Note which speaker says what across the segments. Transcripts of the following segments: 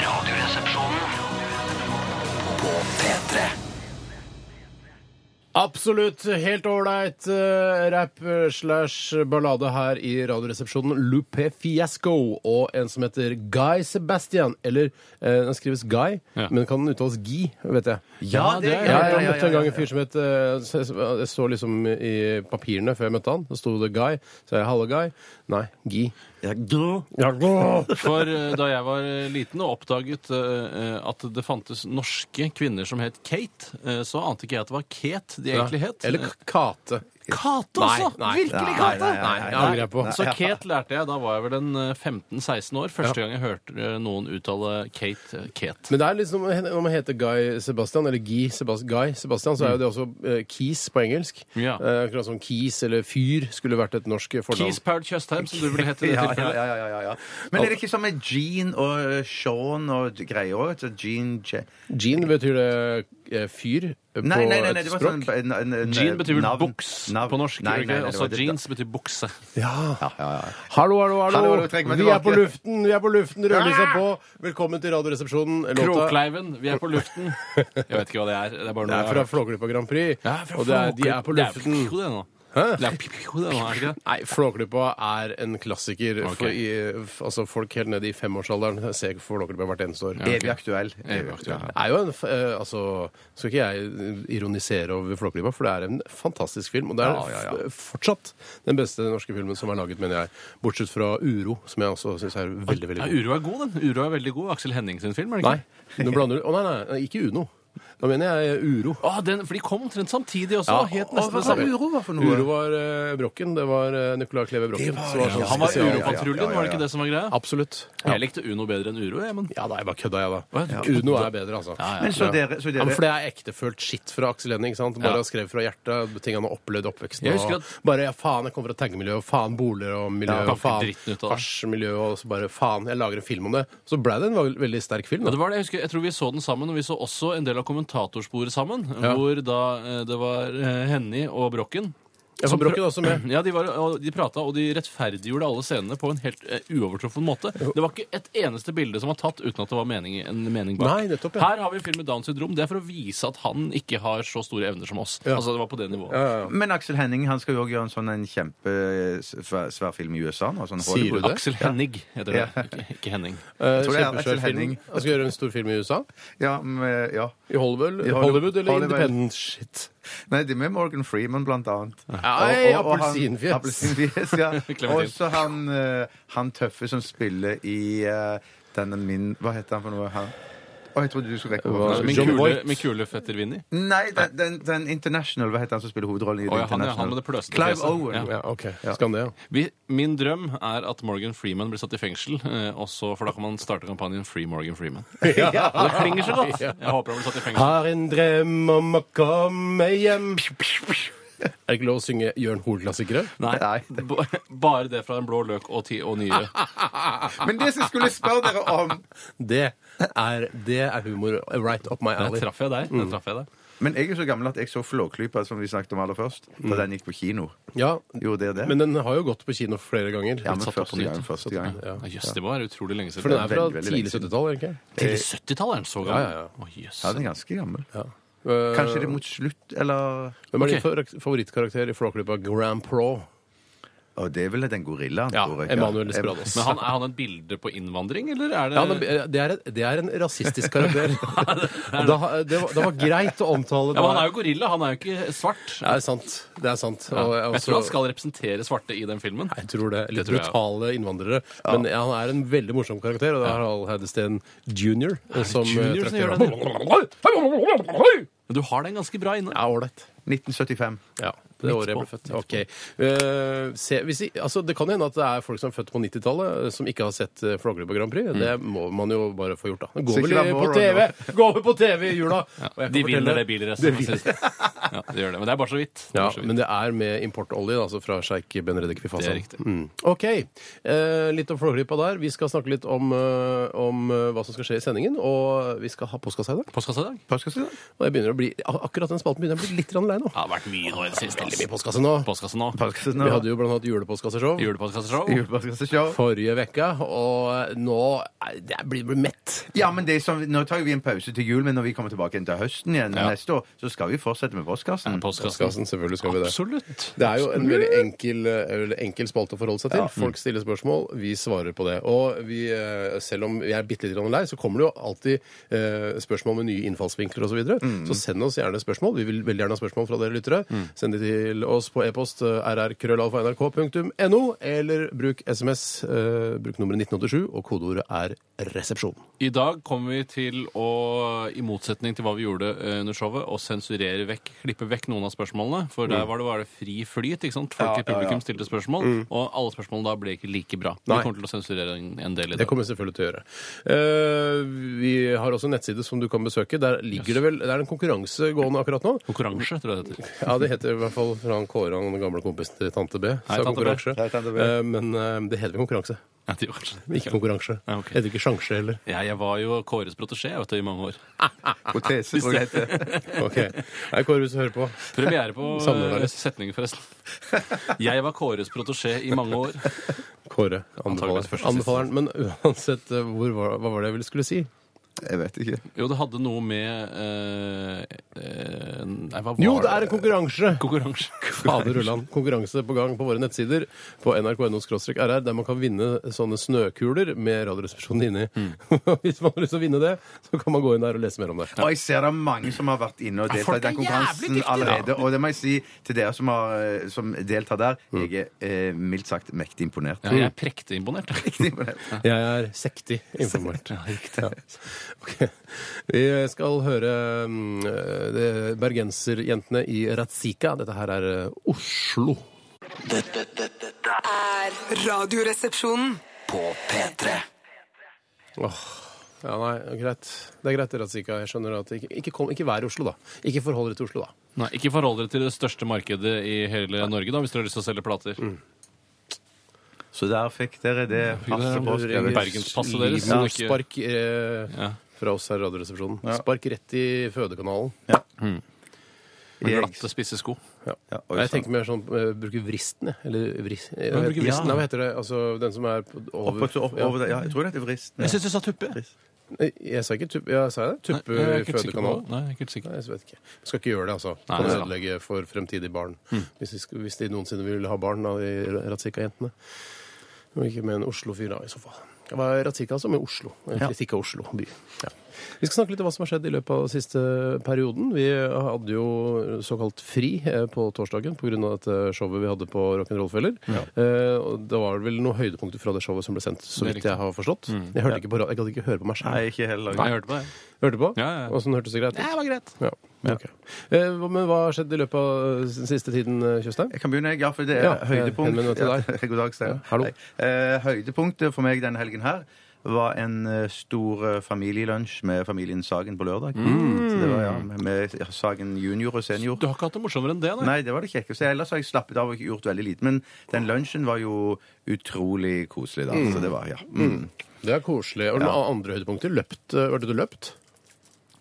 Speaker 1: Radioresepsjonen På P3
Speaker 2: Absolutt. Helt ålreit eh, rap slash ballade her i Radioresepsjonen. Lupe Fiasco og en som heter Guy Sebastian. Eller eh, den skrives Guy,
Speaker 3: Ja.
Speaker 2: men kan den uttales Guy, vet jeg.
Speaker 3: Ja, det
Speaker 2: Ja, jeg møtte en gang en fyr som het eh, så Jeg så- jeg så liksom i papirene før jeg møtte han. Så sto det Guy. Så jeg hallo, Guy. Nei, Guy. Ja, gå!
Speaker 3: For eh, da jeg var eh, liten og oppdaget eh, eh, at det fantes norske kvinner som het Kate, eh, så ante ikke jeg at det var Kate de egentlig het.
Speaker 2: Eller K- Kate.
Speaker 3: Kate
Speaker 2: Nei,
Speaker 3: også!
Speaker 2: nei,
Speaker 3: Virkelig
Speaker 2: nei,
Speaker 3: Kate!
Speaker 2: nei, nei, nei, jeg angrer på.
Speaker 3: Så Kate lærte jeg, da var jeg vel en eh, 15-16 år, første gang jeg hørte eh, noen uttale Kate eh, Kate.
Speaker 2: Men det er liksom, om man heter Guy Sebastian, eller Guy Sebastian, Guy Sebastian
Speaker 4: Mm.
Speaker 2: så er jo det også eh, Keys på engelsk.
Speaker 3: Ja.
Speaker 2: Eh, akkurat som Keys eller Fyr skulle vært et norsk fornavn.
Speaker 3: Keys Paul Tjøstheim, som du ville hete i det
Speaker 4: Ja, ja,
Speaker 3: tilfellet.
Speaker 4: ja, ja, ja, ja. Men er det ikke sånn med Jean og eh, Sean og greier òg? Jean Je
Speaker 2: Jean betyr det eh, fyr eh, på
Speaker 4: Nei, nei, nei, nei,
Speaker 2: et
Speaker 4: det var
Speaker 2: språk.
Speaker 4: sånn en, en, en,
Speaker 3: Jean betyr vel
Speaker 4: navn-
Speaker 3: buks
Speaker 4: navn-
Speaker 3: på norsk.
Speaker 4: Nei,
Speaker 3: gjør det Altså ikke?
Speaker 4: nei, nei, det
Speaker 3: Også
Speaker 4: var det-
Speaker 3: jeans betyr bukse.
Speaker 2: Ja. Hallo, hallo, hallo.
Speaker 4: Hallo, trekk meg
Speaker 2: vi er
Speaker 4: tilbake. Ah!
Speaker 2: på luften, vi er på luften. Rødlyset er på. Velkommen til Radioresepsjonen.
Speaker 3: Kråkleiven, vi er på luften. Jeg vet ikke hva det er. Det er bare
Speaker 2: Det
Speaker 3: noe
Speaker 2: er fra Flåklypa Grand Prix.
Speaker 3: Ja, fra
Speaker 2: og det er, de
Speaker 3: Flåklypa.
Speaker 2: er på
Speaker 3: Det er
Speaker 2: luften.
Speaker 3: pipio, det nå.
Speaker 2: Hæ?
Speaker 3: Det er pipio, det nå, er det ikke det?
Speaker 2: Nei, Flåklypa er en klassiker.
Speaker 3: Ok.
Speaker 2: For i, f- altså folk helt nede i femårsalderen ser Flåklypa hvert eneste år.
Speaker 4: Evig aktuell.
Speaker 3: Evig aktuell.
Speaker 2: Det er jo en, f- eh, altså, Skal ikke jeg eh, ironisere over Flåklypa, for det er en fantastisk film. Og det er
Speaker 4: Ja, ja, ja.
Speaker 2: f- fortsatt den beste norske filmen som er laget, mener jeg. Bortsett fra Uro, som jeg også syns er veldig veldig
Speaker 3: Ja,
Speaker 2: god.
Speaker 3: Uro er god, den. Uro er veldig god. Aksel Henning sin film, er det
Speaker 2: Nei,
Speaker 3: ikke?
Speaker 2: nå blander du Å, nei, nei, ikke Uno. Da mener jeg Uro.
Speaker 3: Å, den, for de kom omtrent samtidig også.
Speaker 2: Ja,
Speaker 3: helt
Speaker 2: og
Speaker 3: nesten
Speaker 2: hva
Speaker 3: det
Speaker 2: var
Speaker 3: samme.
Speaker 4: Uro var for noe?
Speaker 2: Uro var eh, Brokken. Det var uh, Nicolai Kleve Brokken. som var sånn
Speaker 3: Han var
Speaker 2: spesial-
Speaker 3: Uropatruljen, var det ikke det som var greia?
Speaker 2: Absolutt.
Speaker 3: Jeg likte Uno bedre enn Uro, jeg, men
Speaker 2: Ja da, jeg bare kødda, jeg, da.
Speaker 3: Å, ja, du
Speaker 2: Uno er bedre, altså.
Speaker 4: Men så dere, så
Speaker 2: Ja,
Speaker 4: dere
Speaker 2: men for det er ektefølt shit fra Aksel Hennie. ikke sant? Bare
Speaker 3: Ja.
Speaker 2: har skrevet fra hjertet, ting han har opplevd i oppveksten.
Speaker 3: Jeg husker
Speaker 2: og
Speaker 3: at-
Speaker 2: Bare ja, faen, jeg kommer fra tenkemiljø, og faen boliger og miljø,
Speaker 3: Ja,
Speaker 2: og faen
Speaker 3: dritten ut av det.
Speaker 2: farsmiljø, og så bare faen, jeg lager en film om det. Så ble det en vel- veldig sterk film.
Speaker 3: Ja, det
Speaker 2: da.
Speaker 3: var det. Jeg husker, jeg tror vi så den sammen, og vi så også en del av kommentatorsporet sammen,
Speaker 2: Ja.
Speaker 3: hvor da eh, det var eh, Henny og Brokken.
Speaker 2: Ja, for
Speaker 3: som
Speaker 2: Brokken
Speaker 3: prø-
Speaker 2: er også med. eh,
Speaker 3: Ja, De, var, og de prata, og de rettferdiggjorde alle scenene på en helt eh, uovertruffen måte. Det var ikke et eneste bilde som var tatt uten at det var mening, en mening bak.
Speaker 2: Nei, nettopp, ja.
Speaker 3: Her har vi en film med Downs syndrom. Det er for å vise at han ikke har så store evner som oss.
Speaker 2: Ja.
Speaker 3: Altså, det var på det nivået.
Speaker 4: Men Aksel Henning han skal jo også gjøre en sånn en eh, kjempesvær film i USA nå. Sånn
Speaker 2: Sier du
Speaker 4: Hollywood.
Speaker 2: det?
Speaker 3: Axel Hennig heter det. Ikke, ikke Henning.
Speaker 2: Eh,
Speaker 4: tror det er Aksel
Speaker 2: Kjempesvær film.
Speaker 4: Henning.
Speaker 2: Han skal gjøre en stor film i USA.
Speaker 4: Ja, med, ja.
Speaker 2: I Hollywood,
Speaker 4: I Hollywood.
Speaker 2: Hollywood eller
Speaker 4: Hollywood.
Speaker 2: Independent shit.
Speaker 4: Nei, det er med Morgan Freeman, blant annet.
Speaker 2: Nei,
Speaker 4: Og- og- og han-
Speaker 2: appelsinfjes.
Speaker 4: Appelsinfjes, ja.
Speaker 3: Clementine.
Speaker 4: Og så han, eh, han tøffe som spiller i eh, denne min Hva heter han for noe? Han? Å, jeg trodde du skulle rekke
Speaker 2: Hva-
Speaker 4: over.
Speaker 3: Min
Speaker 2: John
Speaker 3: kule,
Speaker 2: Voight.
Speaker 3: min kule fetter Vinni.
Speaker 4: Nei, den, den, den International. Hva heter han som spiller hovedrollen i
Speaker 3: Å,
Speaker 4: The
Speaker 3: ja, han, ja, han
Speaker 4: International?
Speaker 3: med det pløsende
Speaker 4: Clive
Speaker 3: fjeset.
Speaker 4: Owen.
Speaker 3: Ja.
Speaker 2: Ja, ok. Skal han det, ja.
Speaker 3: Vi, min drøm er at Morgan Freeman blir satt i fengsel, eh, også, for da kan man starte kampanjen Free Morgan Freeman. Og det klinger så godt! Jeg håper han blir satt i fengsel.
Speaker 2: Har en drøm om å komme hjem. Er det ikke lov å synge Jørn Hoel-klassikere?
Speaker 3: Nei,
Speaker 4: Nei.
Speaker 3: b- Bare det fra en blå løk og, ti, og nye.
Speaker 4: Men det som jeg skulle spørre dere om
Speaker 2: Det er, det er humor right up my
Speaker 3: Der
Speaker 2: alley.
Speaker 3: traff jeg deg.
Speaker 2: Mm.
Speaker 3: Der traff jeg deg.
Speaker 4: Men jeg er jo så gammel at jeg så Flåklypa, som vi snakket om aller først,
Speaker 3: Mm.
Speaker 4: da den gikk på kino.
Speaker 2: Ja,
Speaker 4: Gjorde dere det?
Speaker 2: men den har jo gått på kino flere ganger.
Speaker 4: ja, men
Speaker 3: satt opp på
Speaker 4: første
Speaker 3: nytt,
Speaker 4: gang.
Speaker 3: satt
Speaker 4: Første gang.
Speaker 2: Ja.
Speaker 3: Ja, Jøss, det var utrolig lenge
Speaker 2: For den
Speaker 3: siden.
Speaker 2: er fra
Speaker 4: Veldig, veldig lenge
Speaker 2: tidlig
Speaker 4: siden.
Speaker 2: 70-tall, er den ikke?
Speaker 3: Tidlig 70-tallet er den så gammel.
Speaker 2: Ja, ja,
Speaker 3: Å, jøss.
Speaker 4: Ja, den er ganske gammel.
Speaker 2: Eh,
Speaker 4: Kanskje det er mot slutt, eller
Speaker 2: Hvem er din
Speaker 3: Ok.
Speaker 2: favor- favorittkarakter i Flåklypa? Grand Pro.
Speaker 4: Å, det er vel den gorillaen,
Speaker 2: Ja,
Speaker 4: tror jeg.
Speaker 2: Emanuel
Speaker 4: Em-
Speaker 2: Desperados.
Speaker 3: Men han, er han et bilde på innvandring, eller er det
Speaker 2: Ja, men eh, det, er, et- det er en rasistisk karakter. Og da, det, var, det var greit å omtale
Speaker 3: Ja, men han er jo gorilla, han er jo ikke svart.
Speaker 2: Det er sant. Det er sant.
Speaker 3: Ja.
Speaker 2: Og
Speaker 3: Jeg
Speaker 2: også-
Speaker 3: tror han skal representere svarte i den filmen.
Speaker 2: Jeg tror det. Litt
Speaker 3: tror jeg.
Speaker 2: brutale innvandrere. Men han er en veldig morsom karakter, og det er Harald Heidesteen jr. som eh,
Speaker 3: junior som gjør
Speaker 2: trakterer
Speaker 3: det?
Speaker 2: ham.
Speaker 3: Men du har den ganske bra inne.
Speaker 2: Ja, ålreit.
Speaker 4: 1975.
Speaker 2: Ja, det
Speaker 3: Midt
Speaker 2: året jeg
Speaker 3: på.
Speaker 2: ble født. Ok. Eh, se, hvis, i- altså, det kan hende at det er folk som er født på 90-tallet, eh, som ikke har sett eh, Flåklypa Grand Prix.
Speaker 3: Mm.
Speaker 2: Det må man jo bare få gjort, da. Gå
Speaker 4: Så
Speaker 2: vel
Speaker 4: ikke
Speaker 2: i-
Speaker 4: vær
Speaker 2: på
Speaker 4: moron,
Speaker 2: TV! Gå vel på TV i jula! Og jeg kan
Speaker 3: De vinner
Speaker 2: fortelle-
Speaker 3: det bilracet. Ja, det gjør det. Men det er bare så vidt. Det er
Speaker 2: Ja,
Speaker 3: bare så vidt.
Speaker 2: men det er med importolje, altså fra sjeik Benredek Fifasan.
Speaker 3: Det er riktig.
Speaker 2: Mm. OK. Eh, litt om Flåklypa der. Vi skal snakke litt om, eh, om eh, hva som skal skje i sendingen, og vi skal ha postkassa i dag.
Speaker 3: Postkasse i dag?
Speaker 4: Postkasse, da?
Speaker 2: Og jeg begynner å bli, ak- akkurat den spalten begynner jeg å bli litt grann lei nå.
Speaker 3: Det har vært mye nå i det siste.
Speaker 2: Veldig mye
Speaker 3: ass.
Speaker 2: postkasse nå.
Speaker 3: Postkasse nå.
Speaker 4: Postkasse,
Speaker 2: Vi
Speaker 4: da.
Speaker 2: hadde jo blant annet julepostkasseshow
Speaker 3: Julepostkasseshow.
Speaker 4: Julepostkasseshow.
Speaker 2: forrige uke, og nå eh, det er- blir blir mett.
Speaker 4: Ja, men det er sånn, Nå tar jo vi en pause til jul, men når vi kommer tilbake igjen til høsten igjen
Speaker 3: Ja.
Speaker 4: neste år, så skal vi fortsette med
Speaker 3: Postkassen.
Speaker 4: postkassen.
Speaker 2: Postkassen, selvfølgelig skal vi det.
Speaker 3: Absolutt.
Speaker 2: Det er jo en veldig enkel, eh, veldig enkel spalte å forholde seg til. Folk stiller spørsmål, vi svarer på det. Og vi, eh, selv om vi er bitte litt lei, så kommer det jo alltid eh, spørsmål med nye innfallsvinkler osv. Så, videre. så send oss gjerne spørsmål. Vi vil veldig gjerne ha spørsmål fra dere lyttere. Send de til oss på e-post eh, rrkrøllalfa.nrk.no, eller bruk SMS. eh, Bruk nummeret 1987, og kodeordet er 'resepsjon'.
Speaker 3: I dag kommer vi til å, i motsetning til hva vi gjorde eh, under showet, å sensurere vekk, klippe vekk noen av spørsmålene. For
Speaker 2: Mm.
Speaker 3: der var det bare fri flyt. ikke sant? Folk i publikum stilte spørsmål, og alle spørsmålene da ble ikke like bra.
Speaker 2: Nei.
Speaker 3: Vi kommer til å sensurere en, en del i
Speaker 2: Det
Speaker 3: dag.
Speaker 2: kommer vi selvfølgelig til å gjøre. Eh, vi har også en nettside som du kan besøke. Der ligger det vel, det er en konkurranse gående akkurat nå.
Speaker 3: Konkurranse, tror jeg det heter.
Speaker 2: Ja, det heter i hvert fall fra han Kåre, han gamle kompisen til tante B. sa
Speaker 3: tante B.
Speaker 2: konkurranse.
Speaker 4: Hei, tante B.
Speaker 2: Eh, Men eh, det heter vel konkurranse,
Speaker 3: Ja, det var sånn.
Speaker 2: men ikke konkurranse.
Speaker 3: Ja, ok.
Speaker 2: Det heter ikke sjanse heller.
Speaker 3: Ja, jeg var jo Kåres protesjé vet du, i mange år.
Speaker 4: Ah, Protese, tror jeg det heter.
Speaker 2: Ok. Nei, Kåre, hvis du hører på.
Speaker 3: Premiere på
Speaker 2: Savner deg
Speaker 3: eh,
Speaker 2: litt.
Speaker 3: setningen, forresten. Jeg var Kåres protesjé i mange år.
Speaker 2: Kåre
Speaker 3: Antageligvis
Speaker 2: anbefaler
Speaker 3: først og
Speaker 2: anbefaler den. Men uansett, eh, hvor, var- hva var det jeg ville skulle si?
Speaker 4: Jeg vet ikke.
Speaker 3: Jo, det hadde noe med eh, eh, Nei, hva var
Speaker 2: Jo, det er en konkurranse!
Speaker 3: konkurranse.
Speaker 2: Fader Ulland. Konkurranse på gang på våre nettsider på nrk.no-rr, der man kan vinne sånne snøkuler med Radioresepsjonen inni.
Speaker 3: Mm.
Speaker 2: Hvis man har lyst til å vinne det, så kan man gå inn der og lese mer om det.
Speaker 4: Og jeg ser det er mange som har vært inne og deltatt i
Speaker 3: folk er
Speaker 4: den konkurransen
Speaker 3: jævlig dyktige,
Speaker 4: allerede. Og det må jeg si til dere som, har, eh, som deltar der. Jeg er eh, mildt sagt mektig imponert.
Speaker 3: Ja,
Speaker 2: Mm.
Speaker 3: jeg er prektig imponert.
Speaker 4: Mektig imponert.
Speaker 2: Jeg er sektig informert. Ja. Ok. Vi skal høre mm, det bergenserjentene i Ratzika. Dette her er eh, Oslo.
Speaker 1: Dette, dette, dette er
Speaker 5: er Radioresepsjonen.
Speaker 1: på P3.
Speaker 2: Åh. Ja, nei, greit. Det er greit, Ratzika. Jeg skjønner at ikke, ikke, kom, ikke vær i Oslo, da. Ikke forhold dere til Oslo, da.
Speaker 3: Nei, Ikke forhold dere til det største markedet i hele Norge, da, hvis dere har lyst til å selge plater.
Speaker 2: Mm.
Speaker 4: Så der fikk dere det passe på.
Speaker 2: Det ringer
Speaker 3: Bergenspasset deres,
Speaker 2: liv og
Speaker 3: så det ikke-
Speaker 2: Spark eh,
Speaker 3: Ja.
Speaker 2: fra oss her i Radioresepsjonen. Spark rett i fødekanalen.
Speaker 3: Med glatte, spisse sko.
Speaker 4: Ja, oi,
Speaker 2: Jeg
Speaker 4: sant.
Speaker 2: tenker mer sånn eh, bruke vristen, jeg. Eller vris, eh,
Speaker 3: Ja, bruke vristen.
Speaker 2: vristen, nei, hva heter det? Altså den som er på- over,
Speaker 4: Oppå- opp-
Speaker 2: ja.
Speaker 4: over der. Ja, jeg tror det heter vristen.
Speaker 3: syns du sa tuppe.
Speaker 2: Nei, Jeg sa ikke tupp, ja, sa jeg det? Tuppe
Speaker 3: Nei, jeg er
Speaker 2: i
Speaker 3: ikke helt sikker på det.
Speaker 2: fødekanalen?
Speaker 3: Nei, jeg er ikke helt sikker.
Speaker 2: Nei, jeg vet ikke. Vi skal ikke gjøre det, altså.
Speaker 3: Nei,
Speaker 2: Kan
Speaker 3: det er
Speaker 2: ødelegge for fremtidige barn. Hvis, vi skal, hvis de noensinne vil ha barn av de Ratzika-jentene. Og ikke med en Oslo-fyr, da, i så fall. Det var Ratzika altså, med Oslo. En Kritikk av Oslo by. Ja. Vi skal snakke litt om hva som har skjedd i løpet av siste perioden. Vi hadde jo såkalt fri eh, på torsdagen pga. dette showet vi hadde på Rock'n'Roll-feller. Eh, og det var vel noen høydepunkter fra det showet som ble sendt, så
Speaker 3: Det er Mm.
Speaker 2: vidt jeg har forstått. Jeg hørte ikke på, ra- jeg gadd ikke høre på meg
Speaker 4: Nei,
Speaker 2: sjøl.
Speaker 4: ikke heller.
Speaker 3: Nei, jeg hørte på det.
Speaker 2: Hørte på?
Speaker 3: Ja, ja, ja.
Speaker 2: Åssen hørtes det greit ut?
Speaker 3: Det var greit.
Speaker 2: Ja, ok. Eh, hva- men hva har skjedd i løpet av eh, den siste tiden, eh, Tjøstheim?
Speaker 4: Jeg kan begynne, jeg. Ja, for det er
Speaker 2: Ja,
Speaker 4: høydepunkt.
Speaker 2: henvender meg til deg.
Speaker 4: Ja, God dag, Steinar.
Speaker 2: hallo.
Speaker 4: Hei. Eh, høydepunktet for meg denne helgen her var en eh, stor eh, familielunsj med familien Sagen på lørdag.
Speaker 2: Mm.
Speaker 4: Så det var ja, Med ja, Sagen junior og senior.
Speaker 3: Du har ikke hatt det morsommere enn det, nei.
Speaker 4: Nei, det var det kjekkeste. Ellers har jeg slappet av og ikke gjort veldig lite. Men den lunsjen var jo utrolig koselig, da. Så det var, ja. Mm.
Speaker 2: Det er koselig. Og noen andre høydepunkter? Løpt? eh, Hørte du løpt?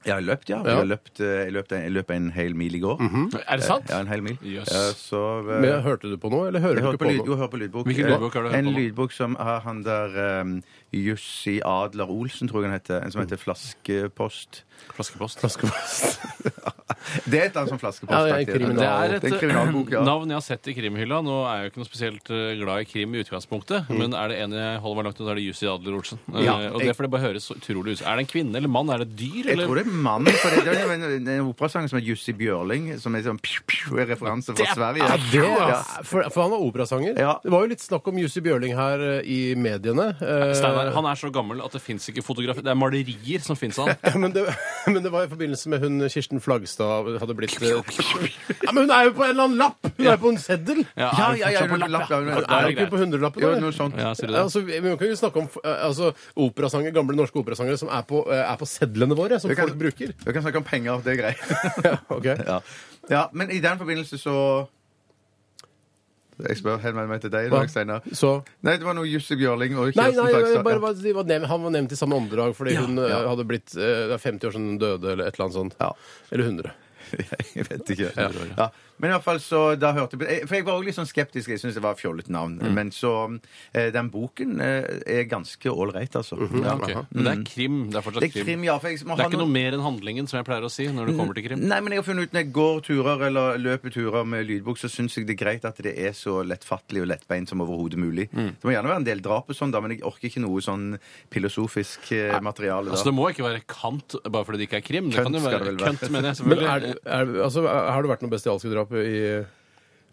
Speaker 4: Jeg har løpt, ja.
Speaker 2: Ja. Mhm.
Speaker 4: Jeg, har løpt, eh, jeg, løpt en, jeg løp en hel mil i går.
Speaker 3: Er det sant?
Speaker 4: Ja, en hel mil.
Speaker 3: Jøss.
Speaker 4: Eh, så, eh,
Speaker 2: Men hørte du på noe, eller hører
Speaker 4: Jeg
Speaker 2: du
Speaker 4: hører
Speaker 2: ikke
Speaker 4: på, lyd,
Speaker 2: på
Speaker 4: jo,
Speaker 2: noe?
Speaker 4: hører på lydbok. Eh,
Speaker 3: Hvilken lydbok er det du hører
Speaker 4: en
Speaker 3: på nå?
Speaker 4: lydbok som har han der um, Jussi Adler Olsen, tror jeg han heter. En som heter Flaskepost.
Speaker 3: Flaskepost.
Speaker 4: Det heter han som Flaskepost.
Speaker 2: Ja, det er en
Speaker 4: faktisk.
Speaker 2: kriminal-
Speaker 3: Det er
Speaker 4: Det er en kriminalbok,
Speaker 3: et
Speaker 4: ja.
Speaker 3: navn jeg har sett i krimhylla. Nå er jeg jo ikke noe spesielt eh, glad i krim i utgangspunktet, men er det en jeg holder meg langt unna, er det Jussi Adler-Olsen. Eh,
Speaker 4: Mm. Ja,
Speaker 3: Og det er fordi det bare høres så utrolig ut. Er det en kvinne eller mann? Er det et dyr?
Speaker 4: Jeg
Speaker 3: eller-
Speaker 4: tror det er mannen. For det, det er en, en operasanger som heter Jussi Bjørling, som er sånn pju, pju, en referanse fra Sverige.
Speaker 2: Ja, det, ja. for, for han var operasanger.
Speaker 4: Ja.
Speaker 2: Det var jo litt snakk om Jussi Bjørling her eh, i mediene. eh,
Speaker 3: Steinar, han er så gammel at det fins ikke fotografi. Det er malerier som fins av han.
Speaker 2: men, det, men det var i forbindelse med hun Kirsten Flagstad hadde blitt eh, ja, Men hun er jo på en eller annen lapp! Hun er på en seddel!
Speaker 3: Ja,
Speaker 4: Ja,
Speaker 3: er det
Speaker 4: ja, ja,
Speaker 3: fortsatt på
Speaker 4: ja,
Speaker 3: lapp,
Speaker 4: ja,
Speaker 3: Ja,
Speaker 4: ja,
Speaker 2: Er
Speaker 3: det
Speaker 2: hun
Speaker 3: er
Speaker 2: ikke på
Speaker 3: greit.
Speaker 2: hundrelappen?
Speaker 4: Jo,
Speaker 2: eller?
Speaker 4: noe sånt.
Speaker 3: Ja, sier du det?
Speaker 2: Altså, vi vi kan jo snakke om eh, altså, operasanger, gamle norske operasangere som er på, eh, er på sedlene våre, som
Speaker 4: Vi kan-
Speaker 2: folk bruker.
Speaker 4: Vi kan snakke om penger, det er greit.
Speaker 2: Ja, ok.
Speaker 4: Ja. Ja, men i den forbindelse så Jeg spør henvender meg til deg i dag, Steinar.
Speaker 2: Så
Speaker 4: Nei, det var noe Jussi Bjørling og
Speaker 2: Nei,
Speaker 4: Kjersten
Speaker 2: nei
Speaker 4: Takstad.
Speaker 2: bare, bare, de var nevnt, han var nevnt i samme åndedrag fordi hun eh, hadde blitt eh, det er 50 år siden hun døde, eller et eller annet sånt.
Speaker 4: Ja.
Speaker 2: Eller 100.
Speaker 4: Jeg vet ikke. Ja. Men i hvert fall så da hørte jeg, For jeg var også litt sånn skeptisk. Jeg syntes det var fjollet navn.
Speaker 3: Mm.
Speaker 4: Men så eh, Den boken eh, er ganske ålreit, altså. Ja.
Speaker 3: Mhm.
Speaker 4: Mm.
Speaker 3: Ok. Men det er krim. Det er fortsatt
Speaker 4: Det er krim, ja. For jeg må
Speaker 3: Det
Speaker 4: ha
Speaker 3: er ikke noe mer enn handlingen, som jeg pleier å si når det kommer til krim.
Speaker 4: Nei, men jeg har funnet ut når jeg går turer eller løper turer med lydbok, så syns jeg det er greit at det er så lettfattelig og lettbeint som overhodet mulig.
Speaker 3: Mm.
Speaker 4: Det må gjerne være en del drap og sånn, da, men jeg orker ikke noe sånn filosofisk eh, materiale.
Speaker 3: Altså,
Speaker 4: Da.
Speaker 3: det må ikke være kant bare fordi det ikke er krim. Det kan
Speaker 4: Kønt
Speaker 3: jo
Speaker 4: skal
Speaker 3: være
Speaker 4: det vel være.
Speaker 3: kønt, mener jeg
Speaker 2: Men
Speaker 3: selvfølgelig.
Speaker 2: er, er, altså, er, har det vært noe bestialske drap i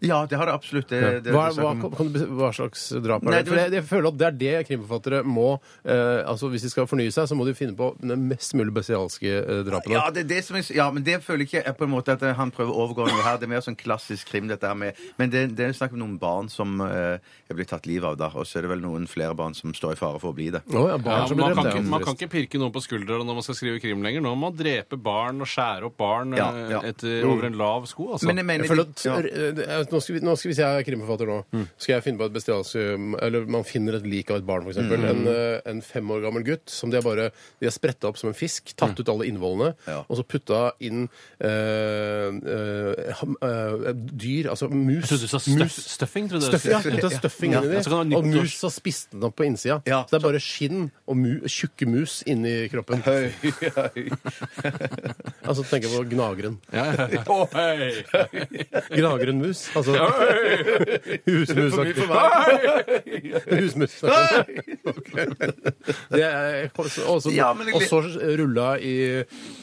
Speaker 4: Ja, det har det absolutt. Det, det,
Speaker 2: hva,
Speaker 4: det
Speaker 2: hva,
Speaker 4: snakker om.
Speaker 2: kan du, bes- hva slags drap er
Speaker 4: Nei,
Speaker 2: det?
Speaker 4: det
Speaker 2: For
Speaker 4: var-
Speaker 2: jeg, jeg føler at det er det krimforfattere må eh, altså Hvis de skal fornye seg, så må de finne på den mest mulig bestialske eh, drapene.
Speaker 4: Ja, det er det som jeg, ja, men det føler jeg ikke er på en måte at eh, han prøver å overgå noe her. Det er mer sånn klassisk krim, dette her med Men det, det er snakk om noen barn som eh, er blitt tatt livet av der, og så er det vel noen flere barn som står i fare for å bli det.
Speaker 2: Å, ja, barn
Speaker 3: Ja,
Speaker 2: som blir
Speaker 3: man,
Speaker 2: drept, det er
Speaker 3: kan ikke,
Speaker 2: jo
Speaker 3: man kan
Speaker 2: trist.
Speaker 3: ikke pirke noen på skuldra når man skal skrive krim lenger. Nå må man drepe barn og skjære opp barn
Speaker 4: Ja,
Speaker 3: eh,
Speaker 4: ja.
Speaker 3: Etter, over en lav sko. Altså.
Speaker 4: Men jeg mener
Speaker 2: Jeg føler at,
Speaker 4: ja.
Speaker 2: eh, det er- nå, skal vi, nå skal Hvis jeg er krimforfatter nå,
Speaker 3: Mm.
Speaker 2: skal jeg finne på et bestialsk Eller man finner et lik av et barn, f.eks.
Speaker 3: Mm.
Speaker 2: eksempel En, eh, en fem år gammel gutt som de har bare De har spretta opp som en fisk,
Speaker 3: Mm.
Speaker 2: tatt ut alle innvollene,
Speaker 4: Ja.
Speaker 2: og så putta inn eh, eh, ham- eh, dyr, altså mus.
Speaker 3: Jeg trodde du sa
Speaker 2: mus.
Speaker 3: stuff, stuffing. Trodde jeg du
Speaker 2: Stuff, ja,
Speaker 3: skulle si.
Speaker 2: putta stuffing
Speaker 3: Ja.
Speaker 2: inni
Speaker 3: Ja, så kan
Speaker 2: det.
Speaker 3: det være
Speaker 2: Og
Speaker 3: nyttårs-
Speaker 2: mus så spiste den opp på innsida.
Speaker 4: Ja,
Speaker 2: så det er bare skinn og mu, tjukke mus inni kroppen. altså tenker jeg på gnageren.
Speaker 3: Ja, ja, ja. Å, hei.
Speaker 2: Gnageren mus. Altså husmus. Husmus. Ok. Det er og så-
Speaker 4: Ja, men det-
Speaker 2: Og så rulla i,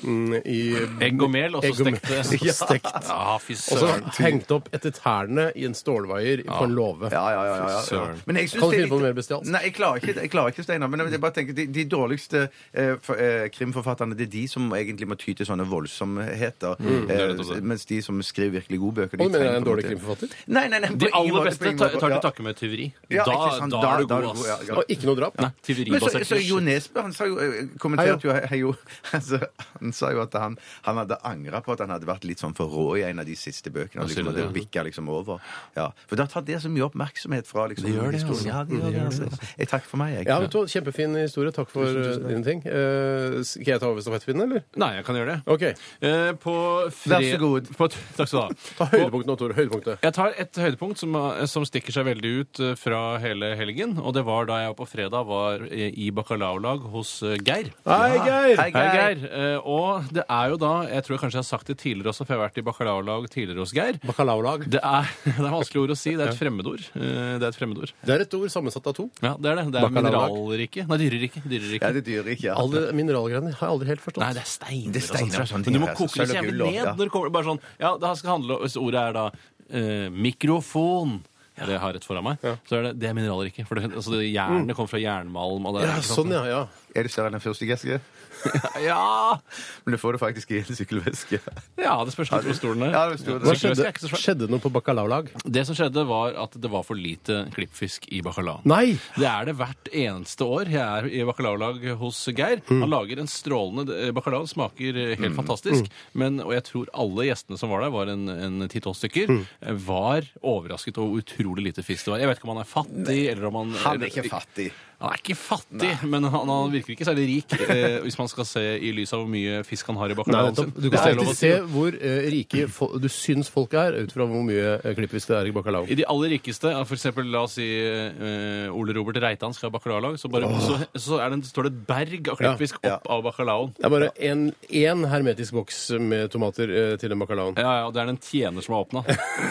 Speaker 2: mm, i
Speaker 3: Egg og mel, og så
Speaker 2: Egg og mel.
Speaker 3: stekte.
Speaker 2: Ja, stekt.
Speaker 3: Ja, fy
Speaker 2: Og så
Speaker 3: søren.
Speaker 2: hengt opp etter tærne i en stålvaier på en låve.
Speaker 4: Ja, ja, ja, ja, ja.
Speaker 3: Søren.
Speaker 4: Men jeg syns
Speaker 2: Kan du
Speaker 4: det er
Speaker 2: finne på
Speaker 4: litt-
Speaker 2: noe mer bestialsk?
Speaker 4: Nei, jeg klarer ikke, jeg klarer ikke Steinar. Men jeg bare tenker, de, de dårligste eh, for, eh, krimforfatterne, det er de som egentlig må ty til sånne voldsomheter.
Speaker 2: Mm.
Speaker 3: er nettopp
Speaker 4: eh,
Speaker 3: det.
Speaker 4: mens de som skriver virkelig gode bøker,
Speaker 2: Og du mener jeg er
Speaker 4: trenger
Speaker 2: en
Speaker 4: på en
Speaker 2: dårlig
Speaker 4: måte-
Speaker 2: krimforfatter?
Speaker 4: Nei, nei, nei. på
Speaker 3: De
Speaker 4: ingen
Speaker 3: aller
Speaker 4: måte, på
Speaker 3: beste
Speaker 4: ingen
Speaker 3: tar,
Speaker 4: måte.
Speaker 3: tar til
Speaker 4: Ja.
Speaker 3: takke med tyveri.
Speaker 4: Ja,
Speaker 3: da,
Speaker 4: ikke sant.
Speaker 3: da,
Speaker 4: Da-
Speaker 3: er du
Speaker 4: da
Speaker 3: god,
Speaker 4: er du god,
Speaker 3: ass.
Speaker 4: ja, ja.
Speaker 2: Og ikke noe drap?
Speaker 3: Nei,
Speaker 4: Men så,
Speaker 3: tyveribasert
Speaker 4: så Jo Nesbø han sa jo, eh, kommenterte jo, hei, jo altså, Han sa jo at han, han hadde angra på at han hadde vært litt sånn for rå i en av de siste bøkene. Og
Speaker 3: sier
Speaker 4: liksom,
Speaker 3: du
Speaker 4: og det
Speaker 3: det,
Speaker 4: bikka liksom over. Ja. For da tar det så mye oppmerksomhet fra liksom,
Speaker 3: gjør det, altså.
Speaker 4: historien. Ja, det gjør det, altså. Jeg takker for meg, jeg.
Speaker 2: Ja, vet du, hva, Kjempefin historie. Takk for eh, dine ting. Eh, skal jeg ta over stafettpinnen, eller?
Speaker 3: Nei, jeg kan gjøre det.
Speaker 2: OK.
Speaker 3: Eh, på fre...
Speaker 4: Vær så god.
Speaker 3: På, takk skal du ha.
Speaker 2: Ta høydepunktet nå, Tore. Høydepunktet.
Speaker 3: Jeg tar et høydepunkt som, eh, som stikker seg veldig ut eh, fra hele helgen. Og det var da jeg på fredag var eh, i bacalaolag hos eh, Geir.
Speaker 2: Hei, Geir!
Speaker 4: Hei, Geir.
Speaker 3: Hei, Geir. Eh, Og det er jo da Jeg tror jeg kanskje jeg har sagt det tidligere også, for jeg har vært i bacalaolag tidligere hos Geir.
Speaker 2: Bacalaolag.
Speaker 3: Det er, det er vanskelig ord å si. Det er et fremmedord. Eh, Det er et fremmedord.
Speaker 2: Det er et ord sammensatt av to.
Speaker 3: Ja, det er det. Det er
Speaker 2: Bacalaolag.
Speaker 3: mineralrike. Nei, dyrerike. dyrerike.
Speaker 4: Ja, det dyrer ikke. Ja.
Speaker 2: Alle mineralgreiene har jeg aldri helt forstått.
Speaker 3: Nei, det er steiner.
Speaker 4: Det er
Speaker 3: og sånt,
Speaker 4: steiner og
Speaker 3: tror jeg.
Speaker 4: sånne ting,
Speaker 3: Men du må
Speaker 4: ja, så
Speaker 3: koke det
Speaker 4: sølv og
Speaker 3: jævlig
Speaker 4: gull og-
Speaker 3: ned
Speaker 4: ja.
Speaker 3: når det kommer bare sånn Ja, det her skal handle Hvis ordet er da eh, mikrofon Det jeg har rett foran meg. Så er det, det er mineralriket. For det, altså, det
Speaker 4: Mm.
Speaker 3: jernet kommer fra jernmalm. Og det,
Speaker 2: ja, sånn, ja. ja.
Speaker 4: Er du større enn den første geske?
Speaker 3: ja!
Speaker 4: Men du får det faktisk i en sykkelveske.
Speaker 3: Ja, det spørs litt hvor stor den er.
Speaker 4: Ja, det er stor, det er.
Speaker 2: Hva
Speaker 3: Sykkelveske
Speaker 2: skjedde?
Speaker 3: er ikke så svær.
Speaker 2: Skjedde det noe på bacalaolag?
Speaker 3: Det som skjedde, var at det var for lite klippfisk i bacalaoen.
Speaker 2: Nei!
Speaker 3: Det er det hvert eneste år jeg er i bacalaolag hos Geir. Han lager en strålende eh, bacalao, smaker eh, helt fantastisk. Men, og jeg tror alle gjestene som var der, var en, en 10-12 stykker, eh, var overrasket over hvor utrolig lite fisk det var. Jeg vet ikke om han er fattig, eller om han
Speaker 4: Han er ikke fattig.
Speaker 3: Han er ikke fattig, men han, han virker ikke særlig rik, eh, hvis man skal se i lys av hvor mye fisk han har i
Speaker 2: Nei,
Speaker 3: bacalaoen sin.
Speaker 2: nettopp. Du
Speaker 3: Det
Speaker 2: kan
Speaker 3: er lov
Speaker 2: alltid
Speaker 3: å
Speaker 2: se
Speaker 3: si.
Speaker 2: hvor eh, rike fo du syns folk er, ut fra hvor mye eh, klippfisk det er i bacalao.
Speaker 3: I de aller rikeste, ja, for eksempel, la oss si eh, Ole Robert Reitan skal ha bacalaolag, så, bare, så, så er det, står det et berg av klippfisk
Speaker 4: Ja, ja.
Speaker 3: opp av bacalaoen.
Speaker 2: Det er bare en- én hermetisk boks med tomater eh, til den bacalaoen.
Speaker 3: Ja, ja, og det er den tjener som har åpna.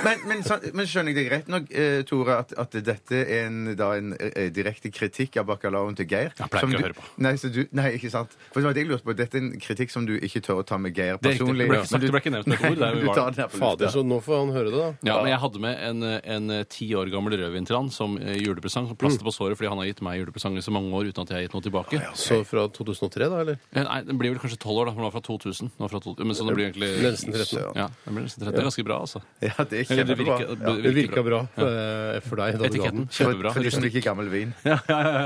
Speaker 4: Men, men, så, men skjønner jeg deg rett nok, eh, Tore, at, at dette er en, da, en eh, direkte kritikk av bacalaoen til Geir?
Speaker 3: Jeg pleier
Speaker 4: som
Speaker 3: ikke å
Speaker 4: du-
Speaker 3: høre på.
Speaker 4: Nei, så du, nei, ikke sant. For det var det jeg lurte på. Dette er en kritikk som du ikke tør å ta med Geir
Speaker 3: Det er riktig.
Speaker 4: personlig.
Speaker 3: Det ble ikke sagt- det ble ikke nevnt med et ord, det er
Speaker 4: Nei,
Speaker 3: vi
Speaker 4: du
Speaker 3: var-
Speaker 4: tar den her på
Speaker 2: Fader,
Speaker 4: lufta.
Speaker 2: så nå får han høre det, da.
Speaker 3: Ja, men jeg hadde med en, en eh, ti år gammel rødvintran som eh, julepresang. Som plaster på såret fordi han har gitt meg julepresang i så mange år uten at jeg har gitt noe tilbake.
Speaker 2: Så fra 2003, da, eller?
Speaker 3: Eh, Nei, Den blir vel kanskje tolv år, da. for Den var fra 2000. Den var fra 2000. Men så den blir egentlig
Speaker 2: Nesten 13.
Speaker 4: Søren.
Speaker 3: Ja, den blir nesten 13. Det er ganske bra, altså.
Speaker 4: Ja, det er
Speaker 3: Eller det
Speaker 4: kjempebra.
Speaker 3: virker-
Speaker 4: Ja.
Speaker 2: Det virka bra eh, for deg da du ga
Speaker 3: Etiketten.
Speaker 2: den.
Speaker 4: For,
Speaker 3: Kjempebra.
Speaker 4: for de som liker gammel vin.
Speaker 3: Ja, ja, ja, ja.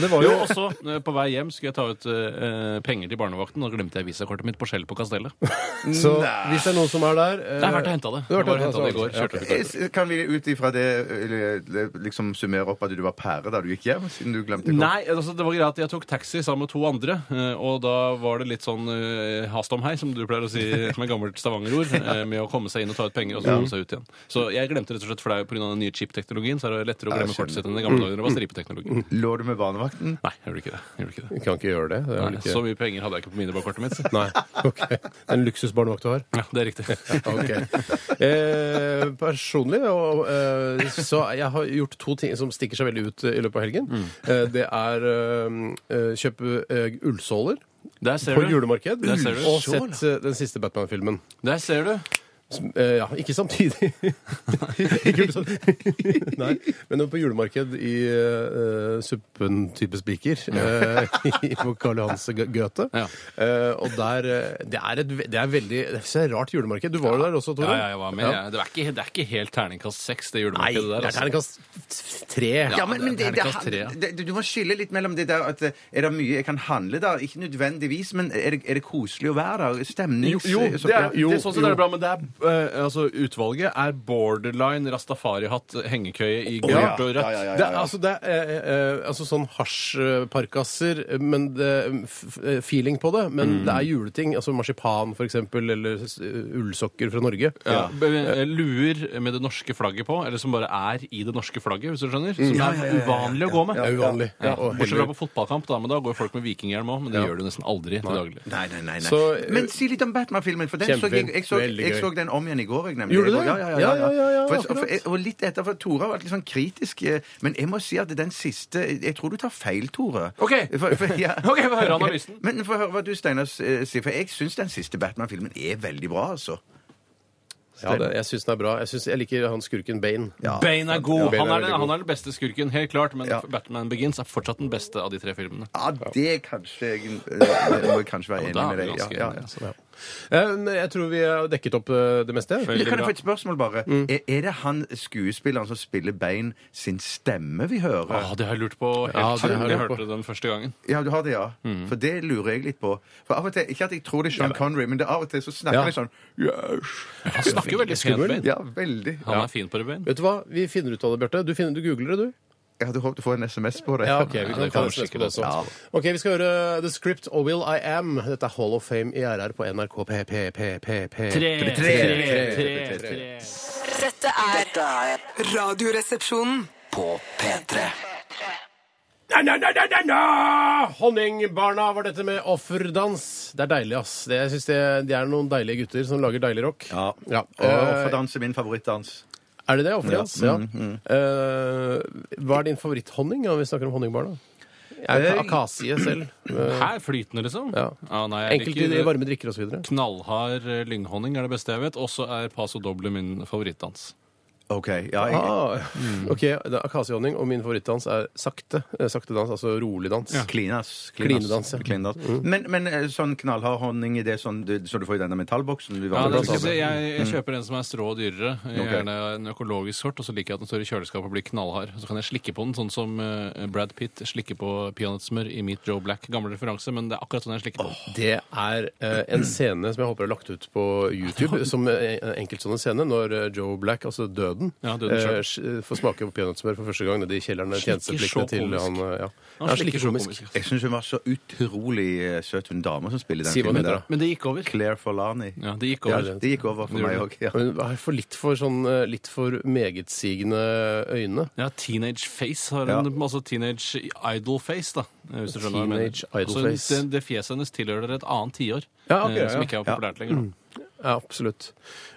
Speaker 6: det var jo-
Speaker 3: også, eh, På vei hjem skulle jeg ta ut eh, penger til barnevakten, og da glemte jeg visakortet mitt på Skjell på Kastellet.
Speaker 2: Så hvis det er noen som er der eh,
Speaker 3: Det er verdt å hente det.
Speaker 2: Det er verdt å
Speaker 3: Jeg bare hentet
Speaker 2: hente
Speaker 3: det i går.
Speaker 2: Ja,
Speaker 3: Kjørte
Speaker 2: ok.
Speaker 3: til
Speaker 4: Eh, Kan vi ut ifra det eh, liksom summere opp at du var pære da du gikk hjem? Siden du glemte kortet?
Speaker 3: Nei, altså det var greit at jeg tok taxi sammen med to andre, eh, og da var det litt sånn eh, hast om hei, som du pleier å si som et gammelt stavangerord, eh, med å komme seg inn og ta ut penger, og så komme seg ut igjen. Så jeg glemte rett og slett, for det er jo pga. den nye chip-teknologien, så er det lettere å glemme kortet sitt enn i gamle dager
Speaker 2: Mm.
Speaker 3: da det var stripeteknologi.
Speaker 4: Lå du med barnevakten?
Speaker 3: Nei, jeg gjorde ikke det. Jeg gjorde ikke det.
Speaker 2: Vi kan ikke gjøre det. det er vel
Speaker 3: Nei,
Speaker 2: ikke...
Speaker 3: så mye penger hadde jeg ikke på minibakkortet mitt.
Speaker 2: Nei. ok. Det er en luksusbarnevakt du har.
Speaker 3: Ja, det er riktig.
Speaker 2: Ok. Eh, personlig og, eh, så jeg har gjort to ting som stikker seg veldig ut eh, i løpet av helgen.
Speaker 3: Mm.
Speaker 2: Eh, det er eh, kjøpe eh, ullsåler
Speaker 3: Der ser
Speaker 2: på
Speaker 3: du.
Speaker 2: julemarked.
Speaker 3: Der ser du.
Speaker 2: Og sett eh, den siste Batman-filmen.
Speaker 3: Der ser du.
Speaker 2: Som, eh, ja, ikke samtidig. ikke ullsåler. Nei, men på julemarked i eh, suppen type spiker eh, i- på Karl Johans Gø- Goethe.
Speaker 3: Ja.
Speaker 2: Eh, og der eh, Det er et ve- det er veldig det er et rart julemarked. Du var jo der også, Tore?
Speaker 3: Ja, ja, jeg var med.
Speaker 2: Ja.
Speaker 3: jeg. Det, er ikke, det er ikke helt terningkast seks, det
Speaker 2: Nei,
Speaker 3: julemarkedet
Speaker 2: det
Speaker 3: der.
Speaker 2: er
Speaker 3: Altså.
Speaker 2: terningkast tre.
Speaker 4: Ja, men, men
Speaker 3: det er
Speaker 4: det, det,
Speaker 3: terningkast tre, ja.
Speaker 4: det, du- du må skille litt mellom det der at eh, er det mye jeg kan handle da? Ikke nødvendigvis, men er det, er det koselig å være der? altså, Stemning?
Speaker 3: Jo, jo, det er, det er sånn sett er det bra, men det er, eh, altså, utvalget er borderline rastafarihatt, hengekøye i gult
Speaker 2: ja.
Speaker 3: og rødt.
Speaker 2: Det er, altså, det er eh, eh, altså sånn hasjparkasser, men det, f- f- feeling på det. Men det er juleting. Altså marsipan, for eksempel, eller s- ullsokker fra Norge.
Speaker 3: Ja. b- eh, Luer med det norske flagget på, eller som bare er i det norske flagget, hvis du skjønner.
Speaker 2: Mm.
Speaker 3: Som er uvanlig å gå med.
Speaker 2: Det er uvanlig. Ja, og
Speaker 3: Bortsett fra
Speaker 2: heller-
Speaker 3: på fotballkamp, da, men da går folk med vikinghjelm òg. Men det gjør du nesten aldri til daglig.
Speaker 4: Nei, nei, nei. nei.
Speaker 2: Så, eh,
Speaker 4: men si litt om Batman-filmen. For den så jeg, jeg, så,
Speaker 2: Kjempefin. Veldig
Speaker 4: jeg så
Speaker 2: gøy.
Speaker 4: den om igjen i går. Jeg, nemlig.
Speaker 2: Gjorde du det?
Speaker 4: Jeg- Ja, ja, ja.
Speaker 2: Ja, ja, ja, ja,
Speaker 4: for, for,
Speaker 2: akkurat.
Speaker 4: jeg- og litt etter, for Tore har vært litt sånn kritisk. eh, Men jeg må si at den siste Jeg tror du tar feil, Tore.
Speaker 3: Ok.
Speaker 4: For, for, ja.
Speaker 3: Ok, få høre analysen.
Speaker 4: Men få høre hva du, Steinar, s- eh, sier. For jeg syns den siste Batman-filmen er veldig bra, altså.
Speaker 2: Ja, det, jeg syns den er bra. Jeg, synes, jeg liker han skurken Bane.
Speaker 3: Bane er god.
Speaker 2: Bane er
Speaker 3: Han er, den,
Speaker 2: veldig god.
Speaker 3: han er den beste skurken, helt klart. Men
Speaker 4: Ja.
Speaker 3: Batman Begins er fortsatt den beste av de tre filmene.
Speaker 4: Ja, det kanskje jeg eh, må jeg kanskje være
Speaker 3: da
Speaker 4: enig
Speaker 3: er
Speaker 4: med
Speaker 3: vi
Speaker 4: deg. Ja,
Speaker 3: ganske
Speaker 4: ja,
Speaker 3: enige,
Speaker 4: ja.
Speaker 3: altså.
Speaker 2: Ja. Eh, men Jeg tror vi har dekket opp eh, det meste.
Speaker 3: Veldig
Speaker 4: Kan jeg
Speaker 3: bra.
Speaker 4: få et spørsmål, bare? Er, er det han skuespilleren som spiller Bane sin stemme vi hører?
Speaker 3: Åh, det har jeg lurt på helt
Speaker 2: Ja, det har jeg
Speaker 3: siden jeg
Speaker 2: lurt på.
Speaker 3: hørte den første gangen.
Speaker 4: Ja, du har det, ja. For det lurer jeg litt på. For av og til, Ikke at jeg tror det er Sean Connery, men det er av og til så snakker
Speaker 2: Ja.
Speaker 4: jeg sånn yes.
Speaker 3: Han snakker jo veldig pent,
Speaker 2: Skummel.
Speaker 3: Bane.
Speaker 4: Ja, veldig.
Speaker 3: Han er fin på det, Bane.
Speaker 2: Vet du hva? Vi finner ut av det, Bjarte. Du, finner- du googler det, du.
Speaker 4: Jeg hadde håpet å få en SMS på det.
Speaker 2: Ja, ok, vi kan
Speaker 3: det
Speaker 2: ta
Speaker 3: kommer
Speaker 2: det neste
Speaker 3: sikkert
Speaker 2: også.
Speaker 4: Ja.
Speaker 2: Ok, vi skal høre The Script og Will I Am. Dette er Hall of Fame i RR på NRK PPPP.
Speaker 3: Tre,
Speaker 4: tre,
Speaker 3: tre, tre.
Speaker 5: Dette er
Speaker 1: Dette er
Speaker 5: Radioresepsjonen.
Speaker 1: på P3.
Speaker 2: Na, na, na, na, na, na! Honningbarna var dette med offerdans. Det er deilig, ass. Det, jeg synes det, de er noen deilige gutter som lager deilig rock.
Speaker 4: Ja.
Speaker 2: Ja.
Speaker 4: Og offerdans er min favorittdans.
Speaker 2: Eh, er det det? Offerdans? Ja. Eh, hva er din favoritthonning, ja, hvis vi snakker om honningbarna? Jeg er akasie selv.
Speaker 3: Her flytende, liksom?
Speaker 2: Ja.
Speaker 3: nei, jeg
Speaker 2: Enkelte
Speaker 3: liker-
Speaker 2: i varme drikker osv.
Speaker 3: Knallhard eh, lynghonning er det beste jeg vet. Også er Paso Doble min favorittdans.
Speaker 4: Ok, ja, jeg,
Speaker 2: Ah,
Speaker 3: Mm.
Speaker 2: ok, det er akasiehonning, og min favorittdans er sakte. Eh, Sakte dans, altså rolig dans.
Speaker 4: Klinas.
Speaker 2: Klinedans, ja.
Speaker 4: Klinedans. Men, men eh, sånn knallhard honning i det sånn du, så du får i denne metallboksen? Du
Speaker 3: Ja,
Speaker 4: var-
Speaker 3: det skal jeg, si. jeg, jeg kjøper en som er strå og dyrere.
Speaker 4: Ok.
Speaker 3: Gjerne en økologisk sort. Og så liker jeg at den står i kjøleskapet og blir knallhard. Så kan jeg slikke på den, sånn som eh, Brad Pitt slikker på peanøttsmør i Meet Joe Black. Gammel referanse, men det er akkurat sånn jeg slikker på. den.
Speaker 2: Det er eh, en scene som jeg håper er lagt ut på YouTube, som eh, en enkeltstående scene, når eh, Joe Black, altså døden,
Speaker 3: Ja, døden
Speaker 2: eh,
Speaker 3: selv.
Speaker 2: sj- får smake på peanøttsmør for første gang nede i kjelleren. der
Speaker 3: Slikker så
Speaker 2: Tjenestepliktene til
Speaker 3: komisk.
Speaker 2: han eh, ja.
Speaker 3: Han
Speaker 2: Ja,
Speaker 3: slikker
Speaker 2: slikker
Speaker 3: så
Speaker 2: komisk.
Speaker 3: komisk.
Speaker 4: jeg syns hun var så utrolig eh, søt, hun dama som spiller i den
Speaker 2: Si hva hun
Speaker 4: filmen.
Speaker 2: heter,
Speaker 4: der.
Speaker 2: da.
Speaker 3: Men det gikk over.
Speaker 4: Claire Forlani.
Speaker 3: Ja, det gikk
Speaker 4: Ja,
Speaker 3: over.
Speaker 4: det gikk over for meg òg. Ja.
Speaker 2: Hun er for litt for sånn eh, litt for megetsigende øyne.
Speaker 3: Ja, Teenage Face har
Speaker 4: Ja.
Speaker 3: en altså Teenage Idol Face, da. Hvis du skjønner hva jeg mener.
Speaker 2: Teenage idol
Speaker 3: Altså,
Speaker 2: face.
Speaker 3: Det, det fjeset hennes tilhører et annet tiår,
Speaker 2: Ja, ok,
Speaker 3: eh, som
Speaker 2: ja.
Speaker 3: ikke er populært lenger. Da.
Speaker 2: Ja, absolutt.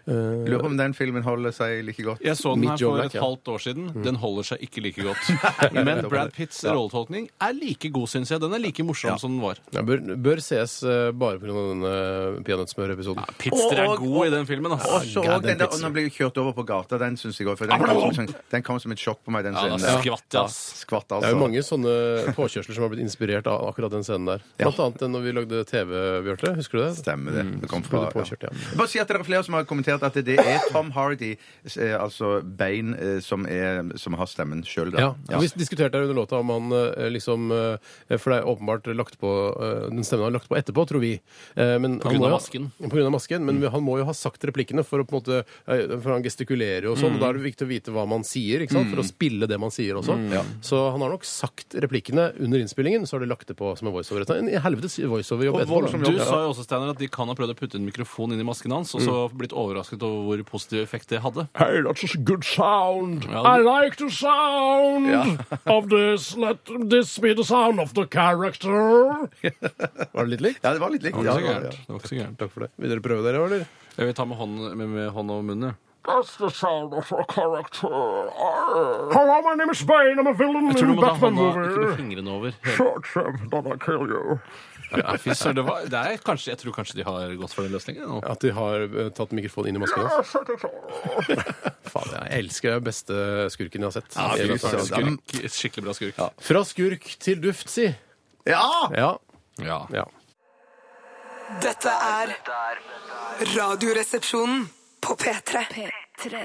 Speaker 2: Eh,
Speaker 4: Lurer på om den filmen holder seg like godt.
Speaker 3: Jeg så den
Speaker 2: Meet
Speaker 3: her
Speaker 2: Joe
Speaker 3: for
Speaker 2: Black,
Speaker 3: et
Speaker 2: ja.
Speaker 3: halvt år siden. Den holder seg ikke like godt. Men Brad Pitts rolletolkning er like god, syns jeg. Den er like morsom som den var.
Speaker 2: ja, bør, bør ses eh, bare pga. denne peanøttsmørepisoden.
Speaker 3: Pitts dere
Speaker 4: Og-
Speaker 3: er god i den filmen,
Speaker 4: Og
Speaker 3: altså.
Speaker 4: så
Speaker 2: Ja,
Speaker 4: og
Speaker 2: den
Speaker 4: den der, og
Speaker 2: pizzaen.
Speaker 4: nå ble jeg kjørt over på gata, den syns jeg òg. Den, kom som en sånn- den kom som et sjokk på meg, den
Speaker 3: Ja,
Speaker 4: scenen.
Speaker 3: da
Speaker 4: der.
Speaker 3: skvatt jeg,
Speaker 4: Ja,
Speaker 3: ass.
Speaker 4: skvatt, altså.
Speaker 2: Det er jo mange sånne påkjørsler som har blitt inspirert av akkurat den scenen der. Blant annet den når vi lagde TV, Bjarte. Husker du det?
Speaker 3: Mm.
Speaker 4: Stemmer det. Det kom
Speaker 2: Ble
Speaker 4: fra
Speaker 2: du påkjørt, ja.
Speaker 4: Bare si at det er flere som har kommentert at det er Tom Hardy, eh, altså Bane, eh, som, er, som har stemmen sjøl, da.
Speaker 2: Ja. og Vi diskuterte her under låta om han eh, liksom eh, For det er åpenbart lagt på eh, den stemmen han har lagt på etterpå, tror vi. Eh, Men på
Speaker 3: grunn av masken.
Speaker 2: På grunn av masken, men han må jo ha sagt replikkene, for å på en måte eh, For han gestikulerer jo og sånn. og Da er det viktig å vite hva man sier, ikke sant? for å spille det man sier også. Så han har nok sagt replikkene under innspillingen, så har de lagt det på som en voiceover. En helvetes voiceover-jobb
Speaker 4: Og
Speaker 2: etterpå.
Speaker 4: voldsom
Speaker 2: da.
Speaker 4: jobb.
Speaker 3: Du sa jo også, Steiner, at de kan ha prøvd å putte en mikrofon inn i masken hans, og så blitt overrasket over hvor positiv effekt det hadde.
Speaker 2: Hey, that's a good sound.
Speaker 3: Ja, det-
Speaker 2: like the sound of this. Let this be the sound of the character. Var det litt likt?
Speaker 4: Ja, det var litt likt.
Speaker 3: Det var ikke så
Speaker 4: ja, ja, ja.
Speaker 3: gærent. Det var ikke så gærent.
Speaker 2: Takk for det. Vil dere prøve dere, eller?
Speaker 3: Jeg vil ta med hånd, med, med hånd over munnen. jeg.
Speaker 2: That's the sound of a character.
Speaker 6: Ah.
Speaker 2: Hello, my name is Bane. I'm a villain
Speaker 3: Jeg tror du må ta hånda, ikke noe fingrene over.
Speaker 2: Shut up, then I kill you.
Speaker 3: Ja, fy søren, det var, det er kanskje, jeg tror kanskje de har gått for den løsningen. nå.
Speaker 2: At de har eh, tatt mikrofonen inn i masken
Speaker 6: Ah,
Speaker 2: hans. Faen, jeg elsker den beste skurken jeg har sett.
Speaker 3: Ja, fy
Speaker 2: Jeg vet
Speaker 3: søren,
Speaker 2: ikke.
Speaker 3: skurk, skikkelig bra skurk.
Speaker 2: Fra skurk til duft, si.
Speaker 4: Ja!
Speaker 2: Ja.
Speaker 3: Ja.
Speaker 2: ja.
Speaker 5: Dette er Radioresepsjonen på P3.
Speaker 6: P3.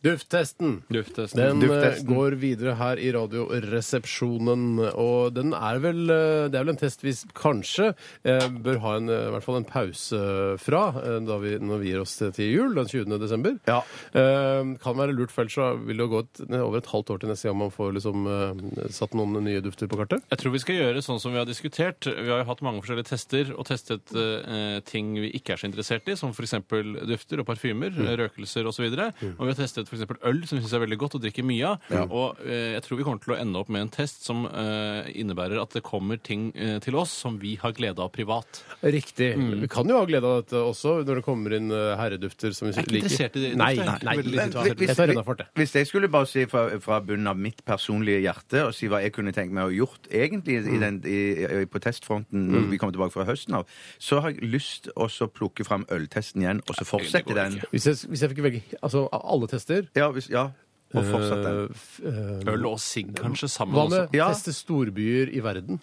Speaker 2: Dufttesten.
Speaker 3: Dufttesten.
Speaker 2: Den eh,
Speaker 4: Dufttesten.
Speaker 2: går videre her i Radioresepsjonen, og den er vel eh, Det er vel en test vi s- kanskje eh, bør ha en, eh, i hvert fall en pause fra eh, da vi, når vi gir oss til jul den 20. desember.
Speaker 4: Ja.
Speaker 2: Eh, kan være lurt, for ellers så vil det jo gå et, over et halvt år til neste gang man får liksom eh, satt noen nye dufter på kartet.
Speaker 3: Jeg tror vi skal gjøre sånn som vi har diskutert. Vi har jo hatt mange forskjellige tester og testet eh, ting vi ikke er så interessert i, som f.eks. dufter og parfymer,
Speaker 2: Mm.
Speaker 3: røkelser osv. videre Og vi har testet f.eks. øl, som vi syns er veldig godt og drikker mye av. Og eh, jeg tror vi kommer til å ende opp med en test som eh, innebærer at det kommer ting eh, til oss som vi har glede av privat.
Speaker 2: Riktig.
Speaker 3: Mm.
Speaker 2: Vi kan jo ha glede av dette også, når det kommer inn eh, herredufter som vi
Speaker 3: Jeg er ikke
Speaker 2: liker.
Speaker 3: interessert i det.
Speaker 2: Nei,
Speaker 3: Duft er
Speaker 2: nei,
Speaker 3: ikke veldig
Speaker 2: nei.
Speaker 3: interessant.
Speaker 2: Jeg tar Renna Forte.
Speaker 4: hvis jeg skulle bare si fra, fra bunnen av mitt personlige hjerte og si hva jeg kunne tenkt meg å ha gjort egentlig
Speaker 3: Mm.
Speaker 4: i den, i, i, på testfronten når vi kommer tilbake fra høsten av, så har jeg lyst også å plukke fram øltesten igjen og så fortsette
Speaker 3: går
Speaker 4: den.
Speaker 3: ikke.
Speaker 2: Hvis jeg, hvis jeg fikk velge altså, av alle tester
Speaker 4: Ja, hvis, ja, og fortsette den.
Speaker 2: eh, f- eh,
Speaker 3: Øl og sigg kanskje sammen
Speaker 2: Hva
Speaker 3: også.
Speaker 2: med
Speaker 4: Ja.
Speaker 2: teste storbyer i verden?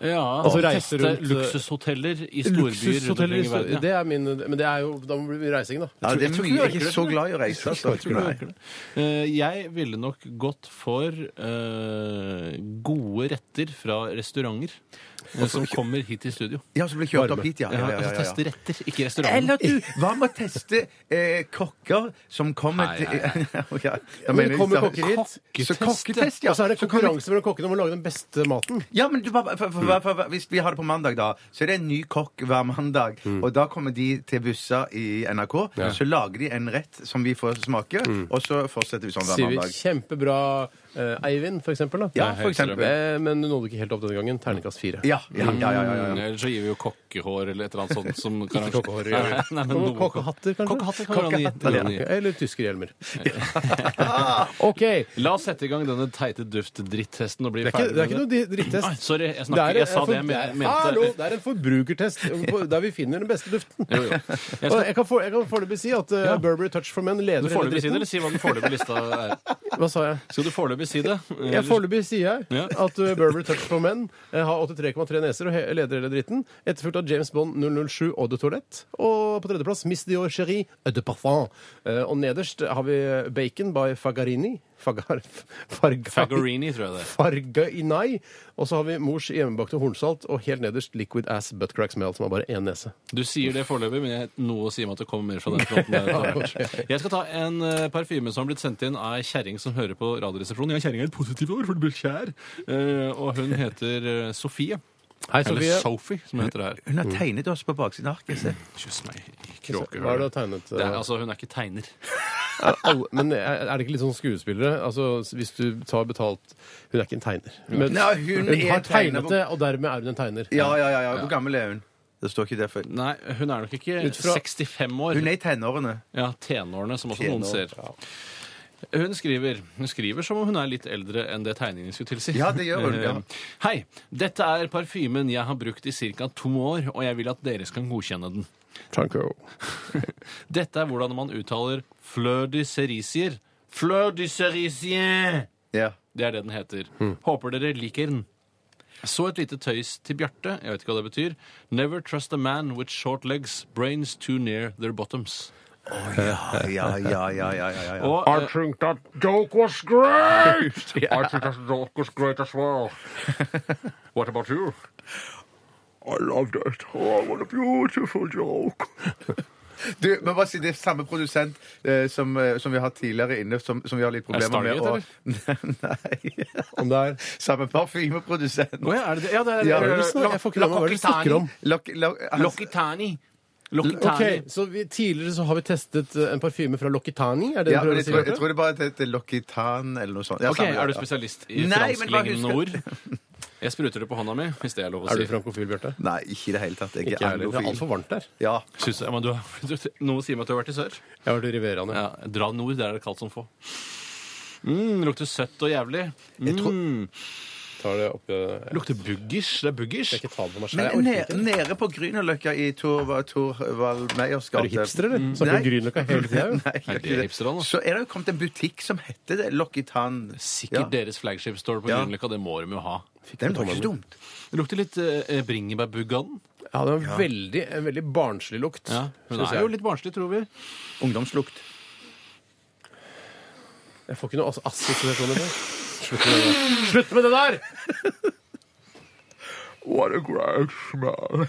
Speaker 3: Ja,
Speaker 2: Altså
Speaker 3: og
Speaker 2: reise
Speaker 3: teste
Speaker 2: rundt, eh,
Speaker 3: luksushoteller i storbyer rundt
Speaker 2: Luksushoteller i
Speaker 3: omkring i
Speaker 2: stor-
Speaker 3: verden.
Speaker 2: Det er min, men det er jo, da blir det reising, da.
Speaker 4: Ja, det er
Speaker 3: tror- jeg tror ikke du
Speaker 4: mye jeg er
Speaker 3: orker
Speaker 4: ikke så
Speaker 3: det.
Speaker 4: glad i å reise. Altså.
Speaker 3: Jeg tror du orker det. Eh, Jeg ville nok gått for eh, gode retter fra restauranter eh, som kommer hit i studio.
Speaker 4: Ja, så blir jeg kjørt opp hit, ja. ja, ja, ja,
Speaker 3: Altså
Speaker 4: ja, ja.
Speaker 3: teste retter, ikke restauranter.
Speaker 4: Eller du, hva med å teste eh, kokker som kommer
Speaker 3: Nei,
Speaker 4: til
Speaker 3: nei,
Speaker 4: Ja, da
Speaker 2: Men
Speaker 4: mener jeg-
Speaker 2: kommer kokker hit?
Speaker 4: Så kokketest, ja.
Speaker 2: Og så er det
Speaker 4: Så kommer-
Speaker 2: konkurranse mellom kokkene om å lage den beste maten.
Speaker 4: Ja, men du, bare- for, for, for, for, Hvis vi har det på mandag, da, så er det en ny kokk hver mandag. Og da kommer de til Bussa i NRK. Så lager de en rett som vi får smake, og så fortsetter vi sånn hver
Speaker 2: Sier vi
Speaker 4: mandag.
Speaker 2: kjempebra eh, Eivind, for eksempel. Da.
Speaker 4: Ja, for eksempel.
Speaker 2: Eh, men du nådde ikke helt opp denne gangen. Terningkast fire.
Speaker 4: Ja, ja, ja, ja, ja,
Speaker 3: Mm,
Speaker 4: ja.
Speaker 3: Eller så gir vi jo kokkehår eller et eller annet sånt. Som kan-
Speaker 2: kokkehår, ja.
Speaker 3: Nei, nei, men
Speaker 2: Og
Speaker 3: noe-
Speaker 2: kokkehatter, kanskje?
Speaker 3: Kokkehatter kan man gi.
Speaker 4: Kokkehatter,
Speaker 3: Det kan man
Speaker 2: Ok,
Speaker 3: gi.
Speaker 2: Eller tyskerhjelmer. OK.
Speaker 3: La oss sette i gang denne teite duft-drittesten og bli
Speaker 2: Det er ikke,
Speaker 3: ferdig
Speaker 2: det er ikke noe
Speaker 3: med det.
Speaker 2: di- drittest.
Speaker 3: Nei, sorry, jeg snakker- jeg sa det jeg men- mente.
Speaker 2: Hallo, det er en forbrukertest på- der vi finner den beste duften.
Speaker 3: Jo, jo. Jeg skal-
Speaker 2: Og jeg kan for- jeg kan foreløpig si at eh,
Speaker 3: Ja.
Speaker 2: Burberry Touch for Men leder
Speaker 3: Du
Speaker 2: hele
Speaker 3: foreløpig si det,
Speaker 2: dritten.
Speaker 3: eller si hva den foreløpige lista er?
Speaker 2: Hva sa jeg?
Speaker 3: Skal du foreløpig si det?
Speaker 2: Jeg Foreløpig sier jeg
Speaker 3: Mm. Ja.
Speaker 2: at uh, Burberry Touch for Men eh, har 83,3 neser og he- leder hele dritten. Etterfulgt av James Bond 007 Eau de Toilette. Og på tredjeplass Miss Dior Cherie Eau de Parfum. Eh, Og nederst har vi eh, Bacon by Fagarini. Fagar... Fargai.
Speaker 3: Fagarini, tror jeg det er.
Speaker 2: Fargainai. Og så har vi mors hjemmebakte hornsalt, og helt nederst Liquid Ass Buttcrack Smell, som har bare én nese.
Speaker 3: Du sier det foreløpig, men jeg, noe sier meg at det kommer mer fra den fronten. Der, etter hvert. jeg skal ta en eh, parfyme som har blitt sendt inn av ei kjerring som hører på Radioresepsjonen. Jeg er kjerring er et positivt ord, for du blir kjær. Eh, og hun heter eh, Sofie.
Speaker 2: Hei,
Speaker 3: Eller
Speaker 2: Sofie.
Speaker 3: Sophie, som hun heter her.
Speaker 4: Hun har tegnet oss på baksiden av arket. se.
Speaker 3: Kyss meg i
Speaker 2: Hva er det du har
Speaker 3: kråkehullet.
Speaker 2: tegnet?
Speaker 3: Det
Speaker 2: eh,
Speaker 3: er, altså, hun er ikke tegner.
Speaker 2: alle, men er er det ikke litt sånn skuespillere? Altså, hvis du tar betalt Hun er ikke en tegner. Men
Speaker 4: Nei,
Speaker 2: hun
Speaker 4: hun er
Speaker 2: har
Speaker 4: tegner.
Speaker 2: tegnet det, og dermed er hun en tegner.
Speaker 4: Ja, ja, ja, ja. Hvor gammel er hun? Det står ikke det. For.
Speaker 3: Nei, hun er nok ikke
Speaker 2: Ut fra-
Speaker 3: 65 år.
Speaker 4: Hun er i tenårene.
Speaker 3: Ja, tenårene, som også noen
Speaker 4: Tenår,
Speaker 3: ser. Hun skriver, hun skriver som om hun er litt eldre enn det tegningen skulle tilsi.
Speaker 4: Ja, det gjør hun, ja.
Speaker 3: Eh, Hei, dette er parfymen jeg har brukt i ca. to år, og jeg vil at dere skal godkjenne den.
Speaker 2: Tanko.
Speaker 3: Dette er hvordan man uttaler fleur de cerisier. Fleur de cerisier!
Speaker 4: Ja. Hmm.
Speaker 3: Det er det den heter. Håper dere liker den. Så et lite tøys til Bjarte. Jeg vet ikke hva det betyr. Never trust a man with short legs, brains too near their bottoms.
Speaker 4: Ja, ja, ja, ja, ja, ja.
Speaker 3: Og, eh,
Speaker 6: think that joke was great! I think that joke was great as well. what about you? I loved it. Oh, what a beautiful joke.
Speaker 4: Du, men bare si det er samme produsent eh, som, eh, som vi har hatt tidligere inne, som, som vi har litt problemer med.
Speaker 3: Stargate,
Speaker 4: Nei.
Speaker 2: Om det er
Speaker 4: Samme parfymeprodusent.
Speaker 3: Å ja, er det det? Ja, det er
Speaker 4: Ja,
Speaker 3: det.
Speaker 4: men
Speaker 3: Lo-
Speaker 2: Jeg får ikke lov med hva er det du snakker om.
Speaker 4: Lock- lock- han-
Speaker 3: Loccitani. Loccitani.
Speaker 2: Ok, så vi, Tidligere så har vi testet eh, en parfyme fra Loccitani. Er det
Speaker 4: ja,
Speaker 2: du prøver
Speaker 4: men
Speaker 2: å
Speaker 4: jeg,
Speaker 2: si?
Speaker 4: tror, jeg
Speaker 2: Bjarte?
Speaker 4: tror det bare heter Lokitan eller noe sånt. Ja,
Speaker 3: Ok,
Speaker 4: samme, ja,
Speaker 3: Er du
Speaker 4: ja.
Speaker 3: spesialist i
Speaker 4: Nei, men bare
Speaker 3: fransklignende ord? Jeg spruter det på hånda mi, hvis det er lov å
Speaker 2: Er
Speaker 3: si.
Speaker 2: du frankofil, Bjarte?
Speaker 4: Nei, ikke i det hele tatt. Jeg
Speaker 2: Ikke
Speaker 4: er
Speaker 2: jeg heller. Det er
Speaker 4: anglofil.
Speaker 2: altfor varmt der.
Speaker 4: Ja.
Speaker 3: Synes jeg, men du, du, noe sier meg at du har vært i sør.
Speaker 2: Jeg har vært i Riveraen, ja.
Speaker 3: Ja, dra nord, der er det kaldt som få. Mm, lukter søtt og jævlig. Mm,
Speaker 2: Tar det opp, eh,
Speaker 3: Lukter buggers. Det er buggers.
Speaker 2: jeg kan ikke ta det på meg selv. Jeg
Speaker 4: Men
Speaker 2: orker
Speaker 4: nede,
Speaker 2: ikke.
Speaker 4: nede på Grünerløkka i Thorvald Thor Thorvald Meyers
Speaker 2: Er
Speaker 4: gate
Speaker 2: du hipster, eller? Snakker
Speaker 4: Nei.
Speaker 2: om Grünerløkka hele tida, jo.
Speaker 4: Nei, jeg
Speaker 3: Er
Speaker 4: gjør
Speaker 3: det
Speaker 4: ikke
Speaker 3: hipster da, nå?
Speaker 4: Så er det jo kommet en butikk som heter det. Lokitan.
Speaker 3: Sikkert deres flagship store på
Speaker 4: Ja.
Speaker 3: Grünerløkka. Det må de jo ha.
Speaker 4: Den var ikke så dumt.
Speaker 3: Det lukter litt eh, bringebærbugg av den.
Speaker 2: Ja, det var veldig, en veldig barnslig lukt.
Speaker 3: Ja, hun
Speaker 2: synes
Speaker 3: er
Speaker 2: jeg.
Speaker 3: jo litt barnslig, tror vi.
Speaker 4: Ungdomslukt.
Speaker 2: Jeg får ikke noe ass- assosiasjoner til det. Slutt med det der! Slutt med det der!
Speaker 6: What a great smell.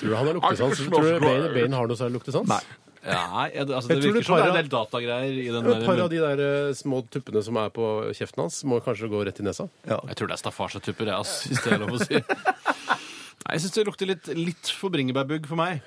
Speaker 2: Tror du han har luktesans?
Speaker 6: I can
Speaker 2: Tror du
Speaker 6: smell
Speaker 2: Bane, Bane har noe særlig luktesans? Nei.
Speaker 3: Nei, jeg, altså, det
Speaker 2: Jeg tror
Speaker 3: virker
Speaker 2: det
Speaker 3: som det er
Speaker 2: para-
Speaker 3: en del datagreier i den
Speaker 2: Et par av
Speaker 3: der.
Speaker 2: de der eh, små tuppene som er på kjeften hans, må kanskje gå rett i nesa.
Speaker 3: Jeg tror det er staffasjetupper, jeg, altså, hvis det er lov å si. Nei, jeg syns det lukter litt, litt for bringebærbugg for meg.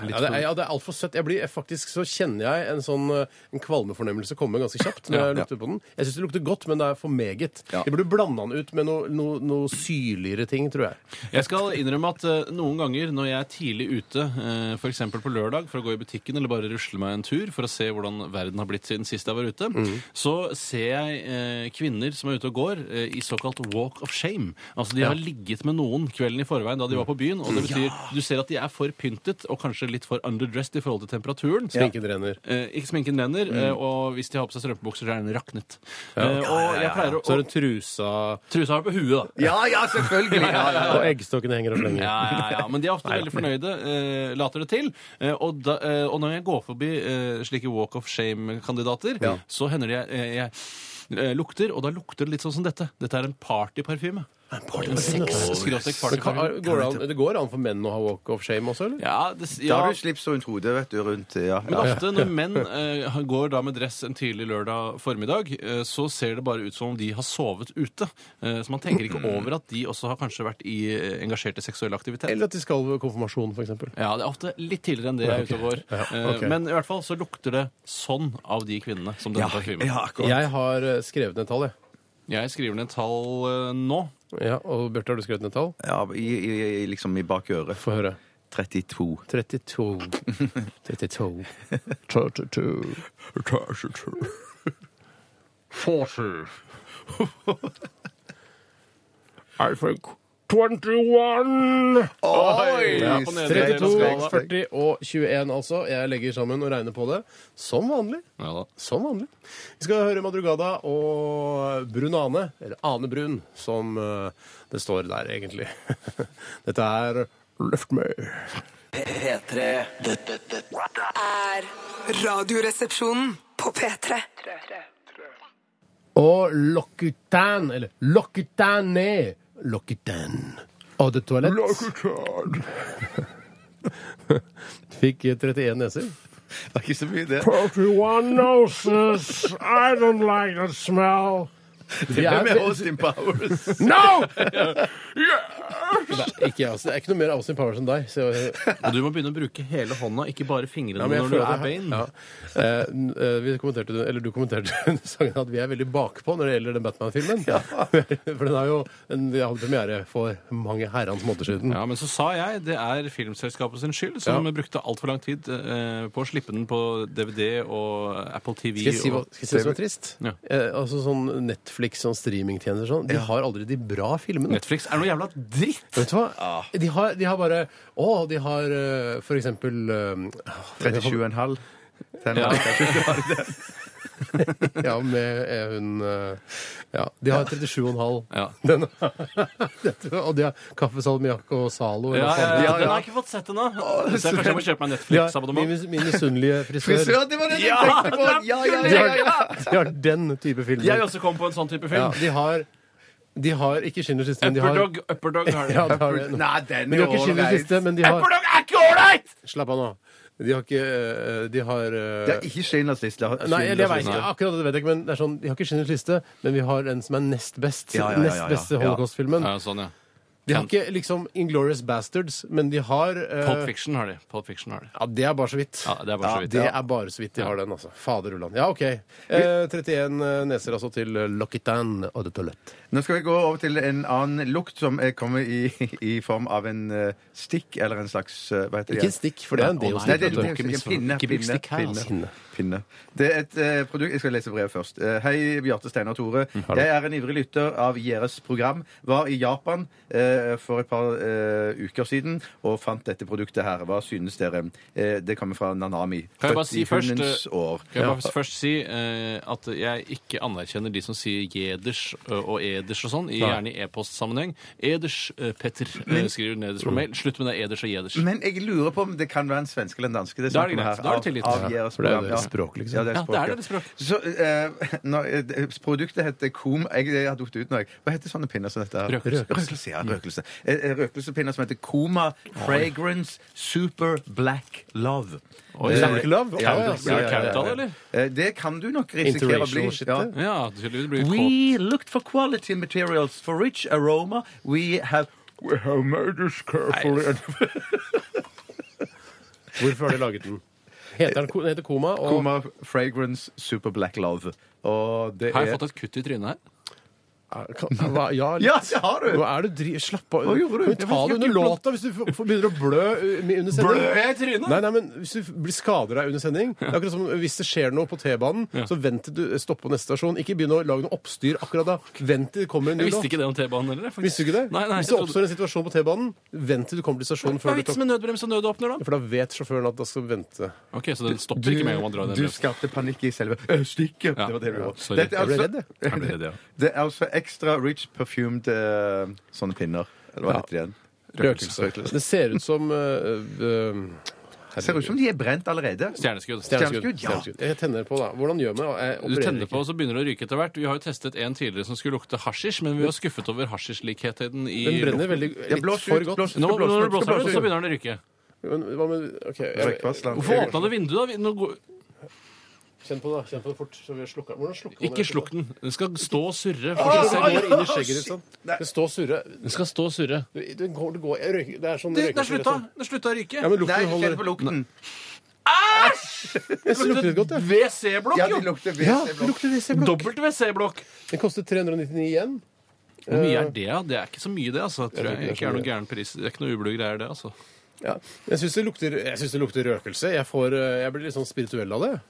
Speaker 3: Litt
Speaker 2: Ja, det er,
Speaker 3: for...
Speaker 2: ja, det er altfor søtt. Jeg blir, jeg faktisk så kjenner jeg en sånn eh, en kvalmefornemmelse komme ganske kjapt når
Speaker 3: Ja,
Speaker 2: jeg lukter på den. Jeg syns det lukter godt, men det er for meget.
Speaker 4: Ja.
Speaker 2: Jeg burde blanda den ut med noe noe- noe syrligere ting, tror jeg.
Speaker 3: Jeg skal innrømme at eh, noen ganger når jeg er tidlig ute, eh, for f.eks. på lørdag, for å gå i butikken eller bare rusle meg en tur for å se hvordan verden har blitt siden sist jeg var ute,
Speaker 2: Mm.
Speaker 3: så ser jeg eh, kvinner som er ute og går eh, i såkalt walk of shame. Altså de har ligget med noen kvelden i forveien da de var på
Speaker 2: Mm.
Speaker 3: byen, og det betyr du ser at de er for pyntet og kanskje litt for underdressed i forhold til temperaturen.
Speaker 2: Sminken renner.
Speaker 3: Eh, ikke sminken renner,
Speaker 2: Mm.
Speaker 3: eh, og hvis de har på seg strømpebukser, så er den raknet. Eh, og jeg pleier å...
Speaker 2: Så er det trusa
Speaker 3: Trusa har jeg på huet, da.
Speaker 4: Ja, ja, selvfølgelig! Ja, ja, ja.
Speaker 2: Og eggstokkene henger og slenger.
Speaker 3: Ja, ja, ja, men de er ofte veldig fornøyde, eh, later det til. Eh, og, da, eh, og når jeg går forbi eh, slike Walk of Shame-kandidater, så hender det jeg, eh, jeg eh, lukter, og da lukter det litt sånn som dette. Dette er en partyparfyme. En sex- skråstrek
Speaker 2: Men kan,
Speaker 3: partyparfyme.
Speaker 2: går det, an, det går an for menn å ha walk of shame også, eller?
Speaker 3: Ja, det,
Speaker 4: Da
Speaker 3: ja.
Speaker 4: har du slips rundt hodet, vet du, rundt ja,
Speaker 3: Men
Speaker 4: ja.
Speaker 3: ofte når menn eh, går da med dress en tidlig lørdag formiddag, eh, så ser det bare ut som om de har sovet ute. Eh, så man tenker ikke
Speaker 2: Mm.
Speaker 3: over at de også har kanskje vært i, eh, engasjert i seksuell aktivitet.
Speaker 2: Eller at de skal ved konfirmasjon, f.eks.
Speaker 3: Ja, det er ofte litt tidligere enn det jeg er ute og går.
Speaker 2: Ja, ok.
Speaker 3: Eh, Men i hvert fall så lukter det sånn av de kvinnene som denne parfymen.
Speaker 4: ja, akkurat.
Speaker 2: Jeg har eh, skrevet ned tall, jeg.
Speaker 3: Jeg skriver ned tall eh, nå.
Speaker 2: Ja, og Bjarte, har du skrevet ned tall?
Speaker 4: Ja, i, i, i, liksom i bak øret.
Speaker 2: Få høre.
Speaker 4: 32.
Speaker 2: 32. 32.
Speaker 6: 32. 32. 40. I think 21.
Speaker 4: Oi!
Speaker 3: Ja, på nedre del av
Speaker 2: 32,
Speaker 3: skala.
Speaker 2: 40 og 21, altså. Jeg legger sammen og regner på det. Som vanlig.
Speaker 3: Ja da.
Speaker 2: Som vanlig. Vi skal høre Madrugada og Brun Ane, eller Ane Brun, som eh, det står der, egentlig. Dette er Left Me.
Speaker 1: P3. Dette, dette
Speaker 5: Er radioresepsjonen på P3.
Speaker 2: Og Locutan, eller Locutane. Locutan. Og det toalett
Speaker 6: Lokitan.
Speaker 2: fikk 31 neser.
Speaker 4: Det er ikke så mye, det.
Speaker 6: 31 noses. I don't like that smell.
Speaker 2: Vi
Speaker 4: Hvem er
Speaker 2: er,
Speaker 4: Austin Powers?
Speaker 6: No!
Speaker 2: Nei, ikke, jeg, altså, det er ikke noe mer Austin Powers enn deg. Så, ja,
Speaker 3: Og du må begynne å bruke hele hånda, ikke bare fingrene
Speaker 2: men jeg
Speaker 3: når du
Speaker 2: føler-
Speaker 3: er bein.
Speaker 2: ja. Eh, n- eh, vi kommenterte, eller du kommenterte under sangen at vi er veldig bakpå når det gjelder den Batman-filmen. For den er jo en, vi hadde premiere for mange herrens måneder siden.
Speaker 3: Ja, men så sa jeg det er filmselskapet sin skyld, som brukte altfor lang tid eh, på å slippe den på DVD og Apple TV.
Speaker 2: Skal jeg si hva
Speaker 3: og...
Speaker 2: skal jeg si hva som er trist?
Speaker 3: Ja.
Speaker 2: Eh, altså sånn Netflix sånn streamingtjenester sånn, de har aldri de bra filmene.
Speaker 3: Netflix er noe jævla dritt!
Speaker 2: Vet du hva? De, har, de har bare Å, de har eh, for eksempel eh,
Speaker 4: 37,5. Den
Speaker 3: Ja.
Speaker 4: er-
Speaker 2: Ja, med eh, hun eh, Ja, de har 37,5.
Speaker 3: Ja.
Speaker 2: Den, Dette- og de har kaffe, salmiakk og Zalo. eller
Speaker 3: Ja,
Speaker 2: hva
Speaker 3: ja,
Speaker 2: faen det
Speaker 3: ja,
Speaker 2: heter.
Speaker 3: den har jeg ikke fått sett ennå. Så jeg kanskje må kjøpe meg en
Speaker 2: De har-
Speaker 3: Netflix-abonnement.
Speaker 2: Min min misunnelige frisør.
Speaker 4: Frisør, det var det jeg tenkte på! Ja, ja,
Speaker 2: De
Speaker 4: ja, ja.
Speaker 2: har, de har den type filmer.
Speaker 3: Jeg vil også komme på en sånn type
Speaker 2: Ja,
Speaker 3: film.
Speaker 2: de har De har ikke Schindlers liste, men de har
Speaker 3: Upperdog, Upperdog har
Speaker 2: ja, de
Speaker 3: det.
Speaker 2: har det.
Speaker 4: Nei, den
Speaker 2: Men de har ikke Schindlers liste, men de har
Speaker 3: Upperdog er ikke ålreit!
Speaker 2: Slapp av nå. De har ikke eh, De har eh,
Speaker 4: Det er ikke Schindlers liste.
Speaker 2: Nei, eller jeg vet
Speaker 4: Schindlers
Speaker 2: ikke,
Speaker 4: liste.
Speaker 2: akkurat det vet jeg ikke, men det er sånn, de har ikke Schindlers liste, men vi har en som er nest best.
Speaker 4: Ja, ja, ja, ja, ja.
Speaker 2: Nest beste Holocaust-filmen.
Speaker 3: Ja, sånn, ja.
Speaker 2: De har ikke liksom Inglorious Bastards, men de har eh,
Speaker 3: Pulp Fiction har de. Pulp Fiction har de.
Speaker 2: Ja, det er bare så vidt.
Speaker 3: Ja, det er bare så vidt.
Speaker 2: det er bare så vidt de har den, altså. Fader ulland. Ja, OK. Eh, 31 neser altså til Loccitane og det toalett.
Speaker 4: Nå skal vi gå over til en annen lukt som eh, kommer i, i form av en eh, stikk eller en slags eh, Hva heter det?
Speaker 2: Ikke en stikk, for det er en
Speaker 4: Nei,
Speaker 2: deo-stikk,
Speaker 4: Nei, det er
Speaker 2: vet du.
Speaker 4: en deo-stikk. pinne.
Speaker 3: Ikke bruk
Speaker 4: Pinne,
Speaker 3: stikk her,
Speaker 4: pinne,
Speaker 3: altså.
Speaker 4: pinne. pinne. Det er et eh, produkt Jeg skal lese brevet først. Eh, hei, Bjarte, Steinar og Tore.
Speaker 2: Mm,
Speaker 4: Jeg er en ivrig lytter av Gjeres program. Var i Japan eh, for et par eh, uker siden og fant dette produktet her. Hva synes dere? Eh, det kommer fra Nanami.
Speaker 3: Kan jeg bare si først, eh,
Speaker 4: Hundens år.
Speaker 3: Kan jeg bare først si eh, at jeg ikke anerkjenner de som sier jeders ø, og eders og sånn, i- gjerne i e-postsammenheng. Eders, eh, Petter, eh, skriver nederst på mail. Slutt med det eders og jeders.
Speaker 4: Men jeg lurer på om det kan være en svenske eller en danske. Det
Speaker 3: Da er det
Speaker 4: snakker vi
Speaker 3: greit.
Speaker 4: her.
Speaker 3: Da er det
Speaker 4: Av-
Speaker 3: tillit.
Speaker 4: av
Speaker 3: Ja,
Speaker 4: Gjeres
Speaker 2: for det er
Speaker 4: program,
Speaker 2: deres språk, liksom.
Speaker 4: Ja, det er
Speaker 3: Ja, det er deres språk.
Speaker 4: Så, eh, når, eh, produktet heter Kom jeg, jeg har dukt ut nå, jeg. Hva heter sånne pinner som dette? her?
Speaker 3: Røkelse. Mm.
Speaker 4: Røkelse, ja, røkelse. Eh, eh, Røkelsepinner som heter Koma Fragrance Super Black Love.
Speaker 3: Oi,
Speaker 4: Eh,
Speaker 2: Black Love?
Speaker 3: Kan du-
Speaker 2: Ja, ja,
Speaker 3: blir du
Speaker 2: ja, ja,
Speaker 3: count
Speaker 2: ja.
Speaker 3: av det, eller?
Speaker 4: eh, Det kan du nok risikere å bli.
Speaker 2: Interracial shit,
Speaker 4: Ja.
Speaker 2: det.
Speaker 3: Ja, tydeligvis blir du kåt.
Speaker 4: We looked for quality materials for rich aroma. We have We have made this carefully and
Speaker 2: Hvorfor har de laget den? Heter den, den heter Koma? Og
Speaker 4: Koma Fragrance Super Black Love. Og det
Speaker 3: Har jeg
Speaker 4: er-
Speaker 3: fått et kutt i trynet her?
Speaker 2: Er- kan- Hva, ja,
Speaker 4: Ja, det har du!
Speaker 2: Hva er det du dri- Slapp av.
Speaker 4: Hva gjorde du?
Speaker 2: Men Ta det under låta hvis du f- f- begynner å blø uh, mi- under sending.
Speaker 3: Blør jeg i trynet?
Speaker 2: Nei, nei, men Hvis du f- blir skader deg under sending Det er akkurat som Hvis det skjer noe på T-banen, så vent til du stopper på neste stasjon. Ikke begynn å lage noe oppstyr akkurat da. Vent til det kommer en ny
Speaker 3: Jeg visste
Speaker 2: låt.
Speaker 3: ikke det om T-banen heller. faktisk.
Speaker 2: Visste du ikke det?
Speaker 3: Nei, nei,
Speaker 2: hvis det
Speaker 3: jeg trodde-
Speaker 2: oppstår en situasjon på T-banen, vent til du kommer til stasjonen
Speaker 3: Hva
Speaker 2: før
Speaker 3: er
Speaker 2: du tok-
Speaker 3: vitsen med nødbrems og nødåpner, da?
Speaker 2: For da vet sjåføren at da skal du vente.
Speaker 3: Ok, Så den stopper ikke med en gang man drar den
Speaker 4: Du
Speaker 3: løs.
Speaker 4: skapte panikk i selve øh, stikket.
Speaker 3: Ja.
Speaker 4: Det var det vi gjorde.
Speaker 3: Sorry.
Speaker 4: Dette er
Speaker 2: Jeg ble
Speaker 4: altså-
Speaker 2: redd, jeg.
Speaker 3: Jeg ble redd, ja.
Speaker 4: Det er altså extra rich perfumed eh, sånne pinner. Eller hva
Speaker 2: Ja.
Speaker 4: heter de igjen?
Speaker 2: Røkelse. Det ser ut som eh,
Speaker 4: Ser ut som de er brent allerede.
Speaker 3: Stjerneskudd.
Speaker 2: Stjerneskudd.
Speaker 4: Stjerneskudd, ja.
Speaker 2: Stjerneskudd. Jeg tenner på, da. Hvordan gjør man det? Jeg
Speaker 3: Du
Speaker 2: opererer
Speaker 3: tenner
Speaker 2: ikke.
Speaker 3: på, og så begynner det å ryke etter hvert. Vi har jo testet en tidligere som skulle lukte hasjisj, men vi var skuffet over hasjisjlikheten i
Speaker 2: Den brenner veldig
Speaker 4: Ja,
Speaker 2: litt
Speaker 4: blås
Speaker 2: for
Speaker 4: ut,
Speaker 2: godt.
Speaker 4: blås ut.
Speaker 3: Nå,
Speaker 4: Skal blåse
Speaker 3: når
Speaker 4: ut,
Speaker 3: du blåser
Speaker 4: skal
Speaker 3: ut,
Speaker 4: blåse
Speaker 3: så
Speaker 4: ut.
Speaker 3: begynner den å rykke.
Speaker 2: Men hva med OK. Jeg,
Speaker 4: Røykvarsler.
Speaker 3: Hvorfor åpna du vinduet, da? Nå går-
Speaker 2: kjenn på det. Kjenn på det fort. Så vi har slukket. Hvordan slukker man
Speaker 3: Ikke
Speaker 2: det?
Speaker 3: slukk den. Den skal stå og surre.
Speaker 2: Det
Speaker 3: Fortsett å
Speaker 2: går
Speaker 3: se.
Speaker 2: inn i skjegget ditt sånn. Det står og surrer.
Speaker 3: Den skal stå og surre.
Speaker 2: Du, du går, du går, jeg røyker, det er sånn
Speaker 3: Den har
Speaker 2: røyker-
Speaker 3: slutta! Den slutta å ryke.
Speaker 2: Ja, men
Speaker 4: Nei,
Speaker 2: lukten
Speaker 4: kjenn
Speaker 2: holder.
Speaker 4: på lukten.
Speaker 2: Jeg lukter litt godt, jeg.
Speaker 3: WC-blokk,
Speaker 4: Ja, de
Speaker 3: jo!
Speaker 4: lukter
Speaker 2: Ja,
Speaker 4: WC-blokk.
Speaker 2: det lukter WC-blokk.
Speaker 3: Dobbelt WC-blokk.
Speaker 2: Den koster 399 igjen.
Speaker 3: Hvor mye er det? da? Det er ikke så mye, det. altså. Jeg tror jeg ikke er noe gæren pris. Det er ikke noe ublu greier, det. altså.
Speaker 2: Ja. Jeg syns det, lukter- jeg synes det lukter røkelse. Jeg, får, eh, jeg blir litt sånn spirituell av det.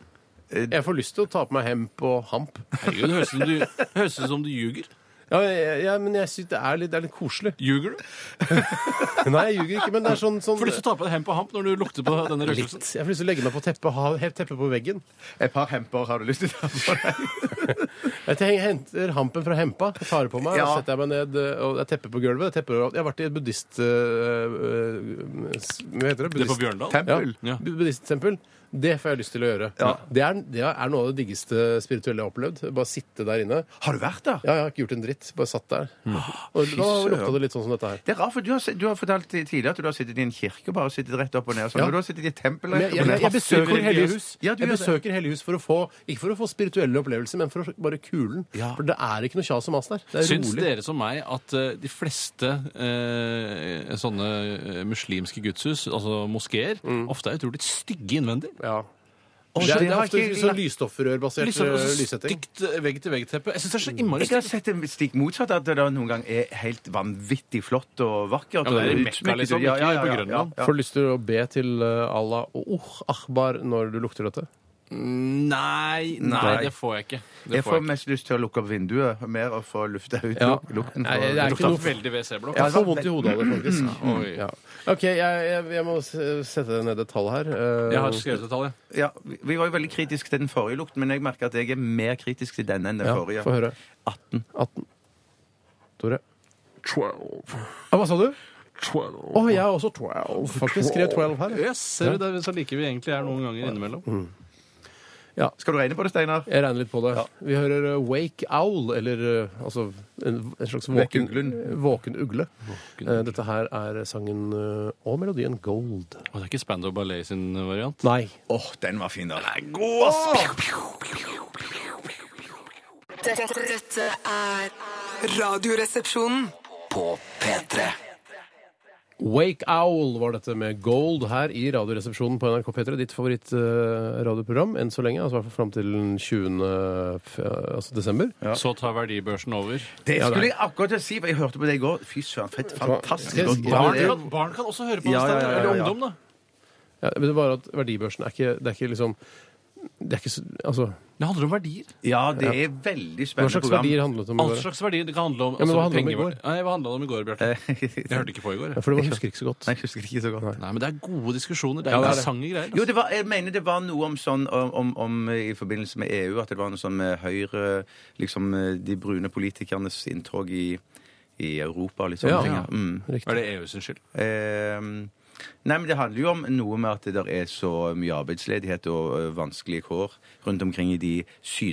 Speaker 2: Jeg får lyst til å ta på meg hemp og hamp.
Speaker 3: Herregud, det høres ut som du- det høres ut som du ljuger.
Speaker 2: Ja, jeg, jeg, men jeg syns det, er litt- det er litt koselig.
Speaker 3: Ljuger du?
Speaker 2: Nei, jeg ljuger ikke, men det er sånn, sånn
Speaker 3: Får lyst til å ta på deg hemp og hamp når du lukter på denne
Speaker 2: Litt.
Speaker 3: røkelsen.
Speaker 2: Jeg får lyst til å legge meg på teppet og ha helt teppet på veggen.
Speaker 4: Et par hemper har du lyst til å ta på deg?
Speaker 2: Jeg tenker, jeg henter hampen fra hempa, jeg tar det på meg,
Speaker 4: Ja.
Speaker 2: og setter jeg meg ned eh, og det er teppe på gulvet. det er Teppe, overalt. jeg har vært i et buddhist... eh, eh, s- hva heter det?
Speaker 3: Det er på
Speaker 2: Buddhist-
Speaker 3: Bjørndal.
Speaker 4: Tempel.
Speaker 2: Ja.
Speaker 3: Ja.
Speaker 2: Bu- Buddhisttempel. Det får jeg lyst til å gjøre. Det, er, det er noe av det diggeste spirituelle jeg har opplevd. Bare sitte der inne.
Speaker 4: Har du vært der?
Speaker 2: Ja, jeg har ikke gjort en dritt. Bare satt der. Og da
Speaker 4: søren.
Speaker 2: lukta det litt sånn som dette her.
Speaker 4: Det er rart, for du har, se- du har fortalt tidligere at du har sittet i en kirke og bare sittet rett opp og ned. og
Speaker 2: Ja.
Speaker 4: Sånn. Men Du har sittet i et tempel
Speaker 2: Men jeg,
Speaker 4: rett opp
Speaker 2: jeg,
Speaker 4: og ned.
Speaker 2: jeg besøker Hellige hus
Speaker 4: Ja, du
Speaker 2: Jeg
Speaker 4: gjør det.
Speaker 2: besøker Hellige hus for å få ikke for å få spirituelle opplevelser, men for å bare kulen. For det er ikke noe kjas og mas der. Det er
Speaker 3: Syns
Speaker 2: rolig.
Speaker 3: dere som meg at eh, de fleste eh, sånne eh, muslimske gudshus, altså moskeer,
Speaker 4: Mm.
Speaker 3: ofte er utrolig stygge innvendig?
Speaker 2: Ja.
Speaker 4: Å,
Speaker 2: Det er,
Speaker 4: så det
Speaker 2: det er
Speaker 4: har
Speaker 2: ofte
Speaker 4: ikke-
Speaker 2: sånn lysstofferrørbasert
Speaker 3: Liksom,
Speaker 4: eh,
Speaker 2: øh,
Speaker 3: altså,
Speaker 2: lyssetting.
Speaker 3: stygt vegg-til-vegg-teppe. Jeg syns det er så innmari
Speaker 4: Jeg har
Speaker 3: stygt.
Speaker 4: sett det stikk motsatt, at det da noen gang er helt vanvittig flott og
Speaker 3: Ja,
Speaker 4: vakkert.
Speaker 3: men det er i
Speaker 4: og
Speaker 3: Mekka,
Speaker 4: utsmykket.
Speaker 3: liksom,
Speaker 4: Ja, ja,
Speaker 3: ikke på
Speaker 4: ja, ja,
Speaker 3: Grønland.
Speaker 4: ja.
Speaker 2: eh, Får lyst til å be til øh, Allah og oh, Ahbar når du lukter dette?
Speaker 3: Nei, nei,
Speaker 4: Nei.
Speaker 3: det får jeg ikke. Det får
Speaker 4: Jeg får
Speaker 3: jeg ikke.
Speaker 4: mest lyst til å lukke opp vinduet mer og få lufta ut
Speaker 2: Ja.
Speaker 4: luk- lukten.
Speaker 2: Nei, det er
Speaker 3: Det
Speaker 2: ikke
Speaker 4: fra-
Speaker 3: lukta
Speaker 2: noe-
Speaker 3: veldig WC-blokk.
Speaker 2: Jeg får vondt i hodet av det, faktisk.
Speaker 4: Mm,
Speaker 3: Oi.
Speaker 2: Ja. OK, jeg, jeg, jeg må s- sette ned et tall her. Eh,
Speaker 3: Jeg har skrevet et tall, jeg.
Speaker 4: Ja, vi vi var jo veldig kritiske til den forrige lukten, men jeg merker at jeg er mer kritisk til denne enn den
Speaker 2: ja,
Speaker 4: forrige.
Speaker 2: Få høre.
Speaker 4: 18.
Speaker 2: 18. Tore?
Speaker 6: 12.
Speaker 2: Ah, hva sa du?
Speaker 6: 12.
Speaker 2: Å, jeg har også 12. Faktisk skrev 12 her. jeg.
Speaker 3: Yes, ser du, det er så like vi egentlig er noen ganger innimellom.
Speaker 4: Mm. Skal du regne på det, Steinar?
Speaker 2: Jeg regner litt på det. Vi hører eh, Wake Owl, eller eh, altså en, en slags
Speaker 4: Vekk
Speaker 2: våken,
Speaker 4: uglen.
Speaker 2: våken ugle. Eh, Dette her er sangen eh, og melodien Gold.
Speaker 3: Og det er ikke Spandau Ballet sin variant.
Speaker 2: Nei.
Speaker 4: Åh, den var fin, da.
Speaker 5: Dette, dette er Radioresepsjonen.
Speaker 1: På P3.
Speaker 2: Wake Owl var dette med Gold her i Radioresepsjonen på NRK P3. Ditt favoritt-radioprogram enn så lenge, altså i hvert fall fram til den 20. f- Altså desember.
Speaker 3: Så tar verdibørsen over.
Speaker 4: Det
Speaker 2: Ja,
Speaker 4: skulle
Speaker 2: det
Speaker 4: jeg akkurat til å si, for jeg hørte på det i går. Fy søren, fett, fantastisk.
Speaker 2: Skal jeg-
Speaker 4: godt.
Speaker 2: Barn
Speaker 4: Ja,
Speaker 3: kan, barn kan også høre på
Speaker 4: Ja,
Speaker 3: det,
Speaker 4: ja, ja, ja,
Speaker 3: eller
Speaker 4: ja.
Speaker 3: ungdom, da.
Speaker 2: Ja, men det er bare at verdibørsen er ikke, det er ikke liksom Det er ikke så- altså
Speaker 3: Det handler om verdier.
Speaker 4: ja, det er veldig
Speaker 2: Hva
Speaker 4: spennende
Speaker 2: slags
Speaker 4: program.
Speaker 2: verdier handlet det om? i
Speaker 3: All
Speaker 2: går?
Speaker 3: slags verdier. Det kan handle om altså,
Speaker 2: Ja, men hva handlet det om i
Speaker 3: penger-
Speaker 2: går? Eh,
Speaker 3: Nei, hva handla det om i går, Bjarte? Jeg hørte ikke på i går.
Speaker 2: Ja,
Speaker 3: jeg.
Speaker 2: for det var, husker ikke så godt.
Speaker 4: Nei, jeg husker det ikke så godt.
Speaker 3: Nei, men det er gode diskusjoner. Det er
Speaker 2: Ja, det er det.
Speaker 3: interessante greier. altså.
Speaker 4: Jo, det var, jeg mener det var noe om sånn om, om, om i forbindelse med EU, at det var noe sånn med Høyre Liksom de brune politikernes inntog i, i Europa og litt sånne
Speaker 2: Ja,
Speaker 4: ting.
Speaker 2: ja.
Speaker 4: Mm.
Speaker 3: Er det EU sin skyld?
Speaker 4: Ehm, nei, men det handler jo om noe med at det der er så mye arbeidsledighet og ø, vanskelige kår rundt omkring i de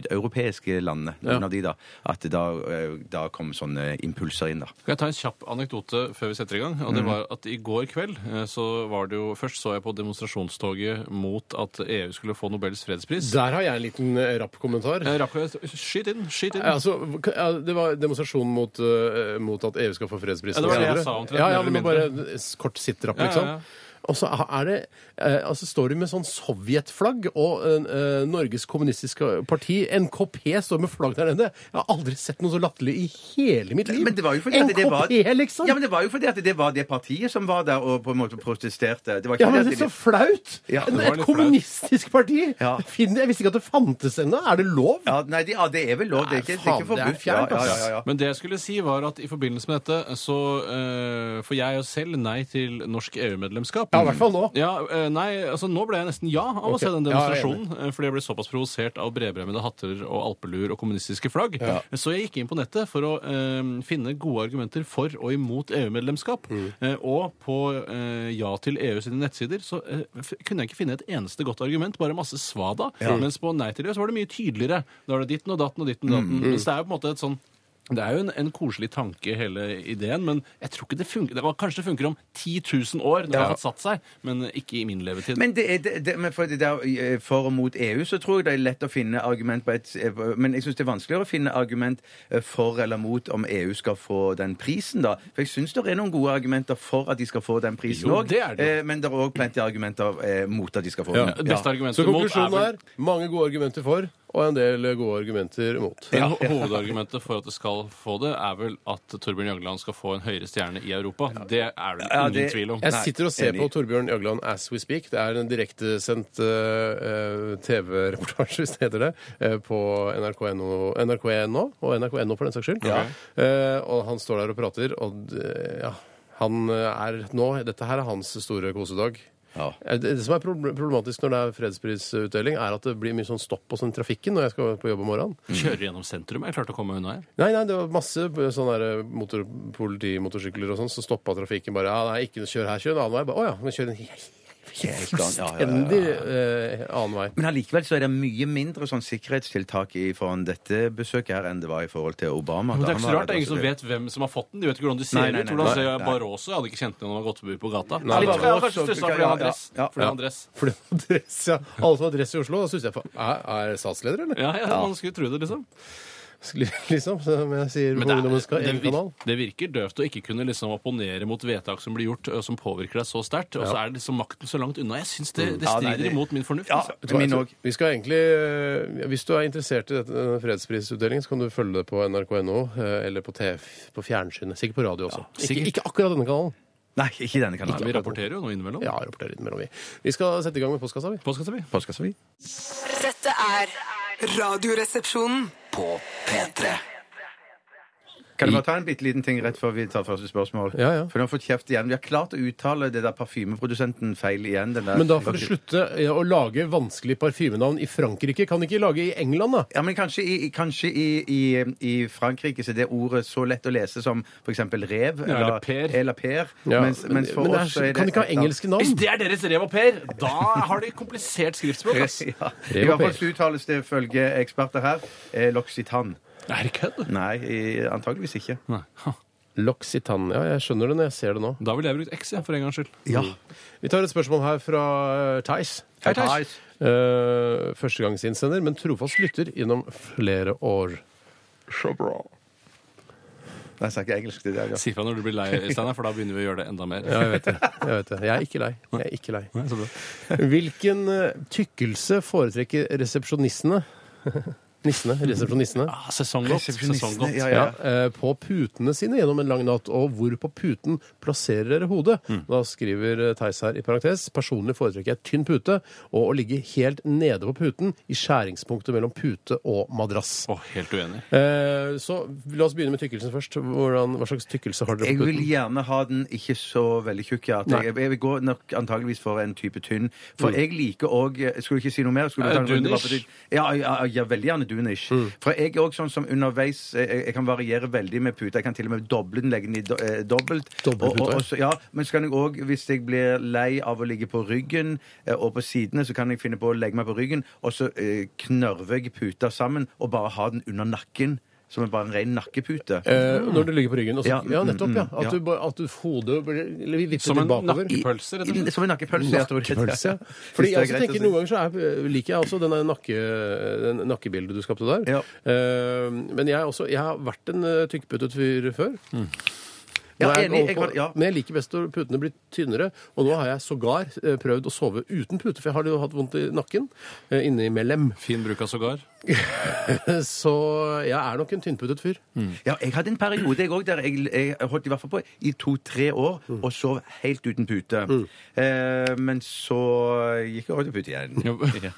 Speaker 4: sydeuropeiske landene, noen av de da, at det da, ø, da kom sånne impulser inn, da.
Speaker 3: Kan jeg ta en kjapp anekdote før vi setter i gang? Og det var at I går kveld eh, så var det jo Først så jeg på demonstrasjonstoget mot at EU skulle få Nobels fredspris.
Speaker 2: Der har jeg en liten eh, rapp kommentar.
Speaker 3: Eh, Rapp, skyt inn! Skyt inn!
Speaker 2: Ja, Altså, k- ja, det var demonstrasjon mot, eh, mot at EU skal få fredsprisen.
Speaker 3: Ja, det var det jeg
Speaker 2: senere.
Speaker 3: sa omtrent,
Speaker 2: Ja,
Speaker 3: mer
Speaker 2: ja,
Speaker 3: eller
Speaker 2: men bare s- kort sittrapp,
Speaker 3: Ja, ja,
Speaker 2: liksom.
Speaker 3: ja.
Speaker 2: Og så er det, eh, altså står de med sånn sovjetflagg, og eh, Norges kommunistiske parti, NKP, står med flagg der nede. Jeg har aldri sett noe så latterlig i hele mitt liv.
Speaker 4: Men det var jo fordi at det var
Speaker 2: NKP, liksom!
Speaker 4: Ja, men det var jo fordi at det var det partiet som var der og på en måte protesterte. Det var ikke
Speaker 2: Ja, men
Speaker 4: fordi
Speaker 2: det er
Speaker 4: at
Speaker 2: så flaut!
Speaker 4: Ja, det
Speaker 2: En-
Speaker 4: var
Speaker 2: Et
Speaker 3: litt
Speaker 2: kommunistisk parti!
Speaker 4: Ja.
Speaker 2: Finn- Jeg visste ikke at det fantes ennå. Er det lov?
Speaker 4: ja, nei, det- ja, det er vel lov. Det er ikke, det er
Speaker 2: Nei,
Speaker 4: ikke
Speaker 2: faen, det er
Speaker 4: forbudt.
Speaker 2: fjernt,
Speaker 4: ja, ja,
Speaker 2: ass.
Speaker 4: ja, ja.
Speaker 3: Men det jeg skulle si var at i forbindelse med dette så eh, får jeg jo selv nei til norsk EU-medlemskap.
Speaker 2: Ja, i hvert fall nå.
Speaker 3: Ja, eh, nei, altså Nå ble jeg nesten ja av å
Speaker 2: Ok.
Speaker 3: se den
Speaker 2: Ja, jeg er
Speaker 3: demonstrasjonen. eh, fordi jeg ble såpass provosert av bredbremmede hatter og alpelur og kommunistiske flagg. Så jeg gikk inn på nettet for å eh, finne gode argumenter for og imot EU-medlemskap.
Speaker 2: Mm.
Speaker 3: Eh, og på eh, Ja til EU sine nettsider så eh, f kunne jeg ikke finne et eneste godt argument, bare masse svada. Mens på Nei til EU så var det mye tydeligere. Da var det ditten og datten og ditten og
Speaker 2: Mm,
Speaker 3: datten. Mens det er jo på en måte et sånn det er jo en, en koselig tanke, hele ideen, men jeg tror ikke det funker. Det var, kanskje det funker om 10 000 år, når det har fått satt seg, men ikke i min levetid.
Speaker 4: Men, det er, det, det, men for, det der, eh, for og mot EU så tror jeg det er lett å finne argument på et eh, Men jeg syns det er vanskeligere å finne argument eh, for eller mot om EU skal få den prisen, da. For jeg syns det er noen gode argumenter for at de skal få den prisen
Speaker 3: Jo,
Speaker 4: òg.
Speaker 3: det er det jo.
Speaker 4: Men det er òg plenty argumenter eh, mot at de skal få den.
Speaker 3: Det beste
Speaker 2: Så
Speaker 3: argumentet mot er
Speaker 2: konklusjonen
Speaker 3: vel
Speaker 2: er mange gode argumenter for, og en del gode argumenter mot.
Speaker 3: Men ho- Hovedargumentet for at det skal få det, er vel at Torbjørn Jagland skal få en høyere stjerne i Europa. Det er det
Speaker 4: Ja,
Speaker 3: ingen
Speaker 4: det-
Speaker 3: tvil om.
Speaker 2: Jeg sitter og ser
Speaker 4: enig.
Speaker 2: på Torbjørn Jagland as we speak. Det er en direktesendt eh, eh, TV-reportasje, hvis det heter det, eh, på NRK.no NRK.no, og NRK.no for den saks skyld. Eh, og han står der og prater, og d- ja Han eh, er nå Dette her er hans store kosedag.
Speaker 4: Ja.
Speaker 2: Eh, Det det som er proble- problematisk når det er fredsprisutdeling, er at det blir mye sånn stopp og sånn i trafikken når jeg skal på jobb om morgenen.
Speaker 3: Kjører gjennom sentrum. Jeg klarte å komme meg unna her.
Speaker 2: Nei, nei, det var masse sånne der eh, motor, politimotorsykler og sånn, så stoppa trafikken bare. Ja, nei, ikke kjør her, kjør en annen vei. Bare, Å ja, men kjør en
Speaker 4: Helt annen- ja, ja, ja, ja.
Speaker 2: fullstendig eh, annen vei.
Speaker 4: Men allikevel så er det mye mindre sånn sikkerhetstiltak i foran dette besøket her enn det var i forhold til Obama.
Speaker 3: Men det
Speaker 4: da
Speaker 3: er ikke
Speaker 4: han
Speaker 3: så
Speaker 4: var
Speaker 3: rart. Det er
Speaker 4: der,
Speaker 3: ingen som
Speaker 4: altså.
Speaker 3: vet hvem som har fått den. De vet ikke hvordan de ser
Speaker 4: Nei, nei,
Speaker 3: ut.
Speaker 4: nei,
Speaker 3: Hvordan
Speaker 4: nei,
Speaker 3: ser
Speaker 4: nei.
Speaker 3: Barroso? Jeg hadde ikke kjent den når han har gått forbi på gata.
Speaker 2: Nei,
Speaker 3: Litt, jeg har
Speaker 4: Barroso-
Speaker 3: kanskje stussa fordi han har dress.
Speaker 4: Ja, ja, ja.
Speaker 3: Fordi han har dress.
Speaker 2: For det var dress, ja. Alle som har dress i Oslo, da syns jeg faen Er, er statsleder, eller?
Speaker 3: Ja, ja, man skulle tro det, liksom.
Speaker 2: Liksom, som jeg sier på
Speaker 3: Men det,
Speaker 2: ungdommen skal
Speaker 3: er, det,
Speaker 2: egen kanal.
Speaker 3: virker, det virker døvt å ikke kunne liksom opponere mot vedtak som blir gjort, ø, som påvirker deg så sterkt, og så er liksom makten så langt unna. Jeg syns det, det
Speaker 4: Mm. Ja, nei,
Speaker 3: strider
Speaker 4: det-
Speaker 3: imot min fornuft.
Speaker 4: Ja,
Speaker 3: altså.
Speaker 4: til min òg.
Speaker 2: Vi skal egentlig, eh, Hvis du er interessert i dette, denne fredsprisutdelingen, så kan du følge det på nrk.no eh, eller på, TV, på fjernsynet. Sikkert på radio også.
Speaker 3: sikkert.
Speaker 2: Ikke, ikke akkurat denne kanalen.
Speaker 4: Nei, ikke denne
Speaker 3: Nei, vi
Speaker 4: kanalen.
Speaker 3: rapporterer jo noe innimellom.
Speaker 2: Ja, rapporterer innimellom, vi. Vi skal sette i gang med postkassa, vi.
Speaker 3: Postkassa mi.
Speaker 4: Postkassa mi.
Speaker 5: Dette er Radioresepsjonen.
Speaker 1: På P3.
Speaker 4: Kan jeg bare ta en bitte liten ting rett før vi tar første spørsmål?
Speaker 2: Ja, ja.
Speaker 4: For nå har vi fått kjeft igjen. Vi har klart å uttale det der parfymeprodusenten feil igjen. Den der.
Speaker 2: Men da får du slutte ja, å lage vanskelige parfymenavn i Frankrike. Kan de ikke lage i England, da?
Speaker 4: Ja, men kanskje, i, i- kanskje i, i, i Frankrike så er det ordet så lett å lese som f.eks. rev
Speaker 3: Ja, eller per.
Speaker 4: eller per.
Speaker 2: Ja,
Speaker 4: mens, mens for
Speaker 2: men det er-
Speaker 4: oss så er det
Speaker 2: Kan de ikke ha
Speaker 4: et annet-
Speaker 2: engelske navn?
Speaker 3: Hvis det er deres rev og per, da har de komplisert skriftspråk. ass.
Speaker 4: Ja.
Speaker 2: Rev
Speaker 4: I
Speaker 2: og per.
Speaker 4: hvert fall så uttales det ifølge eksperter her eh, L'Occitane.
Speaker 3: Er det kødd?
Speaker 4: Nei, i- antageligvis ikke.
Speaker 3: Nei. Ha.
Speaker 2: L'Occitane. Ja, jeg skjønner det når jeg ser det nå.
Speaker 3: Da ville jeg brukt X, jeg, for en gangs skyld.
Speaker 4: Ja.
Speaker 2: Vi tar et spørsmål her fra eh, Theis.
Speaker 4: Hei, Theis.
Speaker 2: Eh, Førstegangsinnsender, men trofast lytter gjennom flere år.
Speaker 6: Så bra.
Speaker 4: Nei, jeg snakker engelsk til deg. Ja.
Speaker 3: Si fra når du blir lei, Steinar, for da begynner vi å gjøre det enda mer.
Speaker 2: Ja, jeg vet det. Jeg, vet det. jeg er ikke lei. Jeg er ikke lei.
Speaker 3: Nei, så bra.
Speaker 2: Hvilken eh, tykkelse foretrekker resepsjonistene? Nissene? Resepsjonistene?
Speaker 3: Ah, sesonggodt. Sesonggodt.
Speaker 4: Ja, ja.
Speaker 2: Ja, eh, på putene sine gjennom en lang natt, og hvor på puten plasserer dere hodet? Da skriver eh, Theis her i parentes personlig foretrekker jeg tynn pute og å ligge helt nede på puten i skjæringspunktet mellom pute og madrass.
Speaker 3: Å, helt uenig.
Speaker 2: Eh, så la oss begynne med tykkelsen først. Hvordan, hva slags tykkelse har dere
Speaker 4: Jeg
Speaker 2: på
Speaker 4: vil
Speaker 2: puten?
Speaker 4: gjerne ha den ikke så veldig tjukk. ja. At
Speaker 2: Nei. Mm.
Speaker 4: Jeg, jeg vil gå nok antageligvis for en type tynn. For jeg liker òg Skulle du ikke si noe mer? Skulle du
Speaker 3: Eh,
Speaker 4: ta en runde bare på
Speaker 3: dunish?
Speaker 4: det? Ja, ja, ja, veldig gjerne dunish.
Speaker 2: Mm.
Speaker 4: For jeg er òg sånn som underveis eh, Jeg, jeg kan variere veldig med puta. Jeg kan til og med doble den, legge den i do, eh, dobbelt.
Speaker 2: Dobbelt
Speaker 4: Og- og-
Speaker 2: puta, ja.
Speaker 4: og så- ja, men så kan jeg òg, hvis jeg blir lei av å ligge på ryggen eh, og på sidene, så kan jeg finne på å legge meg på ryggen, og så eh, knørver jeg puta sammen og bare ha den under nakken. Som er bare en ren nakkepute.
Speaker 2: Eh, når du ligger på ryggen. og så-
Speaker 4: Ja,
Speaker 2: ja, nettopp. ja.
Speaker 4: mm,
Speaker 2: At,
Speaker 4: ja.
Speaker 2: du, bare- at du hodet blir eller vi vipper
Speaker 3: Som
Speaker 2: litt
Speaker 3: en
Speaker 2: bakover.
Speaker 3: nakke- Pølse, rett og slett.
Speaker 4: Som en nakkepølse. jeg tror det heter.
Speaker 2: Nakkepølse, ja.
Speaker 4: Hvis
Speaker 2: Fordi
Speaker 4: det
Speaker 2: jeg
Speaker 4: er
Speaker 2: også
Speaker 4: greit å
Speaker 2: tenker
Speaker 4: si.
Speaker 2: Noen ganger så er, eh, liker jeg også denne nakke, den nakkebildet du skapte der.
Speaker 4: Ja.
Speaker 2: Eh, men jeg, er også, jeg har vært en eh, tykkputtet fyr før.
Speaker 4: Ja,
Speaker 2: Nå er
Speaker 4: enig,
Speaker 2: over
Speaker 4: Mm. jeg
Speaker 2: på-
Speaker 4: kan- ja.
Speaker 2: Men jeg liker best når putene blir tynnere. Og nå har jeg sågar eh, prøvd å sove uten pute, for jeg har jo hatt vondt i nakken eh, innimellom.
Speaker 3: Fin bruk av sågar.
Speaker 2: Så jeg er nok en tynnputtet fyr.
Speaker 4: Ja, jeg hadde en periode jeg òg der jeg, jeg holdt i hvert fall på i to-tre år
Speaker 2: Mm.
Speaker 4: og sov helt uten pute. Eh, men så gikk jeg over til pute igjen.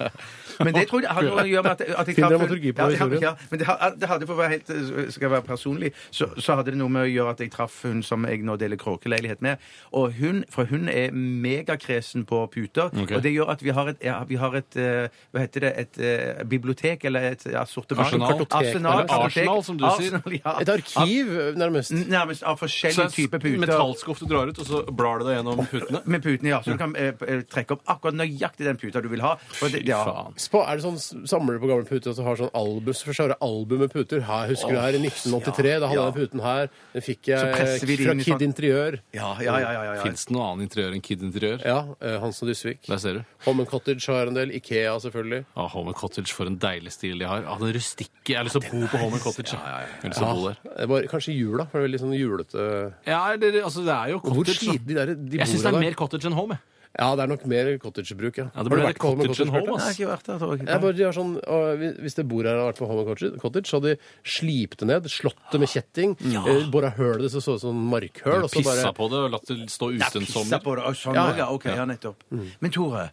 Speaker 4: Men det tror jeg hadde noe å gjøre med at, at jeg
Speaker 2: Fin
Speaker 4: traff en-
Speaker 2: dramaturgi på
Speaker 4: ja, det hadde-
Speaker 2: historien.
Speaker 4: Ja, men det, ha- det hadde, for å være helt eh, skal jeg være personlig, så, så hadde det noe med å gjøre at jeg traff hun som jeg nå deler kråkeleilighet med. Og hun, for hun er megakresen på puter.
Speaker 3: Ok.
Speaker 4: Og det gjør at vi har et, ja, vi har et eh, hva heter det, et eh, bibliotek eller et assortiment.
Speaker 3: Arsenal.
Speaker 4: Arsenal,
Speaker 3: Eller arsenal, som du sier.
Speaker 4: Arsenal, ja.
Speaker 2: Et arkiv, nærmest.
Speaker 4: Nærmest av
Speaker 3: Så
Speaker 4: forskjellige typer
Speaker 3: en
Speaker 4: puter.
Speaker 3: metallskuff du drar ut, og så blar du deg gjennom putene.
Speaker 4: Med putene, ja. Så du kan eh, p- eh, trekke opp akkurat nøyaktig den puta du vil ha. For det- ja.
Speaker 3: Faen.
Speaker 2: Spa- Er det sånn s- Samler du på gamle puter og så har sånn albus, for så har du album med puter? Her, husker du her i 1983? Da hadde jeg
Speaker 4: ja.
Speaker 2: den puten her. Den fikk
Speaker 4: Så
Speaker 2: jeg
Speaker 4: presser vi det
Speaker 2: fra
Speaker 4: inn i
Speaker 2: Kid
Speaker 4: sånn-
Speaker 2: Interiør.
Speaker 4: Ja, ja, ja, ja, ja, ja.
Speaker 3: Fins det noe annet interiør enn Kid interiør?
Speaker 2: Ja, eh, Hansen og Dysvik.
Speaker 3: Der ser du.
Speaker 2: Holmen Cottage har en del. Ikea, selvfølgelig.
Speaker 3: Ah, Home and Cottage, for en deilig stil de har. Ah, den rustikke. Jeg har lyst til å bo på Home and Cottage. Ja, ja, ja.
Speaker 2: Ja, Ah.
Speaker 3: Bo der.
Speaker 2: det var kanskje jula, for det er veldig sånn julete
Speaker 3: ja det, altså, det er jo
Speaker 2: Hvor
Speaker 3: cottage. da.
Speaker 2: slitne de der de
Speaker 3: Jeg syns det
Speaker 2: bor
Speaker 3: er
Speaker 2: der.
Speaker 3: mer cottage enn home. jeg.
Speaker 2: Ja, det er nok mer cottagebruk, ja.
Speaker 3: Ja, det
Speaker 2: Har du
Speaker 3: blir
Speaker 2: vært på Holmen
Speaker 3: cottage and
Speaker 2: Cottage,
Speaker 3: home,
Speaker 4: Jeg har
Speaker 3: ass.
Speaker 4: ikke vært der, tror jeg.
Speaker 2: Jeg bare, de har sånn, og hvis- hvis det bordet her hadde vært på Holmen Cottage, Cottage, så hadde de slipt det ned, slått det med kjetting,
Speaker 3: Ja.
Speaker 2: eh, bora høl i det så det så ut som en markhøl, og så
Speaker 3: Pissa
Speaker 2: bare
Speaker 3: på det og latt det stå ustønt
Speaker 4: Pissa
Speaker 3: sommer.
Speaker 4: på det. og Sånn
Speaker 2: Ja, ja.
Speaker 4: også,
Speaker 2: Mm.
Speaker 4: ja. Ok, ja, nettopp. Men Tore,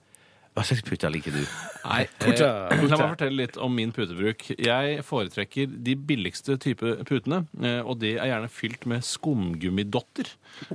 Speaker 4: hva slags puter liker du?
Speaker 3: Nei, eh,
Speaker 2: Puta.
Speaker 3: la meg fortelle litt om min putebruk. Jeg foretrekker de billigste type putene, eh, og det er gjerne fylt med skumgummidotter.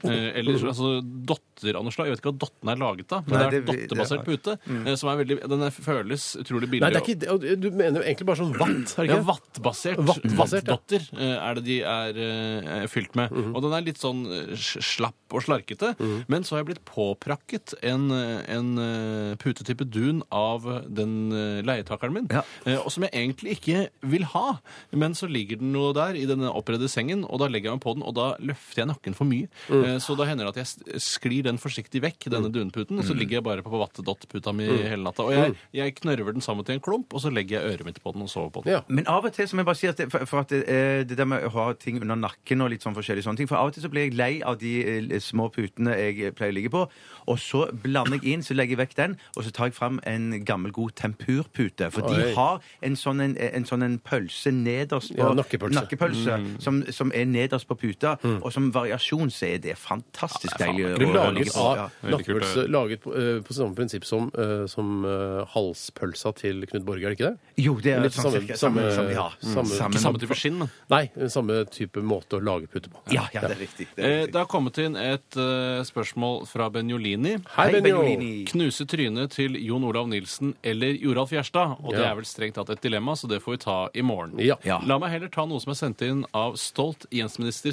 Speaker 3: Eh, Eller altså dotter av noe slag. Jeg vet ikke hva dotten er laget av, men
Speaker 4: Nei,
Speaker 3: det er en
Speaker 4: det vi-
Speaker 3: dottebasert pute. eh, Som er veldig, den er, føles utrolig billig.
Speaker 2: Mm. Nei, det er ikke, det. og du mener jo egentlig bare sånn vatt, har
Speaker 3: Ja,
Speaker 2: ikke det?
Speaker 3: vattbasert.
Speaker 2: Vattbasert, ja.
Speaker 3: Vattdotter eh, er det de er eh, fylt med. Og den er litt sånn eh, s- slapp og slarkete. Men så har jeg blitt påprakket en, eh, en eh, putetype dun av den eh, leietakeren min.
Speaker 4: Ja.
Speaker 3: eh, Og som jeg egentlig ikke vil ha. Men så ligger den noe der i denne oppredde sengen, og da legger jeg meg på den, og da løfter jeg nakken for mye. Eh, Så da hender det at jeg s- sklir den forsiktig vekk, denne dunputen, og så ligger jeg bare på vattedott-puta mi hele natta. Og jeg, jeg knørver den sammen til en klump, og så legger jeg øret mitt på den og sover på den.
Speaker 2: Ja.
Speaker 4: Men av og til så må jeg bare si at det, for, for at det, eh, det der med å ha ting under nakken og litt sånn forskjellige sånne ting For av og til så blir jeg eh, lei av de eh, små putene jeg pleier å ligge på, og så blander jeg inn, så legger jeg vekk den, og så tar jeg fram en gammel, god tempurpute. For
Speaker 2: Oi.
Speaker 4: de har en sånn, en, en sånn en pølse nederst på
Speaker 2: Ja, Mm. nakkepølse.
Speaker 4: som, som er nederst på puta. Og som variasjon så er det fantastisk deilig. å-
Speaker 2: Mm. Det
Speaker 4: å
Speaker 2: laget
Speaker 4: ligge på. Ja.
Speaker 2: av
Speaker 3: veldig kult,
Speaker 2: nakkepølse laget på, eh, på samme prinsipp som, eh, som eh, halspølsa til Knut Borge, er det ikke det?
Speaker 4: Jo, det er
Speaker 2: Litt
Speaker 4: sånn
Speaker 2: samme-
Speaker 4: cirka
Speaker 2: samme-
Speaker 4: ja,
Speaker 2: samme-
Speaker 3: Ikke samme type skinn, men.
Speaker 2: Nei, samme type måte å lage pute på.
Speaker 4: Ja, ja, det er riktig. Det er
Speaker 3: Eh,
Speaker 4: riktig.
Speaker 3: Det har kommet inn et eh, spørsmål fra Benjolini.
Speaker 2: Hei, Benjo.
Speaker 4: Benjolini.
Speaker 3: Knuse trynet til Jon Olav Nilsen eller Joralf Gjerstad. Og det
Speaker 2: Ja.
Speaker 3: er vel strengt tatt et dilemma, så det får vi ta i morgen.
Speaker 2: Ja.
Speaker 4: Ja.
Speaker 3: La meg heller ta noe som er sendt inn av stolt Jens-minister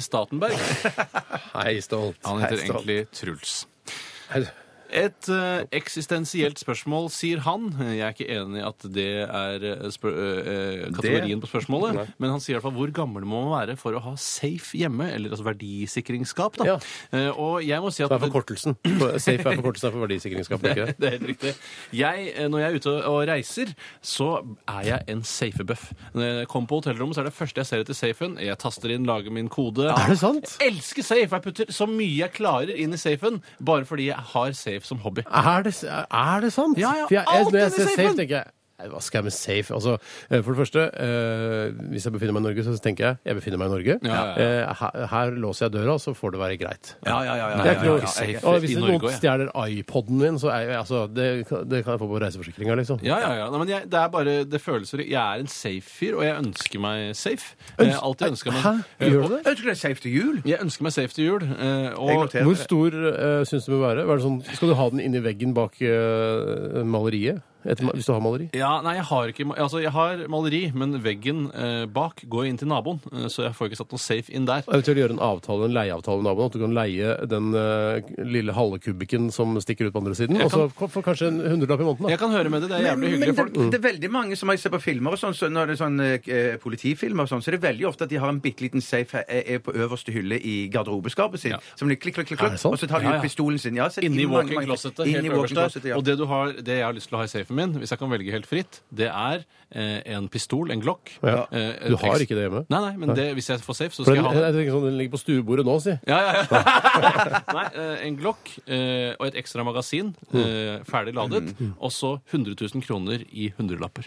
Speaker 3: Statenberg.
Speaker 2: Hei, stolt.
Speaker 3: Han heter
Speaker 2: Hei, stolt.
Speaker 3: egentlig Truls.
Speaker 2: Hei.
Speaker 3: Et eh, eksistensielt spørsmål, sier han. Jeg er ikke enig i at det er eh, spør eh, kategorien på spørsmålet. Men han sier i hvert fall hvor gammel må man være for å ha safe hjemme, eller altså verdisikringsskap.
Speaker 2: Ja.
Speaker 3: da. Eh, og jeg må si at
Speaker 2: Det er forkortelsen. For- Safe er forkortelsen for verdisikringsskap. er det Ikke? det?
Speaker 3: det er helt riktig. Jeg, eh, når jeg er ute og og reiser, så er jeg en safebuff. Når jeg kommer på hotellrommet, så er det første jeg ser etter safen. Jeg taster inn, lager min kode.
Speaker 2: Er det sant?
Speaker 3: Jeg elsker safe. Jeg putter så mye jeg klarer inn i safen, bare fordi jeg har safe som hobby.
Speaker 2: Er det, er det sant?
Speaker 3: Ja, ja,
Speaker 2: For jeg, jeg,
Speaker 3: alt
Speaker 2: når jeg
Speaker 3: inni
Speaker 2: ser safe,
Speaker 3: safen.
Speaker 2: tenker jeg «Nei, hva skal jeg med safe? Altså, eh, for det første, eh, hvis jeg befinner meg i Norge, så tenker jeg jeg befinner meg i Norge.
Speaker 3: Ja, ja,
Speaker 2: Eh, her, her låser jeg døra, så får det være greit.
Speaker 4: Ja, ja, ja. ja,
Speaker 2: Det
Speaker 4: ja,
Speaker 2: er
Speaker 4: ja,
Speaker 2: ikke
Speaker 4: ja,
Speaker 2: noe
Speaker 4: ja.
Speaker 3: safe
Speaker 2: Og Hvis
Speaker 3: i
Speaker 2: det
Speaker 3: Norge
Speaker 2: noen
Speaker 3: også,
Speaker 2: stjeler iPoden min, så er jeg, altså, det, det kan jeg få på reiseforsikringa, liksom.
Speaker 3: Ja, ja, ja. Nei, men jeg, det er bare det følelser Jeg er en safe fyr, og jeg ønsker meg safe. Jeg Eh, har alltid ønsket meg
Speaker 2: Hæ? Gjør du det?
Speaker 4: Ønsker deg safe til jul?
Speaker 3: Jeg ønsker meg safe til jul. eh,
Speaker 4: Jeg
Speaker 3: Og
Speaker 4: noterer
Speaker 2: Hvor
Speaker 4: det.
Speaker 2: stor uh, syns du bør være? Hva Er det sånn, skal du ha den inni veggen bak eh, maleriet? Et, ma- hvis du har maleri?
Speaker 3: ja, nei, jeg har ikke ma- Altså, jeg har maleri, men veggen eh, bak går inn til naboen, eh, så jeg får ikke satt noe safe inn der.
Speaker 2: Eventuelt gjøre en avtale, en leieavtale med naboen. At du kan leie den eh, lille halve kubikken som stikker ut på andre siden. Og
Speaker 3: Jeg
Speaker 2: så ko- for kanskje en hundrelapp i måneden.
Speaker 3: Jeg kan høre med det, det er jævlig
Speaker 4: men
Speaker 3: hyggelige
Speaker 4: det,
Speaker 3: folk.
Speaker 4: det er veldig mange som jeg ser på filmer og sånn, så når det er sånn eh, politifilmer og sånn, så er det veldig ofte at de har en bitte liten safe her, eh, eh, på øverste hylle i garderobeskapet sitt, som blir klikk, klikk, klikk,
Speaker 2: Er det
Speaker 4: klikk,
Speaker 2: sant?
Speaker 4: og så tar de
Speaker 3: Ja, ja.
Speaker 4: ut pistolen sin. Ja, så er det
Speaker 3: Inni
Speaker 4: mange- mange-
Speaker 3: walk-in-closetet,
Speaker 4: Inni
Speaker 3: helt øverst
Speaker 4: walk-in-closetet,
Speaker 3: der.
Speaker 4: ja.
Speaker 3: Og det, du har, det jeg har lyst til å ha i safen min, hvis jeg kan velge helt fritt, det er eh, en pistol, en glokk.
Speaker 2: Ja.
Speaker 3: eh, et
Speaker 2: Du har
Speaker 3: eks-
Speaker 2: ikke det hjemme?
Speaker 3: Nei, nei, men det, hvis jeg får safe, så
Speaker 2: For den,
Speaker 3: skal jeg ha det.
Speaker 2: jeg tenker sånn, den ligger på stuebordet nå, si.
Speaker 3: Ja, ja, ja. Nei, eh, en Glock eh, og et ekstra magasin,
Speaker 2: Mm.
Speaker 3: eh, ferdig ladet, og så 100 000 kroner i hundrelapper.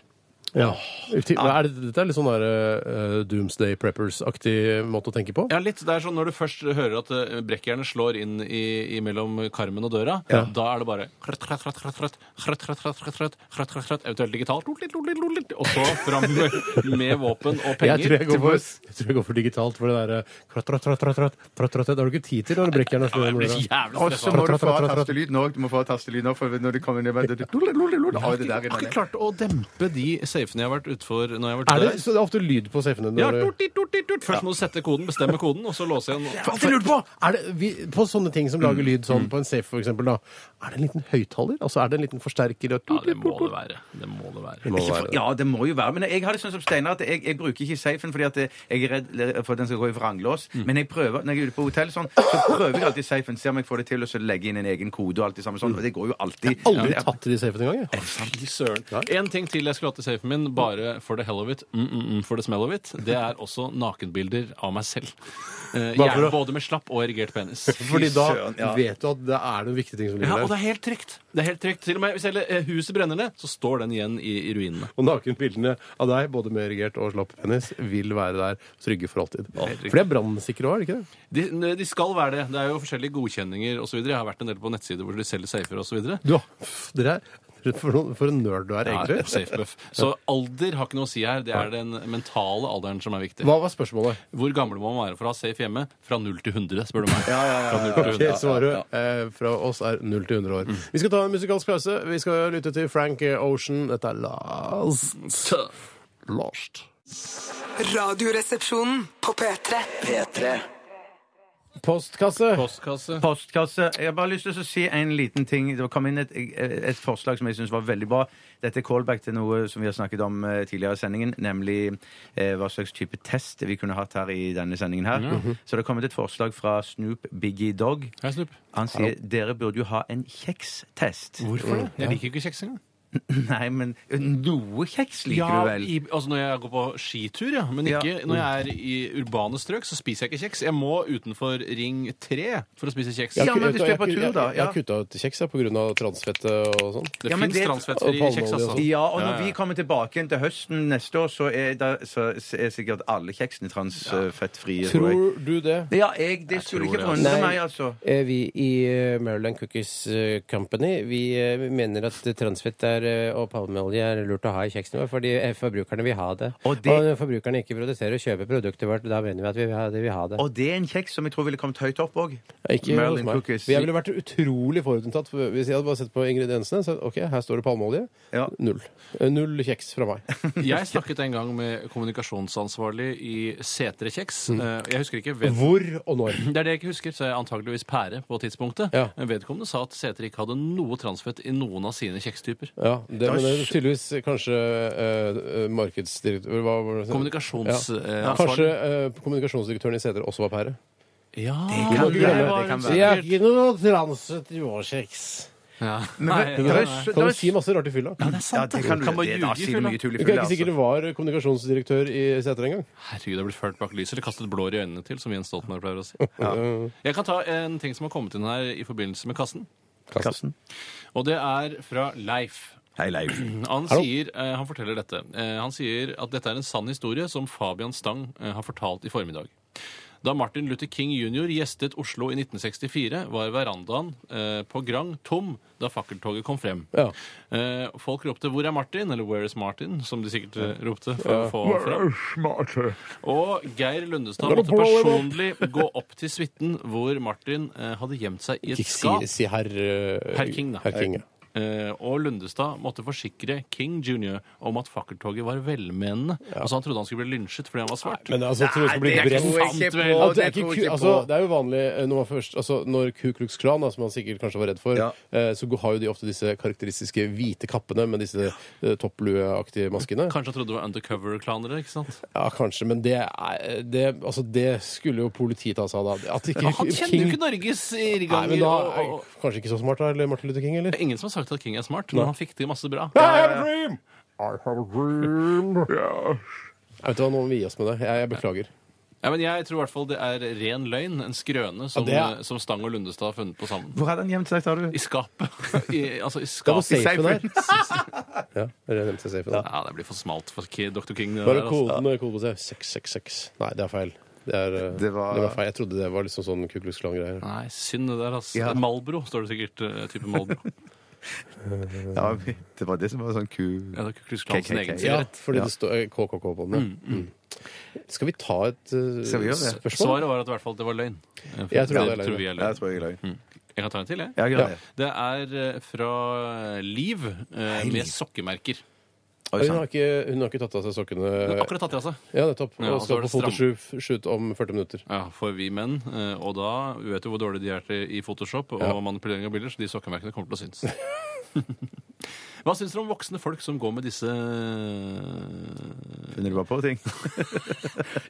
Speaker 2: Ja. Til- Er det, dette er litt sånn der, eh, Doomsday Preppers-aktig måte å tenke på?
Speaker 3: Ja, litt. Det er sånn når du først hører at eh, brekkjernet slår inn i, i mellom karmen og døra, da er det bare kratt, kratt, kratt, kratt, kratt, kratt, kratt, kratt, kratt, kratt, kratt, kratt, kratt, eventuelt digitalt, lot, lot, lot, lot, lot, og så fram med, med våpen og penger.
Speaker 2: Jeg tror jeg, går
Speaker 3: til
Speaker 2: for,
Speaker 3: bords.
Speaker 2: jeg tror jeg går for digitalt, for det eh, derre tratt, tratt, tratt, tratt, tratt, tratt, tratt, Det har du ikke tid til når du brekker den. og slår den
Speaker 3: Jeg
Speaker 2: med
Speaker 3: blir
Speaker 2: døra.
Speaker 3: jævlig
Speaker 4: Og så må
Speaker 3: stressa.
Speaker 4: du få av tastelyden òg. Du må få av tastelyden òg, for når det kommer ned med det, det, Oi, det
Speaker 3: Jeg
Speaker 4: der
Speaker 3: har
Speaker 4: inne.
Speaker 3: ikke klart å dempe de safene jeg har vært utfor når jeg har vært
Speaker 2: Er det,
Speaker 3: ute og reist.
Speaker 2: så det er ofte lyd på safene?
Speaker 3: Ja,
Speaker 2: når du-
Speaker 3: tut, tut, tut, tut. Først må du sette koden, bestemme koden, og så låse igjen.
Speaker 2: Alltid lurt på! Er det, vi, på sånne ting som
Speaker 3: Mm.
Speaker 2: lager lyd, sånn på en safe for eksempel, da, er det en liten høyttaler? Altså, er det en liten forsterker? Og
Speaker 3: Ja, det må det være. Det må det være.
Speaker 4: Ikke for- Ja, det må jo være. Men jeg har det sånn som Steinar, at jeg, jeg bruker ikke safen fordi at jeg er redd for at den skal gå i vranglås. Men jeg prøver, når jeg er ute på hotell, sånn, så prøver jeg alltid safen, ser om jeg får det til, og så legger jeg inn en egen kode og alt det samme sånn. Og det går jo alltid.
Speaker 2: Aldri
Speaker 4: Ja.
Speaker 2: tatt i safen engang. jeg.
Speaker 3: Fy søren. En ting til jeg skulle hatt i safen min, bare for the hell of it, mm, mm, mm, for the smell of it, det er også nakenbilder av meg selv. Eh,
Speaker 2: Bare for å-
Speaker 3: Gjerne både med slapp og erigert penis.
Speaker 2: Fordi da
Speaker 4: søren, ja.
Speaker 2: vet du at det er noen viktige ting som
Speaker 3: Ja,
Speaker 2: ligger
Speaker 3: og det
Speaker 2: der.
Speaker 3: er helt trygt. Det er helt trygt. Til og med hvis hele eh, huset brenner ned, så står den igjen i, i ruinene.
Speaker 2: Og nakenbildene av deg, både med erigert og slapp penis, vil være der trygge for alltid. For de er brannsikre òg, er det ikke det?
Speaker 3: De, de skal være det. Det er jo forskjellige godkjenninger osv. Jeg har vært en del på nettsider hvor de selger safer osv.
Speaker 2: Du, pff, dere er for, noen- for en nerd du er,
Speaker 3: Ja,
Speaker 2: egentlig.
Speaker 3: safebuff. Så alder har ikke noe å si her. Det er den mentale alderen som er viktig.
Speaker 2: Hva var spørsmålet?
Speaker 3: Hvor gammel må man være for å ha safe hjemme? Fra 0 til 100, spør du meg. Fra 0 til
Speaker 2: Ok,
Speaker 3: 100.
Speaker 2: svaret eh, fra oss er 0 til 100 år.
Speaker 7: Mm.
Speaker 2: Vi skal ta en musikalsk pause. Vi skal lytte til Frank Ocean. Dette er Last. Lost.
Speaker 5: Radioresepsjonen på P3.
Speaker 1: P3.
Speaker 2: Postkasse.
Speaker 3: Postkasse.
Speaker 4: Postkasse. Jeg har bare lyst til å si en liten ting. Det kom inn et, et forslag som jeg syns var veldig bra. Dette er callback til noe som vi har snakket om eh, tidligere i sendingen, nemlig eh, hva slags type test vi kunne hatt her i denne sendingen her. Så det har kommet et forslag fra Snoop Biggie Dog.
Speaker 3: Hei, Snupp.
Speaker 4: Han sier dere burde jo ha en kjekstest. Mm.
Speaker 3: Hvorfor det? Jeg liker ikke kjeks engang.
Speaker 4: Nei, men noe kjeks liker
Speaker 3: Ja,
Speaker 4: du vel?
Speaker 3: i, altså når jeg går på skitur, ja. Men ikke
Speaker 4: Ja.
Speaker 3: når jeg er i urbane strøk, så spiser jeg ikke kjeks. Jeg må utenfor Ring 3 for å spise kjeks.
Speaker 4: Ja,
Speaker 2: Jeg har-
Speaker 4: men hvis du er
Speaker 2: jeg-
Speaker 4: på tur,
Speaker 2: jeg-
Speaker 4: da,
Speaker 2: Jeg jeg har
Speaker 4: ja.
Speaker 2: kutta ut kjeks jeg, på grunn av transfettet og sånn.
Speaker 3: Det
Speaker 4: Ja, men
Speaker 3: finnes
Speaker 4: det-
Speaker 3: transfettfri
Speaker 2: og
Speaker 3: kjeks,
Speaker 2: palmeolje
Speaker 3: altså.
Speaker 2: og sånn.
Speaker 4: Ja, og når
Speaker 3: Ja, ja.
Speaker 4: vi kommer tilbake igjen til høsten neste år, så er, det, så er sikkert alle kjeksene transfettfrie. tror jeg.
Speaker 2: Tror du det?
Speaker 4: Ja, jeg, det
Speaker 3: tror
Speaker 4: skulle ikke
Speaker 3: det,
Speaker 4: forundre meg, altså.
Speaker 7: Eh, Vi i eh, Maryland Cookies eh, Company vi eh, vi mener at eh, transfett er, eh, og palmeolje er lurt å ha i kjeksen vår, fordi eh, forbrukerne vil ha det.
Speaker 4: Og
Speaker 7: Og,
Speaker 4: det-
Speaker 7: når forbrukerne ikke produserer og kjøper produktet vårt, da mener vi at vi vil ha det. Vil ha det.
Speaker 4: Og det er en kjeks som jeg tror ville kommet høyt opp òg.
Speaker 2: Ikke hos
Speaker 4: Merlin
Speaker 2: meg.
Speaker 4: cookies.
Speaker 2: Men Jeg ville vært utrolig forutinntatt for- hvis jeg hadde bare sett på ingrediensene. Så ok, her står det palmeolje.
Speaker 4: Ja.
Speaker 2: Null. Eh, Null kjeks fra meg.
Speaker 3: Jeg snakket en gang med kommunikasjonsansvarlig i Setre Kjeks.
Speaker 4: Mm.
Speaker 3: Eh, Jeg husker ikke ved...
Speaker 2: Hvor og når.
Speaker 3: Det er det jeg ikke husker, så jeg antageligvis pære på tidspunktet.
Speaker 2: Ja.
Speaker 3: Men Vedkommende sa at Setre ikke hadde noe transfett i noen av sine kjekstyper.
Speaker 2: Ja, det, men det er tydeligvis kanskje uh, markedsdirektør hva var det? Ja. Kanskje
Speaker 3: Kommunikasjonsansvarlig.
Speaker 2: eh, kommunikasjonsdirektøren i Sæter også var pære.
Speaker 3: Ja,
Speaker 4: kan
Speaker 3: det
Speaker 4: være,
Speaker 3: var
Speaker 4: det kan
Speaker 3: sikkert.
Speaker 4: være.
Speaker 7: ikke noe transfett i vår kjeks.
Speaker 3: Ja.
Speaker 4: Men
Speaker 3: Nei,
Speaker 4: det-
Speaker 3: ja,
Speaker 4: det er
Speaker 3: nei.
Speaker 4: s- det
Speaker 2: Kan
Speaker 4: er
Speaker 2: du si
Speaker 4: s-
Speaker 2: masse rart i fylla?
Speaker 3: Ja, det er
Speaker 4: Ja,
Speaker 3: sant.
Speaker 4: det kan du.
Speaker 3: man
Speaker 4: Det,
Speaker 3: ljuge
Speaker 4: da
Speaker 3: i
Speaker 4: sier du
Speaker 3: fylla?
Speaker 4: mye tull i
Speaker 2: Du kan
Speaker 4: fylla,
Speaker 2: ikke sikkert det
Speaker 4: altså.
Speaker 2: var kommunikasjonsdirektør i Sæter engang.
Speaker 3: Herregud, jeg blir ført bak lyset eller kastet blår i øynene til, som Jens Stoltenberg pleier å si. Jeg kan ta en ting som har kommet inn her i forbindelse med kassen,
Speaker 4: Karsten.
Speaker 3: og det er fra Leif.
Speaker 4: Hei, Leif.
Speaker 3: Han, sier, eh, han forteller dette. Eh, han sier at dette er en sann historie som Fabian Stang eh, har fortalt i formiddag. Da Martin Luther King jr. gjestet Oslo i 1964, var verandaen eh, på Grang tom da fakkeltoget kom frem.
Speaker 2: Ja.
Speaker 3: Eh, folk ropte 'Hvor er Martin?' eller 'Where is Martin?', som de sikkert eh, ropte. for å få ham frem. Og Geir Lundestad måtte personlig gå opp til suiten hvor Martin eh, hadde gjemt seg i et
Speaker 2: Ikke
Speaker 3: skap.
Speaker 2: si, si herr eh,
Speaker 3: Herr King, da.
Speaker 2: Herr King, ja.
Speaker 3: Eh, og Lundestad måtte forsikre King jr. om at fakkeltoget var velmenende. Altså Han trodde han skulle bli lynsjet fordi han var svart.
Speaker 2: Men altså, tror du det skal bli
Speaker 4: det
Speaker 2: brent?
Speaker 4: tror jeg ikke
Speaker 3: Sant,
Speaker 4: på,
Speaker 3: vel?
Speaker 2: Ja, det,
Speaker 4: det
Speaker 2: er ikke,
Speaker 4: tror jeg
Speaker 2: ku-
Speaker 4: ikke
Speaker 2: altså,
Speaker 4: på.
Speaker 2: det er jo vanlig eh, når man først altså, Når Ku Klux Klan, da, som man sikkert kanskje var redd for,
Speaker 4: Ja.
Speaker 2: eh, så har jo de ofte disse karakteristiske hvite kappene med disse eh, topplueaktige maskene.
Speaker 3: Kanskje han trodde det var undercover-klanere. ikke sant?
Speaker 2: Ja, kanskje, men det, er, det, altså, det skulle jo politiet ta seg av da. At ikke
Speaker 3: Han kjenner jo ikke Norges
Speaker 2: Nei,
Speaker 3: irrganger.
Speaker 2: men da
Speaker 3: og-
Speaker 2: er
Speaker 3: og, og,
Speaker 2: Kanskje ikke så smart, da, eller Martin Luther King, eller?
Speaker 3: det er ingen som har sagt at King er smart, men han fikk til masse bra.
Speaker 2: Jeg vet du hva, Nå må vi gi oss med det. Jeg, jeg beklager.
Speaker 3: Ja, men Jeg tror i hvert fall det er ren løgn, en skrøne, som, eh,
Speaker 2: Ja, det er-
Speaker 3: som Stang og Lundestad har funnet på sammen.
Speaker 4: Hvor hadde han gjemt seg, sa du?
Speaker 3: I skapet. I, altså, i
Speaker 2: Det var
Speaker 3: skapet.
Speaker 2: safen her. Ja, dere nevnte safen her.
Speaker 3: Ja, det blir for smalt for Ki- Dr. King. det
Speaker 2: Bare
Speaker 3: der, altså.
Speaker 2: koden og koden på seg. 666. Nei, det er feil. Det, er, eh,
Speaker 4: Det var-
Speaker 2: det var feil. Jeg trodde det var liksom sånn Ku Klux Klan-greier.
Speaker 3: Nei, synd det der, altså.
Speaker 4: Ja.
Speaker 3: Malbro står det sikkert. eh, type Malbro.
Speaker 4: Ja, det var det som var sånn ku...
Speaker 3: Ja, det er Ku Klux Klan sin
Speaker 4: KKK.
Speaker 3: egen
Speaker 2: Ja,
Speaker 3: sigarett.
Speaker 2: fordi det står eh, KKK på den.
Speaker 3: mm.
Speaker 2: ja. Mm. Skal vi ta et eh,
Speaker 4: Skal vi gjøre det?
Speaker 2: spørsmål?
Speaker 3: Svaret var at i hvert fall det var løgn. Eh,
Speaker 2: Jeg tror det er
Speaker 3: det tror vi er
Speaker 4: Ja, jeg
Speaker 3: løgn.
Speaker 4: tror jeg løy.
Speaker 3: Jeg kan ta en til, jeg.
Speaker 4: Ja, gjør det.
Speaker 3: Det er eh, fra Liv eh, med sokkemerker.
Speaker 4: Oi,
Speaker 2: Hun
Speaker 4: sant.
Speaker 2: har, ikke, hun har ikke tatt av seg sokkene.
Speaker 3: Hun har akkurat tatt i altså. av seg.
Speaker 2: Ja, nettopp.
Speaker 3: Ja,
Speaker 2: Og
Speaker 3: og så
Speaker 2: skal
Speaker 3: var det
Speaker 2: på fotoshoot om 40 minutter.
Speaker 3: Ja, for vi menn. eh, Og da vi vet jo hvor dårlig de er til i Photoshop og
Speaker 2: Ja.
Speaker 3: manipulering av bilder, så de sokkemerkene kommer til å synes. Hva syns dere om voksne folk som går med disse eh,
Speaker 4: Finner du bare på ting?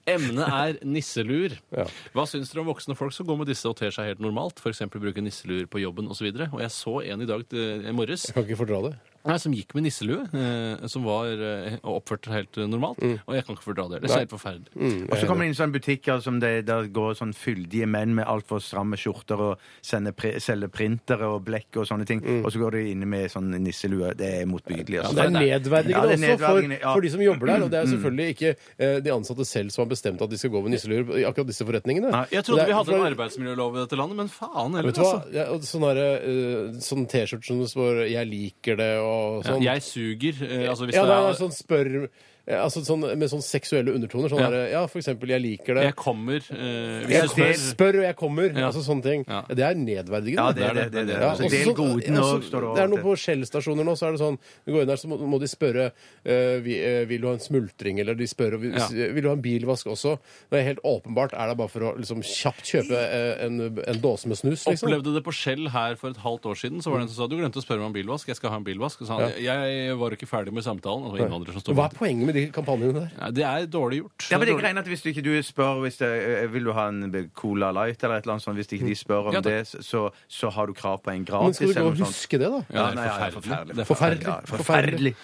Speaker 3: Emnet er nisselur.
Speaker 2: Ja.
Speaker 3: Hva syns dere om voksne folk som går med disse og ter seg helt normalt? F.eks. bruker nisselur på jobben osv. Og, så og jeg så en i dag eh, i morges
Speaker 2: Kan ikke fordra det.
Speaker 3: Nei, som gikk med nisselue, eh, som var eh, og oppførte seg helt eh, normalt.
Speaker 2: Mm.
Speaker 3: Og jeg kan ikke fordra det. Det er så helt forferdelig.
Speaker 4: Og
Speaker 2: Eh,
Speaker 4: så kommer det inn sånne butikker som det, der går sånn fyldige menn med altfor stramme skjorter og sender pre, selger printere og blekk og sånne ting, og så går de inn med sånn nisselue. Det er motbydelig.
Speaker 2: Mm. Det
Speaker 4: Altså.
Speaker 2: er nedverdigende
Speaker 4: Ja, det er
Speaker 2: også for,
Speaker 4: nedverdigende, ja.
Speaker 2: for de som jobber der. Og
Speaker 3: Mm.
Speaker 2: det er selvfølgelig ikke eh, de ansatte selv som har bestemt at de skal gå med nisseluer i akkurat disse forretningene.
Speaker 3: Jeg
Speaker 2: Det
Speaker 3: trodde
Speaker 2: er-
Speaker 3: vi hadde
Speaker 2: for-
Speaker 3: en arbeidsmiljølov i dette landet, men faen
Speaker 2: altså-
Speaker 3: heller,
Speaker 2: Vet du hva?
Speaker 3: altså.
Speaker 2: Ja, og sånn derre, eh, sånn T-skjorte som det står 'Jeg liker det' og sånn.
Speaker 3: Jeg suger. eh, Altså, hvis
Speaker 2: ja,
Speaker 3: det
Speaker 2: nei, nei,
Speaker 3: er,
Speaker 2: sånn spør eh, altså sånn, Med sånn seksuelle undertoner. Sånn
Speaker 3: Ja.
Speaker 2: derre ja, for eksempel 'Jeg liker det'.
Speaker 3: jeg kommer eh,
Speaker 2: Jeg
Speaker 3: hvis du
Speaker 2: spør,
Speaker 3: spør
Speaker 2: spør og jeg kommer.
Speaker 3: Ja.
Speaker 2: Altså sånne ting.
Speaker 3: Ja.
Speaker 2: Det er nedverdigende.
Speaker 4: Ja, det er det. det, er det.
Speaker 2: Ja,
Speaker 4: Altså,
Speaker 2: også
Speaker 4: del
Speaker 2: sånn-
Speaker 4: goden
Speaker 2: også-
Speaker 4: og står
Speaker 2: Det er
Speaker 4: over
Speaker 2: noe på Shell-stasjoner nå, så er det sånn Du går inn der, så må, må de spørre eh, vi, eh, Vil du ha en smultring, eller de spør vil,
Speaker 3: Ja.
Speaker 2: vil du ha en bilvask også. Det er helt åpenbart er det bare for å liksom kjapt kjøpe eh, en, en dåse med snus, liksom.
Speaker 3: Opplevde det på Skjell her for et halvt år siden. Så var det en som sa du glemte å spørre meg om bilvask. Jeg skal ha en bilvask. Så sa han jeg var ikke ferdig med samtalen. Og det var innvandrer som sto
Speaker 2: Hva er
Speaker 3: bak.
Speaker 2: poenget med de kampanjene der?
Speaker 3: Nei, Det er dårlig gjort.
Speaker 4: Ja, men det er greien at Hvis du ikke du spør hvis det, eh, Vil du ha en be- Cola Light eller et eller annet sånt, hvis ikke de spør om
Speaker 3: Ja, da-
Speaker 4: det, så, så har du krav på en
Speaker 2: Men
Speaker 4: gratis.
Speaker 2: skal du gå
Speaker 4: eller
Speaker 2: og
Speaker 4: noe sånt.
Speaker 2: huske det, da?
Speaker 3: Ja, det er
Speaker 4: nei, ja,
Speaker 3: forferdelig.
Speaker 4: forferdelig.
Speaker 3: Det er
Speaker 2: Forferdelig.
Speaker 4: Ja, forferdelig.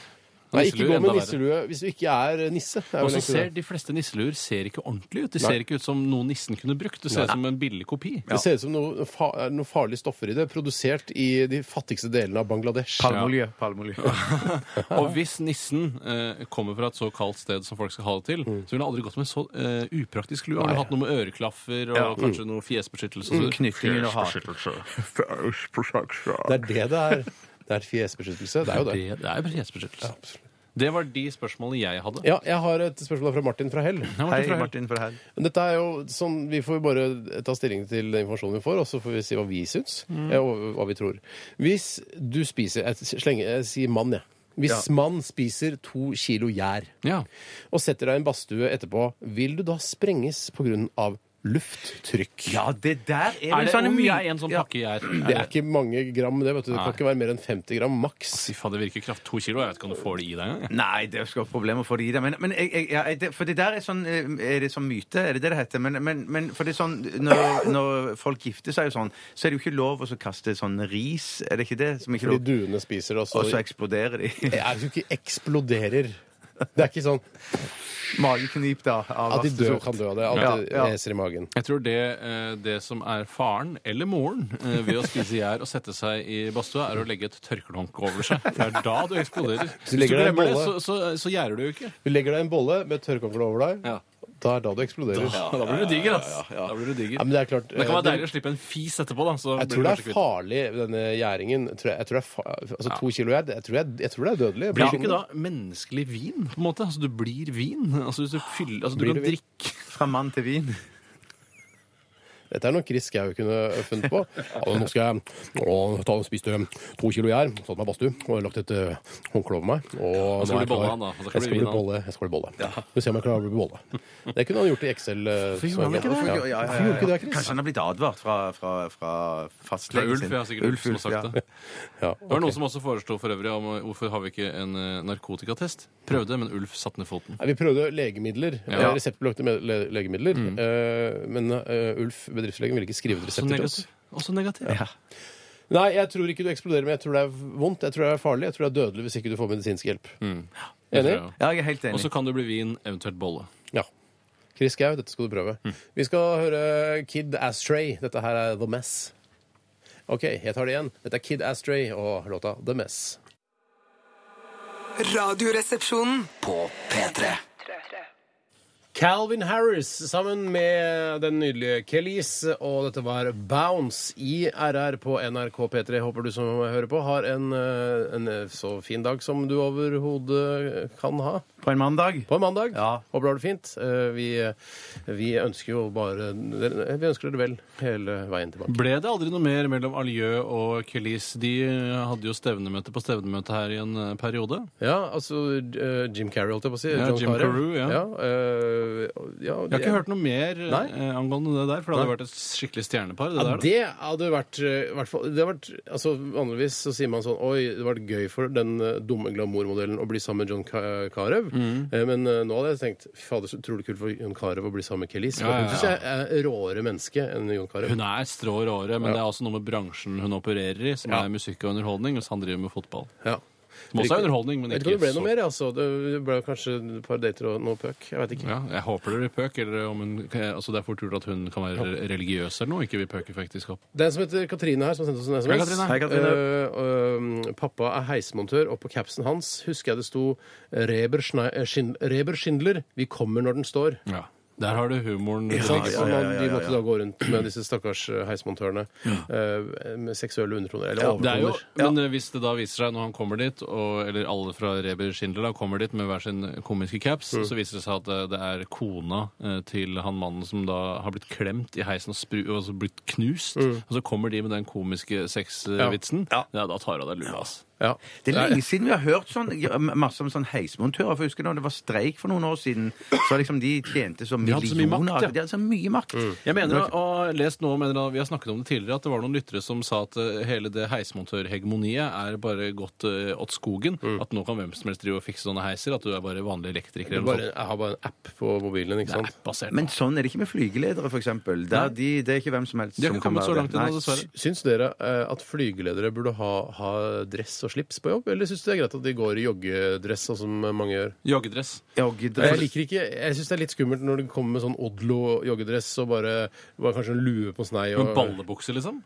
Speaker 2: Nei, ikke
Speaker 3: Nisselue
Speaker 2: gå med
Speaker 3: enda verre.
Speaker 2: nisselue hvis du ikke er eh, nisse. Det er jo
Speaker 3: Og
Speaker 2: egentlig
Speaker 3: så
Speaker 2: det.
Speaker 3: ser De fleste nisseluer ser ikke ordentlig ut. De
Speaker 2: Nei.
Speaker 3: ser ikke ut som noe nissen kunne brukt. Det ser ut som en billig kopi.
Speaker 2: Det ser ut som noe, fa er noe farlige stoffer i det, produsert i de fattigste delene av Bangladesh.
Speaker 4: Palmeolje. palmeolje.
Speaker 3: Og hvis nissen eh, kommer fra et så kaldt sted som folk skal ha det til,
Speaker 2: Mm.
Speaker 3: så ville han aldri gått med så eh, upraktisk lue. Han ville hatt noe med øreklaffer og kanskje noe
Speaker 2: Mm.
Speaker 3: fjesbeskyttelse. og så-
Speaker 4: Knyttingen og haken.
Speaker 3: altså.
Speaker 2: Det er det det er. Det er fjesbeskyttelse. Det er jo det.
Speaker 3: Det er jo fjesbeskyttelse. det var de spørsmålene jeg hadde.
Speaker 2: Ja, jeg har et spørsmål fra Martin fra Hell.
Speaker 3: Nei, Martin
Speaker 4: Hei,
Speaker 3: Frøhel.
Speaker 4: Martin fra Hell.
Speaker 2: Dette er jo sånn, Vi får jo bare ta stilling til den informasjonen vi får, og så får vi si hva vi syns. eh, Og hva vi tror. Hvis du spiser Jeg, slenger, jeg sier mann, jeg. Hvis mann spiser to kilo gjær
Speaker 3: Ja.
Speaker 2: og setter deg i en badstue etterpå, vil du da sprenges pga. lufttrykk?
Speaker 4: Ja, det der er,
Speaker 3: Er
Speaker 4: vel
Speaker 3: det
Speaker 4: sånn
Speaker 3: hvor mye
Speaker 4: my-
Speaker 3: er en sånn
Speaker 4: Ja.
Speaker 3: pakke jeg
Speaker 2: Det er ikke mange gram, det. vet du. Det kan
Speaker 3: Nei.
Speaker 2: ikke være mer enn 50 gram maks.
Speaker 3: Fy faen, det virker kraft. To kilo. Jeg vet ikke om du får det i deg engang. jeg.
Speaker 4: Nei, det skal være problemer for de der. Men, men jeg, jeg, ja, jeg, det- for det der er sånn eh, Er det sånn myte? Er det det det heter? Men, men, men for det er sånn når, når folk gifter seg og sånn, så er det jo ikke lov å så kaste sånn ris. Er det ikke det? Som ikke
Speaker 2: Fordi
Speaker 4: er lov?
Speaker 2: duene spiser, og så
Speaker 4: Og så eksploderer de.
Speaker 2: Jeg tror ikke eksploderer. Det er ikke sånn
Speaker 4: Mageknip, da. Av
Speaker 2: at de
Speaker 4: verste
Speaker 2: dør
Speaker 4: sort.
Speaker 2: kan dø av det. At
Speaker 4: Ja,
Speaker 2: det
Speaker 4: ja.
Speaker 2: eser i magen.
Speaker 3: Jeg tror det, eh, det som er faren, eller moren, eh, ved å spise gjær og sette seg i badstua, er å legge et tørkelhåndkle over seg. For det er da du eksploderer.
Speaker 2: Du
Speaker 3: Hvis
Speaker 2: legger
Speaker 3: du
Speaker 2: deg i
Speaker 3: glemmer det, så,
Speaker 2: bolle.
Speaker 3: så, så gjærer du jo ikke.
Speaker 2: Du legger deg i en bolle med et tørrkåndkle over deg.
Speaker 3: Ja.
Speaker 2: Da er da du eksploderer.
Speaker 3: Da blir du diger, ass. Da blir
Speaker 2: Ja,
Speaker 3: du diger.
Speaker 2: men det er klart
Speaker 3: Det kan være
Speaker 2: eh,
Speaker 3: deilig å slippe en fis etterpå, da. Så
Speaker 2: Jeg
Speaker 3: blir
Speaker 2: tror det
Speaker 3: kanskje
Speaker 2: er
Speaker 3: kvitt.
Speaker 2: farlig, denne gjæringen. Jeg Tror jeg, jeg tror det er fa altså, to kilo gjær. Jeg, tror jeg, jeg tror det er dødelig.
Speaker 3: Blir det ikke da menneskelig vin, på en måte? Altså, du blir vin. Altså, hvis du fyller Altså, du
Speaker 2: Blir du
Speaker 3: kan
Speaker 2: vin?
Speaker 3: drikke
Speaker 4: Fra mann til vin.
Speaker 2: Dette er noe Chris Skau kunne funnet på. Ja, nå skal jeg å, ta og spiste to kilo gjær, satt meg i badstue og lagt et eh, håndkle over meg. Og nå er
Speaker 3: skal bli
Speaker 2: jeg klar.
Speaker 3: bolle han, da. Og så
Speaker 2: Jeg
Speaker 3: skal bli
Speaker 2: skal
Speaker 3: vin
Speaker 2: bli
Speaker 3: han.
Speaker 2: bolle. Jeg skal bli bolle. Vi ser om jeg klarer å bli bolle. Det kunne han gjort i Excel. eh,
Speaker 3: gjorde han
Speaker 2: sangen.
Speaker 3: ikke det?
Speaker 2: Ja.
Speaker 4: Ja, ja, ja,
Speaker 2: Hvorfor gjorde ikke det,
Speaker 4: Kanskje
Speaker 2: Chris?
Speaker 4: han har blitt advart fra, fra, fra
Speaker 3: Fra
Speaker 4: fastlegen
Speaker 3: Ulf,
Speaker 4: sin.
Speaker 3: ja. Sikkert Ulf som har
Speaker 4: ja.
Speaker 3: sagt det.
Speaker 2: Ja,
Speaker 3: Det var
Speaker 2: ok.
Speaker 3: noen som også foreslo for øvrig om eh, hvorfor har vi ikke en eh, narkotikatest. Prøvde, men Ulf satte ned foten.
Speaker 2: Nei, Vi prøvde legemidler,
Speaker 3: Ja. Mm.
Speaker 2: eh, reseptbelagte med- le legemidler, eh, men eh, Ulf, bedriftslegen, ville ikke skrive ut
Speaker 3: Så
Speaker 2: resepter til oss.
Speaker 3: negativ. Også negativ. Ja.
Speaker 2: Nei, jeg tror ikke du eksploderer, men jeg tror det er vondt, jeg tror det er farlig, jeg tror det er dødelig hvis ikke du får medisinsk hjelp.
Speaker 3: Mm.
Speaker 2: Enig?
Speaker 4: Ja, jeg er helt
Speaker 3: Og
Speaker 4: enig.
Speaker 3: så kan det bli vin, eventuelt bolle.
Speaker 2: Ja. Chris Gau, dette skal du prøve. Vi skal høre Kid Astray. Dette her er The Mess. OK, jeg tar det igjen. Dette er Kid Astray og låta The Mess.
Speaker 5: Radioresepsjonen.
Speaker 1: På P3.
Speaker 2: Calvin Harris sammen med den nydelige Kelis, og dette var Bounce i RR på NRK P3. Håper du som hører på, har en, eh, en så fin dag som du overhodet kan ha
Speaker 4: På en mandag.
Speaker 2: på en mandag.
Speaker 4: Ja.
Speaker 2: Håper du har det fint. Eh, Vi, vi ønsker jo bare Vi ønsker dere vel hele veien tilbake.
Speaker 3: Ble det aldri noe mer mellom Aljø og Kelis? De eh, hadde jo stevnemøte på stevnemøte her i en eh, periode.
Speaker 2: Ja, altså eh, Jim Carrey, holdt jeg på å si.
Speaker 3: Ja,
Speaker 2: John
Speaker 3: Jim
Speaker 2: Carrey.
Speaker 3: Carew, ja.
Speaker 2: Ja, eh, ja,
Speaker 3: Jeg har ikke hørt noe mer eh,
Speaker 2: Nei.
Speaker 3: eh, angående det der, for det hadde vært et skikkelig stjernepar. Det
Speaker 2: Ja,
Speaker 3: der, da.
Speaker 2: det hadde vært, eh, hvert fall- det hadde vært altså, Vanligvis så sier man sånn Oi, det hadde vært gøy for den eh, dumme glamourmodellen å bli sammen med John Ka- Carew.
Speaker 3: Mm.
Speaker 2: Eh, Men eh, nå hadde jeg tenkt Fy fader, så utrolig kult for John Carew å bli sammen med Kelis.
Speaker 3: Ja, ja,
Speaker 2: Hun syns jeg er råere menneske enn John Carew.
Speaker 3: Hun er strå i året, men det er også noe med bransjen hun opererer i, som
Speaker 2: Ja.
Speaker 3: er musikk og underholdning, mens han driver med fotball.
Speaker 2: Ja.
Speaker 3: Som også er underholdning, men
Speaker 2: Jeg vet ikke
Speaker 3: ikke
Speaker 2: om det ble
Speaker 3: så
Speaker 2: noe mer, altså. Det ble kanskje et par dater og noe pøk. Jeg vet ikke.
Speaker 3: Ja, jeg håper det blir pøk, eller om hun altså Det er fort gjort at hun kan være religiøs eller noe, ikke vil pøke for ekteskap.
Speaker 2: Det er en som heter Katrine her, som har sendt oss en SMS.
Speaker 3: Hei, Katrine.
Speaker 4: Hei, Katrine.
Speaker 2: Eh, eh, pappa er heismontør, og på capsen hans husker jeg det sto Reber, Schne- eh, Schind Reber Schindler, vi kommer når den står.
Speaker 3: Ja. Der har du humoren. du
Speaker 2: Så
Speaker 3: liker.
Speaker 4: ja, ja, ja, ja,
Speaker 2: De
Speaker 4: ja.
Speaker 2: måtte da gå rundt med disse stakkars eh, heismontørene eh, med seksuelle undertoner, eller
Speaker 3: Det er jo,
Speaker 2: overtoner.
Speaker 3: men eh, hvis det da viser seg når han kommer dit, og, eller alle fra Reber Schindler da kommer dit med hver sin komiske caps, så viser det seg at eh, det er kona eh, til han mannen som da har blitt klemt i heisen og, spru, altså og Mm. så blitt knust. Og så kommer de med den komiske sexvitsen. Ja. da tar hun av deg lua, ass.
Speaker 2: Ja.
Speaker 4: Det er lenge siden vi har hørt sånn, masse om sånn heismontører. For jeg husker da det var streik for noen år siden, så liksom de tjente så
Speaker 3: De hadde så mye makt,
Speaker 4: millioner.
Speaker 3: ja. Mm.
Speaker 4: De hadde så mye makt.
Speaker 3: Jeg mener, og har lest noe, mener at Vi har snakket om det tidligere, at det var noen lyttere som sa at eh, hele det heismontørhegemoniet er bare gått eh, åt skogen. At nå kan hvem som helst drive og fikse sånne heiser. At du er bare vanlig elektriker.
Speaker 2: Det er
Speaker 3: eller
Speaker 2: bare,
Speaker 3: noe sånt.
Speaker 2: jeg har bare en app på mobilen. ikke
Speaker 3: Det er
Speaker 2: sant?
Speaker 3: app-basert.
Speaker 4: Men sånn er det ikke med flygeledere, f.eks. Det,
Speaker 3: Nei.
Speaker 4: de, det er ikke hvem som helst
Speaker 3: De har
Speaker 4: som
Speaker 3: ikke
Speaker 4: kan
Speaker 3: kommet så
Speaker 4: være
Speaker 3: langt
Speaker 4: det.
Speaker 3: ennå,
Speaker 4: Nei.
Speaker 3: dessverre.
Speaker 2: Syns dere eh, at flygeledere burde ha, ha dress og slips på jobb, eller syns det er greit at de går i joggedress, sånn som mange gjør?
Speaker 3: Joggedress.
Speaker 2: Jeg
Speaker 4: Joggedress.
Speaker 2: liker ikke, jeg syns det er litt skummelt når du kommer med sånn Odlo-joggedress og bare, bare kanskje en lue på snei og
Speaker 3: Men ballebukse, liksom?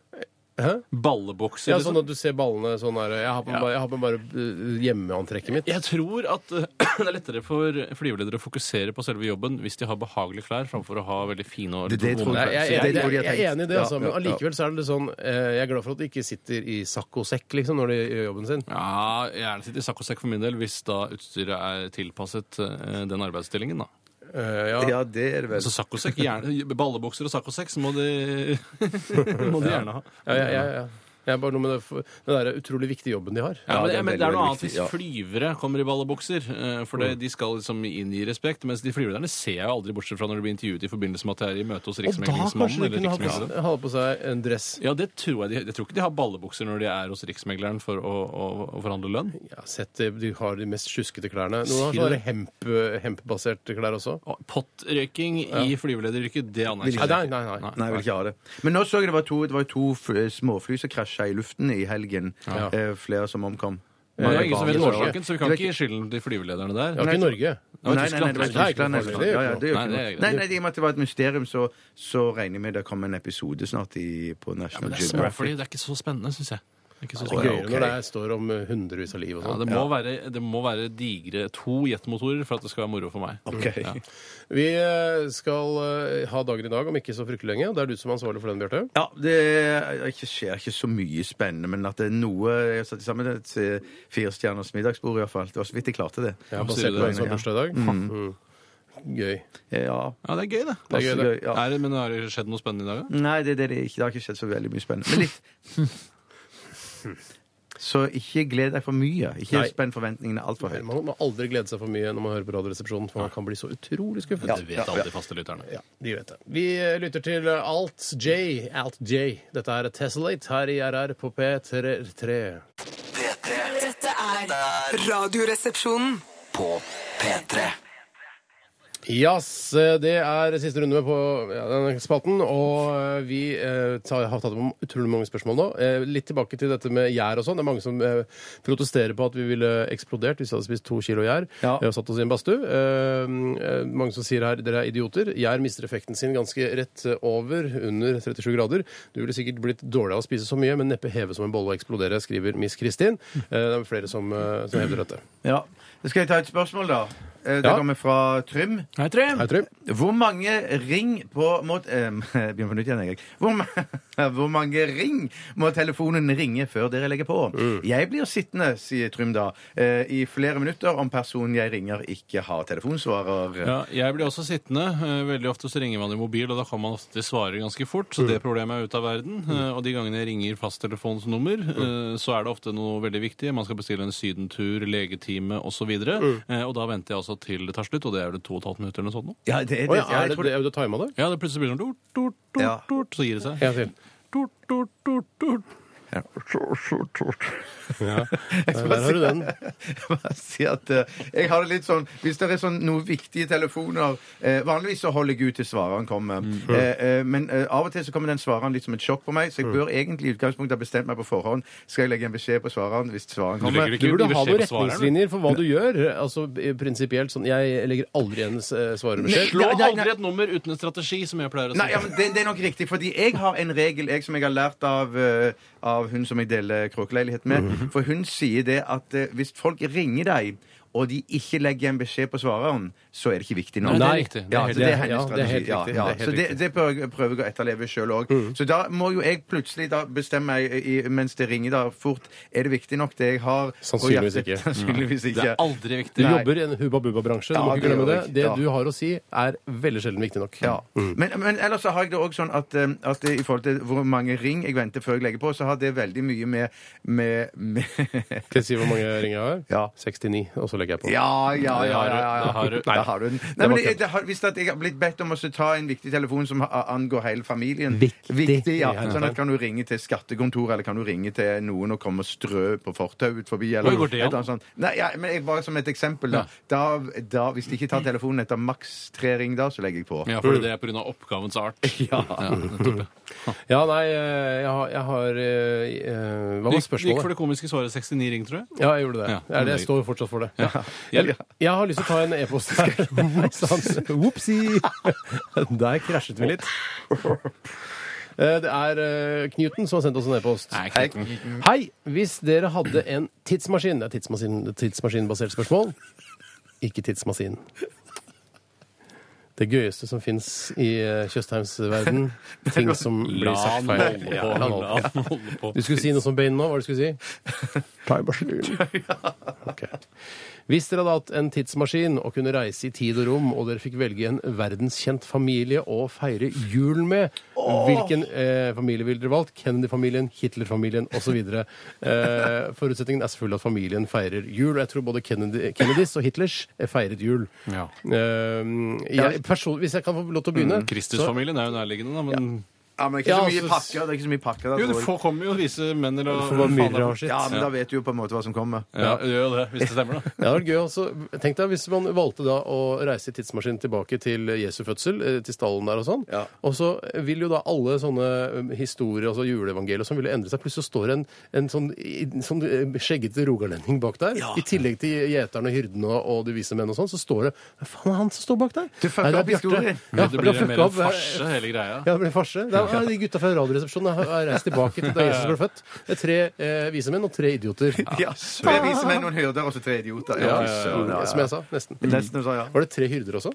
Speaker 2: Hæ?
Speaker 3: Ballebukse,
Speaker 2: Ja, sånn
Speaker 3: liksom?
Speaker 2: at du ser ballene sånn her. Jeg har på meg
Speaker 3: Ja.
Speaker 2: bare, jeg har på meg bare eh, hjemmeantrekket mitt.
Speaker 3: Jeg tror at eh, det er lettere for flyveledere å fokusere på selve jobben hvis de har behagelige klær, framfor å ha veldig fine og
Speaker 4: Det- det tror
Speaker 2: Nei,
Speaker 3: vonde klær.
Speaker 2: jeg, jeg,
Speaker 4: Så
Speaker 2: jeg,
Speaker 4: det
Speaker 2: jeg,
Speaker 4: tror de har
Speaker 2: er
Speaker 4: tenkt.
Speaker 2: enig i det,
Speaker 4: Ja,
Speaker 2: altså, men
Speaker 4: ja, ja.
Speaker 2: allikevel så er det litt sånn eh, Jeg er glad for at de ikke sitter i sakk og sekk liksom, når de gjør jobben sin.
Speaker 3: Ja, gjerne sitt i sakk og sekk for min del, hvis da utstyret er tilpasset eh, den arbeidsstillingen, da.
Speaker 2: Eh, ja.
Speaker 4: Ja, det er det vel.
Speaker 3: Altså saccosekk, gjerne ballebukser og saccosekk, så må de, må de gjerne ha.
Speaker 2: Ja, ja, ja, ja. Jeg er bare noe med det, for- den der utrolig viktige jobben de har.
Speaker 3: Ja, men,
Speaker 4: det er
Speaker 3: det, men det er
Speaker 4: veldig,
Speaker 3: noe
Speaker 4: veldig
Speaker 3: annet hvis
Speaker 4: viktig, ja.
Speaker 3: flyvere kommer i ballebukser. eh, For det,
Speaker 2: Mm.
Speaker 3: de skal liksom inngi respekt. Mens de flyverne ser jeg jo aldri, bortsett fra når de blir intervjuet i forbindelse med at jeg er i møte hos
Speaker 2: Og da kanskje
Speaker 3: Riksmeglingsmannen.
Speaker 2: de
Speaker 3: eller
Speaker 2: kunne ha på,
Speaker 3: riksmegleren.
Speaker 2: ha på seg en dress.
Speaker 3: Ja, det tror jeg, de, jeg tror ikke de har ballebukser når de er hos Riksmegleren for å, å, å forhandle lønn.
Speaker 2: Ja, sett, det, de har de mest sjuskete klærne. Noen har
Speaker 3: Sier
Speaker 2: sånne
Speaker 3: du det?
Speaker 2: hemp, hempbaserte klær også.
Speaker 3: Og Pottrøyking i flyvelederyrket, det
Speaker 2: Nei,
Speaker 3: anerkjenner
Speaker 2: nei,
Speaker 3: jeg ikke.
Speaker 2: nei. nei.
Speaker 4: Nei, jeg vil ikke ha det. Men nå så jeg det var to, det var jo to f- småfly som krasja i luften i helgen.
Speaker 2: Ja.
Speaker 4: Eh, flere som omkom.
Speaker 3: Det er ingen som vet
Speaker 2: Mange barn.
Speaker 3: årsaken, så vi kan ikke gi skylden til flyvelederne der.
Speaker 2: Det var ikke i Norge.
Speaker 3: Det var
Speaker 4: Nei, nei, nei,
Speaker 3: Tyskland.
Speaker 4: det
Speaker 2: Nei, det er
Speaker 4: var
Speaker 2: ikke
Speaker 4: Tyskland.
Speaker 2: noe farlig. Det gjør
Speaker 4: Ja, ja,
Speaker 2: ikke
Speaker 4: det gjør
Speaker 3: noe.
Speaker 4: ikke
Speaker 3: Nei, det
Speaker 4: noe.
Speaker 3: er-
Speaker 4: Nei, nei, I og med at det var et mysterium, så, så regner jeg med det kommer en episode snart i, på
Speaker 3: Ja, men
Speaker 4: National
Speaker 3: det er
Speaker 4: Geographic.
Speaker 3: småfly. Det er ikke så spennende, syns jeg. Det er ikke så
Speaker 4: Å,
Speaker 3: spennende.
Speaker 4: ja,
Speaker 2: Gøyere
Speaker 4: ok.
Speaker 2: når det er- står om eh, hundrevis av liv og
Speaker 3: Ja,
Speaker 2: sånn.
Speaker 3: det, må være, det må være digre to jetmotorer for at det skal være moro for meg.
Speaker 4: Ok.
Speaker 3: Ja.
Speaker 2: Vi eh, skal eh, ha dagen i dag om ikke så fryktelig lenge. Det er du som er ansvarlig for den, Bjarte.
Speaker 4: Ja, det er ikke, skjer ikke så mye spennende, men at det er noe Jeg har satt sammen et eh, firestjerners middagsbord, iallfall. Det var så vidt jeg klarte det.
Speaker 2: Ja, basert
Speaker 3: sier du
Speaker 2: på en
Speaker 3: det?
Speaker 2: som har bursdag i dag. Mm. Gøy.
Speaker 4: Ja,
Speaker 3: Ja, det er gøy, det.
Speaker 2: Det er
Speaker 4: passe
Speaker 2: gøy, det.
Speaker 4: gøy. Ja.
Speaker 3: Er det, men har det skjedd noe spennende i dag, da?
Speaker 4: Nei, det, det, er det, ikke, det har ikke skjedd så veldig mye spennende. Men litt Så ikke gled deg for mye. Ikke
Speaker 2: Nei.
Speaker 4: spenn forventningene altfor høyt.
Speaker 2: Man må aldri glede seg for mye når man hører på Radioresepsjonen, for man kan bli så utrolig skuffet.
Speaker 3: Det vet alle de faste lytterne.
Speaker 2: Ja, de vet det. Vi eh, lytter til Alt J. Alt J. Dette er Tessellate her i RR på P3.
Speaker 1: P3
Speaker 5: Dette er Radioresepsjonen.
Speaker 1: på P3
Speaker 2: Yes, eh, det er siste runde med på ja, denne spalten, og eh, vi eh, tar, har tatt om utrolig mange spørsmål nå. Eh, litt tilbake til dette med gjær og sånn. Det er mange som eh, protesterer på at vi ville eksplodert hvis vi hadde spist to kilo gjær
Speaker 4: Ja.
Speaker 2: eh, og satt oss i en badstue. Eh, eh, mange som sier her dere er idioter. Gjær mister effekten sin ganske rett over under 37 grader. Du ville sikkert blitt dårlig av å spise så mye, men neppe heve som en bolle og eksplodere, skriver Miss Kristin. Eh, det er flere som, eh, som hevder dette.
Speaker 4: Ja. Skal jeg ta et spørsmål, da? Eh, Det
Speaker 2: Ja.
Speaker 4: kommer fra Trym.
Speaker 3: Hei, Trym!
Speaker 2: Hei, Trym.
Speaker 4: Hvor mange ring på må, eh, Begynner på nytt igjen, jeg. Hvor, ma- hvor mange ring må telefonen ringe før dere legger på?
Speaker 2: Mm.
Speaker 4: Jeg blir sittende, sier Trym da, eh, i flere minutter om personen jeg ringer, ikke har telefonsvarer.
Speaker 3: Ja, jeg blir også sittende. Eh, Veldig ofte så ringer man i mobil, og da kan man ofte svare ganske fort. Så det problemet er ute av verden. Eh, Og de gangene jeg ringer fasttelefonsnummer, eh, så er det ofte noe veldig viktig. Man skal bestille en sydentur, legetime osv. Og da venter jeg altså til det tar slutt, og det er vel to og et halvt minutter eller noe sånt nå.
Speaker 4: Ja, det er det.
Speaker 2: Å ja,
Speaker 4: Ja,
Speaker 2: er
Speaker 4: jeg
Speaker 2: det,
Speaker 4: tror
Speaker 2: det,
Speaker 4: det.
Speaker 2: er det timet det?
Speaker 3: Ja, det plutselig begynner det tort, tort, tort,
Speaker 4: Ja.
Speaker 3: tort, så gir det seg.
Speaker 2: En til.
Speaker 3: Tort, tort, tort, tort.
Speaker 2: Der har du den.
Speaker 4: Bare si at eh, jeg har det litt sånn Hvis det er sånn noen viktige telefoner eh, Vanligvis så holder jeg ut til svareren kommer.
Speaker 2: Mm.
Speaker 4: Eh, eh, men eh, av og til så kommer den svareren litt som et sjokk på meg,
Speaker 2: Mm.
Speaker 4: så jeg bør egentlig i utgangspunktet ha bestemt meg på forhånd. Skal jeg legge en beskjed på svareren hvis svareren
Speaker 3: Du
Speaker 4: kommer?
Speaker 3: legger
Speaker 2: Du
Speaker 3: ikke
Speaker 2: burde ha
Speaker 3: beskjed
Speaker 2: noen
Speaker 3: på svareren, du.
Speaker 2: retningslinjer for hva du gjør. Altså prinsipielt sånn Jeg legger aldri igjen eh, svarebeskjed.
Speaker 3: Slå
Speaker 4: Nei, nei, nei.
Speaker 3: aldri et nummer uten en strategi, som jeg pleier å si.
Speaker 4: Nei, ja, men det, det er nok riktig, fordi jeg har en regel jeg, som jeg har lært av, eh,
Speaker 2: Mhm.
Speaker 4: av hun som jeg deler kråkeleilighet med. For hun sier det at eh, hvis folk ringer deg og de ikke legger en beskjed på svareren, så er det ikke viktig nå.
Speaker 3: Nei, det er riktig. Det er
Speaker 4: Ja,
Speaker 3: helt
Speaker 4: så det
Speaker 2: riktig.
Speaker 4: er hennes
Speaker 2: Ja, det er helt
Speaker 4: strategi. Ja,
Speaker 2: riktig.
Speaker 4: ja.
Speaker 2: Det er helt
Speaker 4: Så det,
Speaker 2: riktig.
Speaker 4: det prøver jeg- prøver jeg å etterleve sjøl òg. Så da må jo jeg plutselig da bestemme meg i, mens det ringer da fort Er det viktig nok, det jeg har? på
Speaker 2: Sannsynligvis
Speaker 4: hjertet?
Speaker 2: ikke.
Speaker 4: Sannsynligvis ikke.
Speaker 3: Det er aldri
Speaker 2: Du
Speaker 3: viktig.
Speaker 2: jobber i en hubba-bubba-bransje. Du
Speaker 4: Ja,
Speaker 2: må ikke
Speaker 4: det
Speaker 2: glemme det.
Speaker 4: gjør jeg.
Speaker 2: Det
Speaker 4: Ja.
Speaker 2: du har å si, er veldig sjelden viktig nok. Mm.
Speaker 4: Ja. Mm. Men, men ellers så har jeg det også sånn at, eh, at det, i forhold til hvor mange ring jeg venter før jeg legger på, så har det veldig mye med, med, med
Speaker 2: Skal jeg si hvor mange ringer jeg har?
Speaker 4: Ja.
Speaker 2: 69, og så legger jeg på.
Speaker 4: Ja, ja, ja. ja, ja.
Speaker 3: Det har du.
Speaker 4: Der har du den. Nei, men det, det har, hvis at jeg har blitt bedt om å så ta en viktig telefon som ha- angår hele familien
Speaker 7: Viktig.
Speaker 4: ja. Sånn at kan du ringe til skattekontoret, eller kan du ringe til noen og komme og strø på fortau ut forbi, eller
Speaker 3: Oi, går det
Speaker 4: et
Speaker 3: an?
Speaker 4: annet sånt. Nei, ja, men jeg, bare som et eksempel, da. da, da hvis de ikke tar telefonen etter maks tre ring, da, så legger jeg på.
Speaker 3: Ja, for det er pga. oppgavens art. Ja. nettopp, ja.
Speaker 2: Ja, nei, eh, jeg har, jeg har eh, eh, Hva
Speaker 3: Du
Speaker 2: var
Speaker 3: gikk, du gikk for
Speaker 2: spørsmålet?
Speaker 3: det komiske svaret 69 ring, tror jeg.
Speaker 2: Ja, jeg gjorde det.
Speaker 3: Ja,
Speaker 2: Det er det. Jeg
Speaker 3: det-
Speaker 2: står fortsatt for det.
Speaker 3: Ja.
Speaker 2: Jeg, jeg har lyst til å ta en e-post her. Opsi! Der krasjet vi litt. Eh, Det er eh, Knuten som har sendt oss en e-post.
Speaker 3: Nei, ikke sant.
Speaker 2: Hei, hvis dere hadde en tidsmaskin Det er tidsmaskin, tidsmaskinbasert spørsmål. Ikke tidsmaskin. Det gøyeste som fins i eh, Tjøstheims verden. Ting som blir
Speaker 3: La
Speaker 2: sagt
Speaker 3: han
Speaker 2: feil.
Speaker 3: holde
Speaker 2: Ja,
Speaker 3: på.
Speaker 2: la han
Speaker 3: La
Speaker 2: holde på.
Speaker 3: han holde på.
Speaker 2: Du skulle si noe som Bane nå? Hva var det du skulle si? Timemaskin. Hvis dere hadde hatt en tidsmaskin og kunne reise i tid og rom, og dere fikk velge en verdenskjent familie å feire jul med, hvilken eh, familie ville dere valgt? Kennedy-familien, Hitler-familien osv. Eh, forutsetningen er selvfølgelig at familien feirer jul. og Jeg tror både Kennedy, Kennedys og Hitlers eh, feiret jul.
Speaker 3: Ja.
Speaker 2: Eh, jeg, person, hvis jeg kan få lov til å begynne så-
Speaker 3: Kristusfamilien er jo nærliggende, da, men
Speaker 4: Ja, men det er
Speaker 2: Ja,
Speaker 4: ikke så mye
Speaker 2: altså,
Speaker 4: pakker. Det er ikke så mye pakker da,
Speaker 3: Jo, du
Speaker 4: tror jeg.
Speaker 3: får, kommer jo vise menn eller
Speaker 2: får bare myrre og skitt.
Speaker 4: Ja, men da vet du jo på en måte hva som kommer.
Speaker 3: Ja, du gjør jo det, hvis det stemmer, da.
Speaker 2: Det hadde vært gøy også. Tenk deg hvis man valgte da å reise i tidsmaskinen tilbake til Jesu fødsel, eh, til stallen der og sånn.
Speaker 4: Ja.
Speaker 2: Og så vil jo da alle sånne eh, historier, altså juleevangeliet, som ville endre seg. Plutselig så står det en, en sånn, i- sånn eh, skjeggete rogalending bak der. I tillegg til gjeterne og hyrdene og, og de vise menn og sånn, så står det Hva faen er han som står bak der?
Speaker 4: Du fucker
Speaker 2: Nei, det er
Speaker 4: opp
Speaker 2: Bjarte.
Speaker 4: historien.
Speaker 2: Ja,
Speaker 3: Det
Speaker 2: du har
Speaker 3: blir
Speaker 2: fucka
Speaker 3: mer en
Speaker 2: opp, eh,
Speaker 3: farse, hele greia.
Speaker 2: ja, det blir farse. Det er, de gutta fra Radioresepsjonen har har reist tilbake til da Jesus ble født. Det er tre eh, vise menn og tre idioter.
Speaker 4: Ja, Tre vise menn, noen hyrder og så tre idioter. Ja, fy søren, ja, Mm. ja.
Speaker 2: Som jeg sa. Nesten.
Speaker 4: Nesten sa ja.
Speaker 2: Var det tre hyrder også?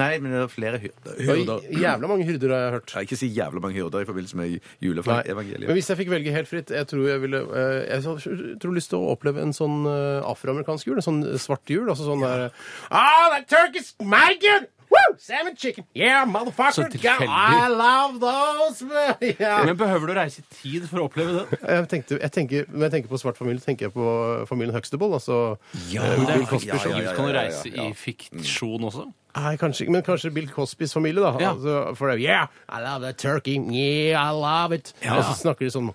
Speaker 4: Nei, men det er flere hyrder.
Speaker 2: Det var jævla mange hyrder har jeg hørt.
Speaker 4: Ja, ikke si jævla mange hyrder i forbindelse med
Speaker 2: Nei.
Speaker 4: juleevangeliet.
Speaker 2: Men hvis jeg fikk velge helt fritt, jeg tror jeg ville eh, Jeg har tror lyst til å oppleve en sånn eh, afroamerikansk jul. En sånn svart jul. Altså sånn der Oh, that turkey's my good! Woo! Salmon chicken! Yeah, motherfucker!
Speaker 3: Så tilfeldig.
Speaker 2: Yeah, I love those! Yeah.
Speaker 3: Men behøver du å reise i tid for å oppleve det?
Speaker 2: Jeg tenkte, jeg tenker, når jeg tenker på svart familie, tenker jeg på eh, familien Huxtable. Altså eh,
Speaker 3: Det er
Speaker 2: Bill Cosby.
Speaker 3: faktisk
Speaker 4: ja, ja, ja,
Speaker 3: Kan du
Speaker 4: ja,
Speaker 3: reise
Speaker 4: ja.
Speaker 3: i fiksjon også?
Speaker 2: Nei, kanskje ikke, men kanskje Bill Cosbys familie, da.
Speaker 3: Ja.
Speaker 2: Altså, for det, yeah, I love that turkey. Yeah, I love it. Og så snakker de sånn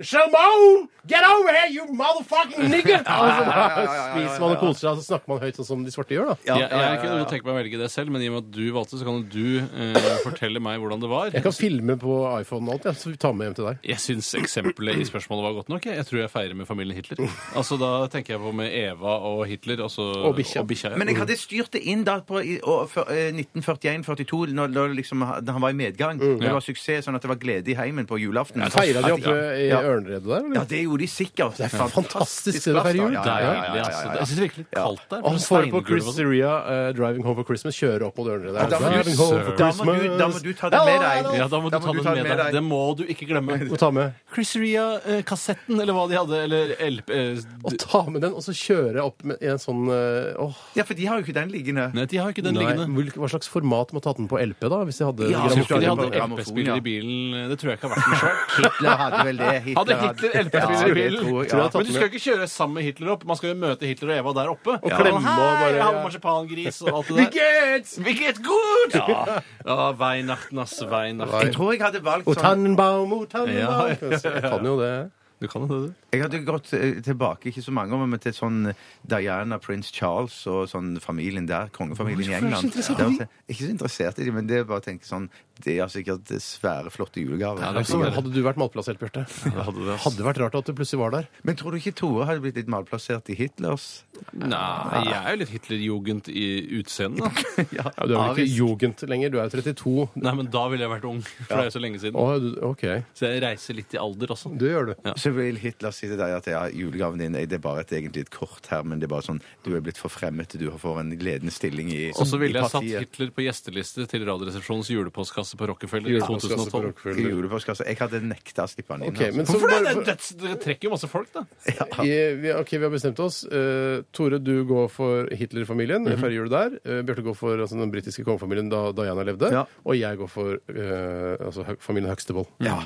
Speaker 2: Shalmone! Get over here, you motherfucking nigger! Altså, spiser man og koser seg, og så snakker man høyt, sånn som de svarte gjør, da.
Speaker 3: Jeg, jeg kunne godt tenke meg å velge det selv, men i og med at du valgte, så kan du eh, fortelle meg hvordan det var.
Speaker 2: Jeg kan filme på iPhone og alt, ja, så vi tar med hjem til deg.
Speaker 3: Jeg syns eksempelet i spørsmålet var godt nok. Jeg Jeg tror jeg feirer med familien Hitler. Altså, Da tenker jeg på med Eva og Hitler. Altså,
Speaker 2: Og bikkja.
Speaker 3: ja.
Speaker 4: Men jeg hadde styrt det inn da på i- og for- eh, 1941-42, når, når liksom, da han var i medgang. Det var suksess, sånn at det var glede i heimen på julaften.
Speaker 2: Feira de
Speaker 4: At-
Speaker 2: oppe i
Speaker 4: ja.
Speaker 2: ørneredet der,
Speaker 4: Ja,
Speaker 2: eller?
Speaker 4: det gjorde de sikkert. Det er
Speaker 2: fantastisk sted å feire jul.
Speaker 3: Det er
Speaker 2: Ja,
Speaker 3: jo det, altså. Jeg syns det er virkelig litt kaldt der.
Speaker 2: Og han får på
Speaker 3: steingulv
Speaker 2: Chris
Speaker 3: og sånn.
Speaker 2: Ria, eh, 'Driving Home for Christmas', kjører opp mot ørneredet.
Speaker 4: Ja, da må du-
Speaker 2: Driving home for
Speaker 4: da må du- da må du ta det med deg.
Speaker 2: Ja, ja, ja.
Speaker 3: Ja, da må du ta den med deg. Det må du ikke glemme.
Speaker 2: Og ta med.
Speaker 3: Chris Ria-kassetten, eller hva de hadde, eller LP eh,
Speaker 2: Og ta med den, og så kjøre opp med i en sånn eh, Åh,
Speaker 4: Ja, for de har jo ikke den liggende.
Speaker 3: Nei, de har ikke den
Speaker 2: nei,
Speaker 3: liggende.
Speaker 2: hvilk- Hva slags format må ta den på LP, da? Hvis de hadde
Speaker 4: Ja,
Speaker 3: Jeg tror ikke de
Speaker 4: på
Speaker 3: hadde
Speaker 4: grammofon, ja.
Speaker 3: LP-spiller i bilen. Det tror jeg ikke har vært noe svært.
Speaker 4: Hitler hadde vel det. Hitler
Speaker 3: Hadde Hitler LP-spiller i
Speaker 4: Ja, det
Speaker 3: bilen?
Speaker 4: tror
Speaker 2: Tror
Speaker 4: jeg,
Speaker 2: jeg
Speaker 4: ja.
Speaker 2: har tatt
Speaker 3: Men du skal jo ikke kjøre sammen med Hitler opp. Man skal jo møte Hitler og Eva der oppe. Og
Speaker 2: klemme og bare-
Speaker 3: Hei, jeg har med marsipangris og alt det der. Vi get good! Ja, ja Weihnachten, ass. Weihnachten.
Speaker 4: Jeg tror jeg hadde valgt
Speaker 2: O
Speaker 4: sånn
Speaker 2: Tannenbaum, o Tannenbaum
Speaker 3: Ja,
Speaker 2: Så jeg Kan jo det.
Speaker 3: Du kan jo det, du.
Speaker 4: Jeg hadde gått eh, tilbake ikke så mange år, men til sånn Diana, prins Charles og sånn familien der. Kongefamilien i England. Det var så- Ikke så interessert i dem, men det er bare å tenke sånn De har sikkert eh, svære, flotte julegaver. Altså,
Speaker 3: det er
Speaker 2: Så Hadde du vært matplassert, Bjarte?
Speaker 3: hadde det, ass.
Speaker 2: Hadde vært rart at du plutselig var der.
Speaker 4: Men tror du ikke Tore hadde blitt litt malplassert i Hitlers?
Speaker 3: Nei, jeg er jo litt Hitlerjugend i utseendet, da.
Speaker 4: Ja,
Speaker 2: Ja, du er vel ikke jugend lenger, du er jo 32.
Speaker 3: Nei, men da ville jeg vært ung, for det er jo så lenge siden.
Speaker 2: Å, du, OK.
Speaker 3: Så jeg reiser litt i alder også.
Speaker 2: Det gjør du.
Speaker 4: Så Så vil Hitler si til deg at ja, julegaven din eh, det er bare et, egentlig et kort her, men det er bare sånn du er blitt forfremmet, du får en ledende stilling i,
Speaker 3: Og så ville
Speaker 4: i
Speaker 3: jeg satt
Speaker 4: partiet.
Speaker 3: Hitler på gjesteliste til Radioresepsjonens julepostkasse på Rockefeller i
Speaker 2: Julepostkasse på
Speaker 3: 2012.
Speaker 4: I
Speaker 2: Rockefeller.
Speaker 4: julepostkasse. Jeg hadde nekta å slippe han inn. altså.
Speaker 2: Ok, men så
Speaker 3: Hvorfor det?
Speaker 2: bare-
Speaker 3: Det er døds- Dere trekker jo masse folk, da.
Speaker 2: I- vi, ok, vi har bestemt oss. Eh, Tore, du går for Hitler-familien.
Speaker 4: Mhm.
Speaker 2: Færre jul der. Eh, Bjarte går for altså, den britiske kongefamilien da Diana levde.
Speaker 4: Ja.
Speaker 2: Og jeg går for eh, altså, Hø- familien Huxtable.
Speaker 4: Ja.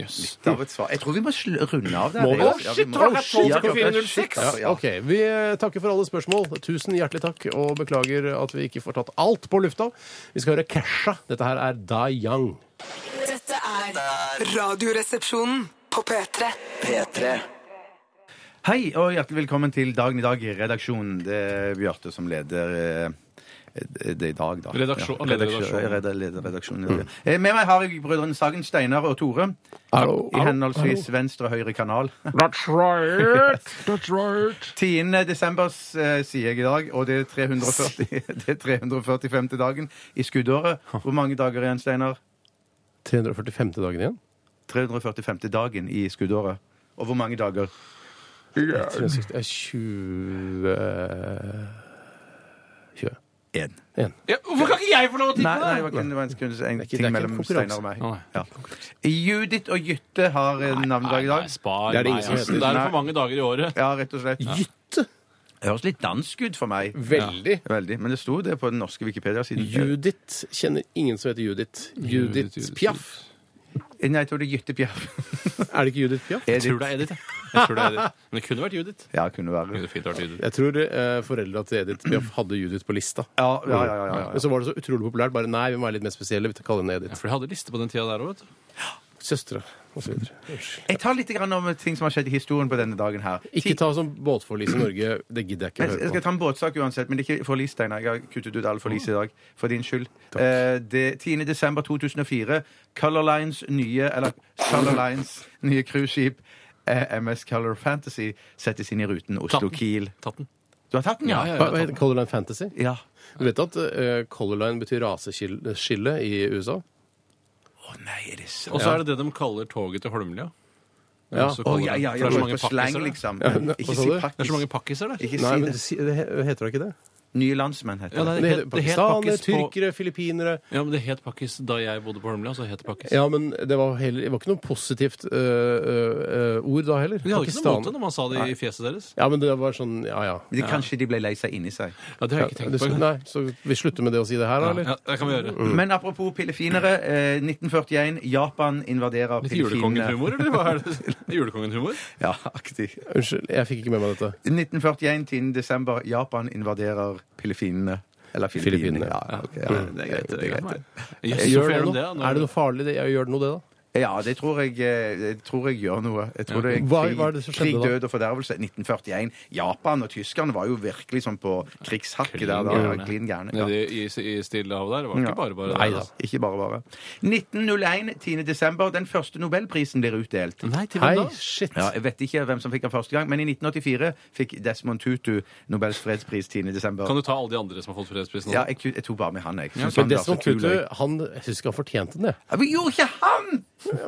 Speaker 3: Yes.
Speaker 4: Det var et svar. Jeg tror vi må sl- runde av der.
Speaker 2: Må vi det?
Speaker 4: Ja, vi
Speaker 3: Shit,
Speaker 4: må-
Speaker 3: det var rett på
Speaker 4: Ja,
Speaker 3: klokka
Speaker 4: klokka
Speaker 3: 4.06.
Speaker 4: shit, altså, ja.
Speaker 2: Ok, Vi eh, takker for alle spørsmål. Tusen hjertelig takk, og beklager at vi ikke får tatt alt på lufta. Vi skal høre Kesha. Dette her er Da Young.
Speaker 5: Dette er Radioresepsjonen på P3.
Speaker 1: P3
Speaker 4: Hei og hjertelig velkommen til Dagen i dag-redaksjonen. Det er Bjarte som leder eh, det i dag, da.
Speaker 3: Redaksjon-
Speaker 4: Ja,
Speaker 3: leder
Speaker 4: redaksjon-
Speaker 3: redaksjonen.
Speaker 4: reda- leder redaksjonen. i dag. Eh, Med meg har jeg brødrene Sagen, Steinar og Tore.
Speaker 2: Hallo,
Speaker 4: I henholdsvis venstre og høyre kanal.
Speaker 6: That's right. That's right.
Speaker 4: 10. desember eh, sier jeg i dag, og det er 340, det er 345. dagen i skuddåret. Hvor mange dager igjen, Steinar?
Speaker 2: 345. dagen igjen.
Speaker 4: 345. dagen i skuddåret. Og hvor mange dager?
Speaker 2: 360, eh, 20 20.
Speaker 4: Én.
Speaker 2: En.
Speaker 3: Ja, hvorfor kan ikke jeg få lov å
Speaker 4: Nei,
Speaker 3: tippe?
Speaker 4: nei,
Speaker 3: da?
Speaker 4: det var ikke- det var en, sekund- en
Speaker 2: ikke- det er
Speaker 4: ting
Speaker 2: ikke en
Speaker 4: mellom
Speaker 2: konkurranse.
Speaker 4: Steinar og meg.
Speaker 3: Nei.
Speaker 4: Ja. Judith og Jytte har eh, navnedag i dag.
Speaker 3: spar
Speaker 2: Det er det
Speaker 3: meg.
Speaker 2: ingen som
Speaker 3: altså.
Speaker 2: heter.
Speaker 3: Det er
Speaker 4: Nei.
Speaker 3: for mange dager i året.
Speaker 4: Ja, rett og slett.
Speaker 2: Jytte!
Speaker 4: Det høres litt dansk ut for meg.
Speaker 2: Veldig.
Speaker 4: Veldig. Men det sto det på den norske Wikipedia-siden.
Speaker 2: Judith kjenner ingen som heter Judith. Judith,
Speaker 3: Judith,
Speaker 2: Piaf.
Speaker 4: Eh, Nei, jeg tror det er Jytte Bjerv.
Speaker 2: Er det ikke Judith Piaf?
Speaker 3: Jeg tror det er Edith. jeg. jeg tror det er Edith. Men det kunne vært Judith.
Speaker 4: Ja, kunne være.
Speaker 3: Kunne fint vært Judith.
Speaker 2: Jeg tror eh, foreldra til Edith Piaf hadde Judith på lista.
Speaker 4: Ja, ja, ja, ja, ja.
Speaker 2: Men så var det så utrolig populært. Bare nei, vi må være litt mer spesielle. Vi kaller henne
Speaker 3: Ja,
Speaker 2: Edith.
Speaker 3: for de hadde liste på den tida der òg, vet du.
Speaker 2: Søstre osv.
Speaker 4: Jeg tar litt grann om ting som har skjedd i historien på denne dagen her.
Speaker 2: Ikke ta sånn båtforlis i Norge. Det gidder jeg ikke
Speaker 4: Jeg
Speaker 2: å
Speaker 4: jeg skal
Speaker 2: høre på.
Speaker 4: ta en båtsak uansett, men det er ikke forlis, Steinar. Jeg har kuttet ut all forlis i dag. For din skyld. Eh, det 10. desember 2004. Color Lines nye Eller Color Lines nye cruiseskip eh, MS Color Fantasy settes inn i ruten
Speaker 3: Tatt den.
Speaker 4: Oslo-Kiel.
Speaker 3: Tatt den.
Speaker 4: Du har tatt den, ja?
Speaker 3: Ja,
Speaker 2: Hva, hva heter Color Line Fantasy?
Speaker 4: Ja.
Speaker 2: Du vet at eh, Color Line betyr raseskille i USA?
Speaker 4: Å nei, er det sant?
Speaker 3: Og så er det det de kaller toget til Holmlia. Det er
Speaker 2: Ja.
Speaker 3: også
Speaker 4: Å
Speaker 3: Color
Speaker 4: ja, ja,
Speaker 3: Line.
Speaker 4: ja.
Speaker 3: For Det er så
Speaker 4: på
Speaker 3: mange
Speaker 4: slang,
Speaker 3: pakkiser, der.
Speaker 4: liksom.
Speaker 2: men- hva
Speaker 4: Ikke
Speaker 2: sa
Speaker 4: si
Speaker 2: du?
Speaker 3: Det er
Speaker 4: pakkis.
Speaker 3: så mange pakkiser der.
Speaker 4: Ikke
Speaker 2: Nei,
Speaker 4: si
Speaker 2: men
Speaker 4: det.
Speaker 2: det, si- det he- heter det ikke det?
Speaker 4: Nye landsmenn
Speaker 3: Ja,
Speaker 4: heter
Speaker 3: nei, det
Speaker 4: det.
Speaker 2: det heter
Speaker 3: het- det het
Speaker 2: Pakistanere,
Speaker 3: pakkis på-
Speaker 2: tyrkere, filippinere
Speaker 3: Ja, men det het pakkis da jeg bodde på Holmlia, så het det pakkis.
Speaker 2: Ja, men det var, heller, det var ikke noe positivt øh, øh, øh, ord da heller.
Speaker 3: Vi hadde ikke
Speaker 2: Pakistan-
Speaker 3: noe mot det når man sa det i fjeset deres.
Speaker 2: Ja, men det var sånn Ja, ja.
Speaker 4: Men Kanskje de ble lei seg inni seg.
Speaker 3: Ja, Det har jeg ikke tenkt på engang.
Speaker 2: Nei, så vi slutter med det å si det her, da, eller?
Speaker 3: Ja, det kan vi
Speaker 2: Mm.
Speaker 3: gjøre.
Speaker 4: Men apropos pillefinere. Eh, 1941. Japan invaderer
Speaker 3: Litt
Speaker 4: pillefinene.
Speaker 3: julekongenhumor, eller hva er det? Julekongenhumor?
Speaker 4: Ja, aktig.
Speaker 2: Unnskyld, jeg fikk ikke med meg dette.
Speaker 4: 1941, 10. desember. Japan invaderer Filippinene. Eller Filippinene.
Speaker 2: Filippinene.
Speaker 4: Ja, ok, ja, det er greit. Det er greit.
Speaker 3: Jøss, så
Speaker 2: Gjør det
Speaker 3: fair om
Speaker 2: noe?
Speaker 3: det. da. Nå
Speaker 2: Er det noe farlig? Det? Ja, Gjør det noe, det, da?
Speaker 4: Ja, det tror jeg, eh, det tror jeg gjør noe. Jeg tror det er
Speaker 2: Hva-
Speaker 4: krig,
Speaker 2: hva er det som skjedde
Speaker 4: krig,
Speaker 2: da?
Speaker 4: død og fordervelse. 1941. Japan og tyskerne var jo virkelig sånn på krigshakket der. da.
Speaker 3: Klin
Speaker 4: Ja, Klin gærne.
Speaker 3: Nede
Speaker 4: Ja.
Speaker 3: i, i Stillehavet der. Det var
Speaker 4: Ja.
Speaker 3: ikke bare bare
Speaker 2: Nei
Speaker 3: det.
Speaker 2: da.
Speaker 3: altså.
Speaker 4: Ikke bare bare. 1901, 10. desember. Den første nobelprisen blir utdelt.
Speaker 3: Nei, til
Speaker 2: Hei,
Speaker 3: hvem da?
Speaker 2: shit.
Speaker 4: Ja, jeg vet ikke hvem som fikk den første gang, men i 1984 fikk Desmond Tutu Nobels fredspris 10. desember.
Speaker 3: Kan du ta alle de andre som har fått fredsprisen? nå?
Speaker 4: Ja, jeg, jeg tok bare med han, jeg.
Speaker 2: Men
Speaker 4: Synes han var så
Speaker 2: Desmond
Speaker 4: kul,
Speaker 2: Tutu,
Speaker 4: jeg.
Speaker 2: han jeg syns ikke han fortjente den, jeg.
Speaker 4: Ja, Vi gjorde ikke han!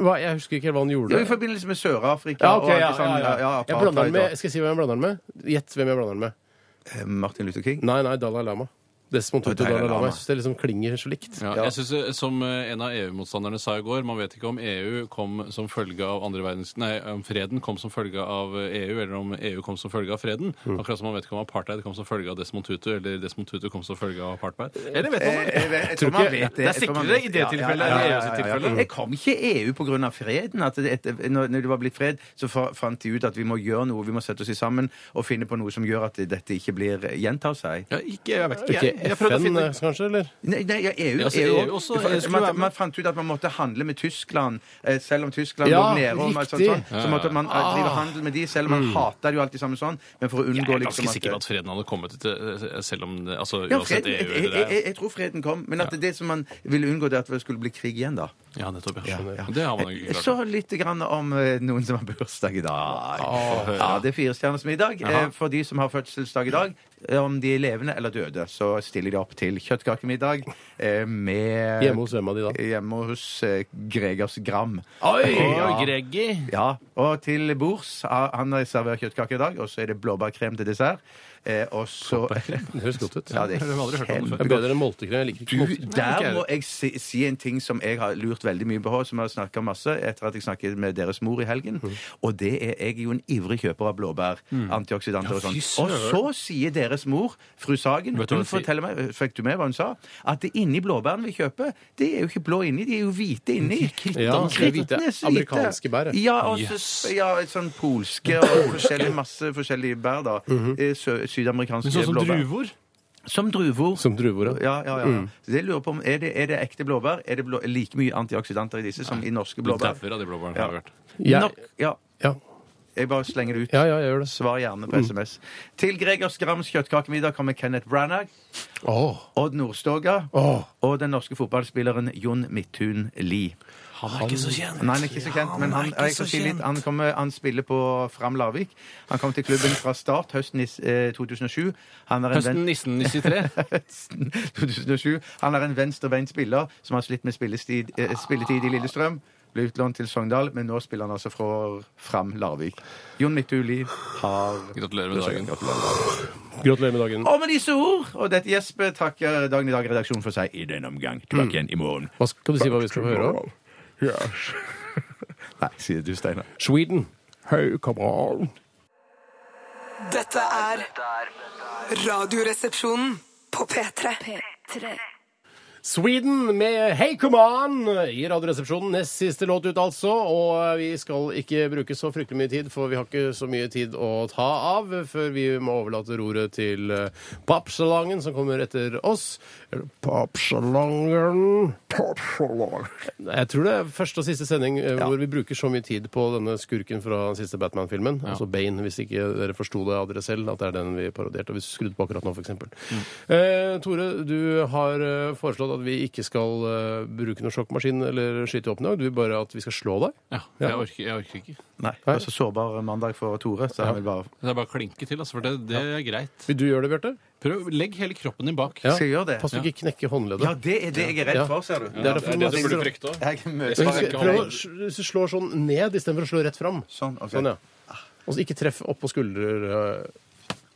Speaker 2: Hva, jeg husker ikke helt hva han
Speaker 4: Det var i
Speaker 2: gjorde.
Speaker 4: forbindelse med Sør-Afrika.
Speaker 2: Ja, ok,
Speaker 4: og
Speaker 2: ja,
Speaker 3: liksom,
Speaker 4: alt sånn,
Speaker 2: ja, ja.
Speaker 4: ja,
Speaker 2: Jeg blander den med, skal jeg si hvem jeg blander den med? Gjett hvem jeg blander den med.
Speaker 4: apartheid og- Eh, Martin Luther King.
Speaker 2: Nei, nei, Dalai Lama. Desmond Tutu og
Speaker 4: Dalai
Speaker 2: Dalai Lama.
Speaker 4: Lama.
Speaker 2: Jeg syns det liksom klinger så likt.
Speaker 3: Ja, jeg synes, eh, Som eh, en av EU-motstanderne sa i går, man vet ikke om EU kom som følge av andre verdens... Nei, om freden kom som følge av eh, EU, eller om EU kom som følge av freden. Akkurat som man vet ikke om apartheid kom som følge av Desmond Tutu, eller Desmond Tutu kom som følge av apartheid. Eller vet man
Speaker 4: Jeg,
Speaker 3: det?
Speaker 4: jeg, jeg, Eh, tror man vet det.
Speaker 3: Det er
Speaker 4: Jeg tror man
Speaker 3: sikrere
Speaker 4: vet-
Speaker 3: i det tilfellet
Speaker 4: ja, ja,
Speaker 3: enn i
Speaker 4: ja,
Speaker 3: EU sitt
Speaker 4: ja, ja.
Speaker 3: tilfelle.
Speaker 4: Jeg kom ikke i E EU pga. freden. At det, etter- når, når det var blitt fred, så fa- fant de ut at vi må gjøre noe, vi må sette oss i sammen og finne på noe som gjør at dette ikke blir eh, gjentar seg.
Speaker 3: Ja, ikke, jeg vet ikke.
Speaker 2: Ikke
Speaker 3: Jeg, jeg prøvde å
Speaker 2: FN,
Speaker 3: finne
Speaker 2: eh, kanskje? eller?
Speaker 4: Nei, nei ja, E EU,
Speaker 3: Ja, altså,
Speaker 4: EU,
Speaker 3: EU også,
Speaker 4: også.
Speaker 3: eh, skulle være
Speaker 4: man,
Speaker 3: med.
Speaker 4: man fant ut at man måtte handle med Tyskland, eh, selv om Tyskland
Speaker 2: Ja,
Speaker 4: lå nede. Og, alt sånt,
Speaker 2: riktig.
Speaker 4: sånn, så måtte man eh, drive handel med de, selv om man hater det jo alltid sammen sånn. Men for å
Speaker 3: Ah. Mm. Jeg
Speaker 4: unngå
Speaker 3: er
Speaker 4: liksom
Speaker 3: ganske sikker på at freden hadde kommet ut, eh, selv om det- altså, uansett EU
Speaker 4: jeg,
Speaker 3: eller
Speaker 4: jeg,
Speaker 3: det.
Speaker 4: jeg tror freden kom, men at det som man ville unngå, det er at det skulle bli krig igjen, da.
Speaker 3: Ja, nettopp. Ja.
Speaker 4: Ja,
Speaker 3: Skjønner.
Speaker 4: ja. Eh,
Speaker 3: Det har man jo ikke klart.
Speaker 4: Så litt grann om eh, noen som har bursdag i dag.
Speaker 3: høre.
Speaker 4: ja, det er fire stjerner som i dag.
Speaker 3: Jaha.
Speaker 4: Eh, For de som har fødselsdag i dag, eh, om de er levende eller døde, så stiller de opp til kjøttkakemiddag eh, med
Speaker 2: Hjemme hos hvem av de da?
Speaker 4: Hjemme hos eh, Gregers Gram.
Speaker 3: Oi!
Speaker 4: Ja.
Speaker 3: Greggy!
Speaker 4: Ja, og til bords. ah, Han serverer kjøttkake i dag, og så er det blåbærkrem til dessert. Eh, og så
Speaker 2: Det høres godt ut.
Speaker 4: Ja, det
Speaker 3: Det har vi aldri hørt om det
Speaker 4: er
Speaker 3: før.
Speaker 2: Det er bedre enn multekrem. Jeg liker ikke
Speaker 4: du,
Speaker 2: moltekrem.
Speaker 4: der må jeg si, si en ting som jeg har lurt veldig mye på, som jeg har snakka masse etter at jeg snakket med deres mor i helgen. Og det er jeg er jo en ivrig kjøper av blåbær, antioksidanter og
Speaker 3: Mm. Ja, fy
Speaker 4: sånn. Og
Speaker 3: søren.
Speaker 4: så sier deres mor, fru Sagen,
Speaker 3: Vet du hva hun
Speaker 4: hun
Speaker 3: sier?
Speaker 4: forteller meg, fikk du med hva hun sa? At det inni blåbærene vi kjøper, det er jo ikke blå inni, de er jo hvite inni.
Speaker 2: Ja,
Speaker 4: Krittene
Speaker 2: det er hvite
Speaker 4: er så
Speaker 2: amerikanske bær, ja.
Speaker 4: Ja, og så-
Speaker 3: Yes.
Speaker 4: ja, sånn polske og forskjellige, masse forskjellige bær, da. Eh, sø- Sydamerikanske
Speaker 3: Mhm. Men sånn som
Speaker 4: blåbær.
Speaker 3: druvor?
Speaker 4: Som druver.
Speaker 2: Som druer, ja.
Speaker 4: Ja, ja, ja.
Speaker 2: Mm.
Speaker 4: Så det lurer jeg på om, er, det, er det ekte blåbær? Er det blå, like mye antioksidanter i disse som i norske blåbær?
Speaker 3: Derfor av de blåbærene
Speaker 4: Ja.
Speaker 3: har vært.
Speaker 2: Jeg-
Speaker 4: Nok, ja.
Speaker 2: Ja.
Speaker 4: Jeg bare slenger det ut.
Speaker 2: ja, Mm. ja, jeg gjør det.
Speaker 4: Svar gjerne på SMS. Til Gregers Grams kjøttkakemiddag kommer Kenneth Branagh,
Speaker 2: Åh,
Speaker 4: Odd Nordstoga
Speaker 2: Åh.
Speaker 4: og den norske fotballspilleren Jon Midthun Lie.
Speaker 3: Han er ikke så kjent.
Speaker 4: Nei, han er ikke så kjent, men han, jeg kan si litt, han, kommer, han spiller på Fram Lavik. Han kom til klubben fra start høsten i s- eh, 2007. Han er en venn-
Speaker 3: Høsten 1993.
Speaker 4: høsten 2007. Han er en venstrebeint spiller som har slitt med spillestid, eh, spilletid i Lillestrøm. Ble utlånt til Sogndal, men nå spiller han altså fra Fram Larvik. Jon Midthuli har
Speaker 3: Gratulerer med dagen.
Speaker 2: Gratulerer med dagen.
Speaker 4: Og med disse ord, og dette Jesper takker Dagen i dag redaksjonen for seg i denne omgang. Tilbake igjen i morgen.
Speaker 2: Hva skal du si hva vi skal få høre? om?
Speaker 6: Yes.
Speaker 4: Nei, sier du, Steinar.
Speaker 2: Sweden. Hei, kameran.
Speaker 5: Dette er Radioresepsjonen på P3.
Speaker 2: Sweden med Hey Come On i Radioresepsjonen. Nest siste låt ut, altså. Og vi skal ikke bruke så fryktelig mye tid, for vi har ikke så mye tid å ta av før vi må overlate roret til eh, Pappsalongen, som kommer etter oss. Eller Pappsalongen Jeg tror det er første og siste sending eh, hvor vi bruker så mye tid på denne skurken fra den siste Batman-filmen, altså Bane, hvis ikke dere forsto det av dere selv, at det er den vi parodierte, og vi skrudde på akkurat nå, f.eks.
Speaker 4: Mm.
Speaker 2: Eh, Tore, du har eh, foreslått at vi ikke skal eh, bruke noen sjokkmaskin eller skyte opp noe, du vil bare at vi skal slå deg.
Speaker 3: Ja, jeg orker, jeg orker ikke.
Speaker 4: Nei, det var så sårbar mandag for Tore, så han vil bare
Speaker 3: Det er bare å klinke til, altså, for det, det er greit.
Speaker 2: Vil du gjøre det, Bjarte?
Speaker 3: Prøv, Legg hele kroppen din bak.
Speaker 4: Skal jeg gjøre det?
Speaker 2: Pass du ikke knekker håndleddet.
Speaker 4: Ja, det er det jeg er redd for, ser du.
Speaker 2: Det er derfor man
Speaker 3: du
Speaker 2: skal-
Speaker 3: burde frykte òg.
Speaker 4: Jeg er mye-
Speaker 2: Men husk, Prøv å sl- slå sånn ned istedenfor å slå rett fram.
Speaker 4: Sånn, ok.
Speaker 2: Sånn, ja. Og så ikke treff oppå skuldrer. eh,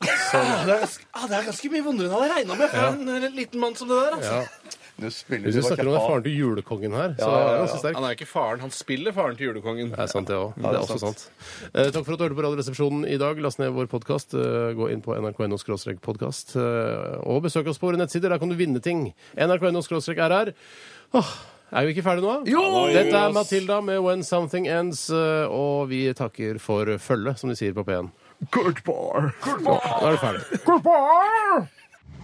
Speaker 3: Ah, det er ganske mye vondere enn jeg hadde regna med for en liten mann som det der. altså.
Speaker 2: Ja.
Speaker 4: Nå spiller
Speaker 2: Hvis
Speaker 4: du
Speaker 2: du snakker om det er faren til julekongen her, så er det ganske sterk.
Speaker 3: Han er jo ikke faren. Han spiller faren til julekongen.
Speaker 2: Det er sant, det òg. det er også sant. Eh, takk for at du hørte på Radioresepsjonen i dag. Last ned vår podkast. Eh, gå inn på nrk.no-podkast. Eh, og besøk oss på våre nettsider. Der kan du vinne ting. nrk.no-rr. Åh, er vi ikke ferdige nå? Jo! Dette er Matilda med When Something Ends. eh, Og vi takker for følget, som de sier på P1.
Speaker 6: Goodbye.
Speaker 2: Nå er du ferdig.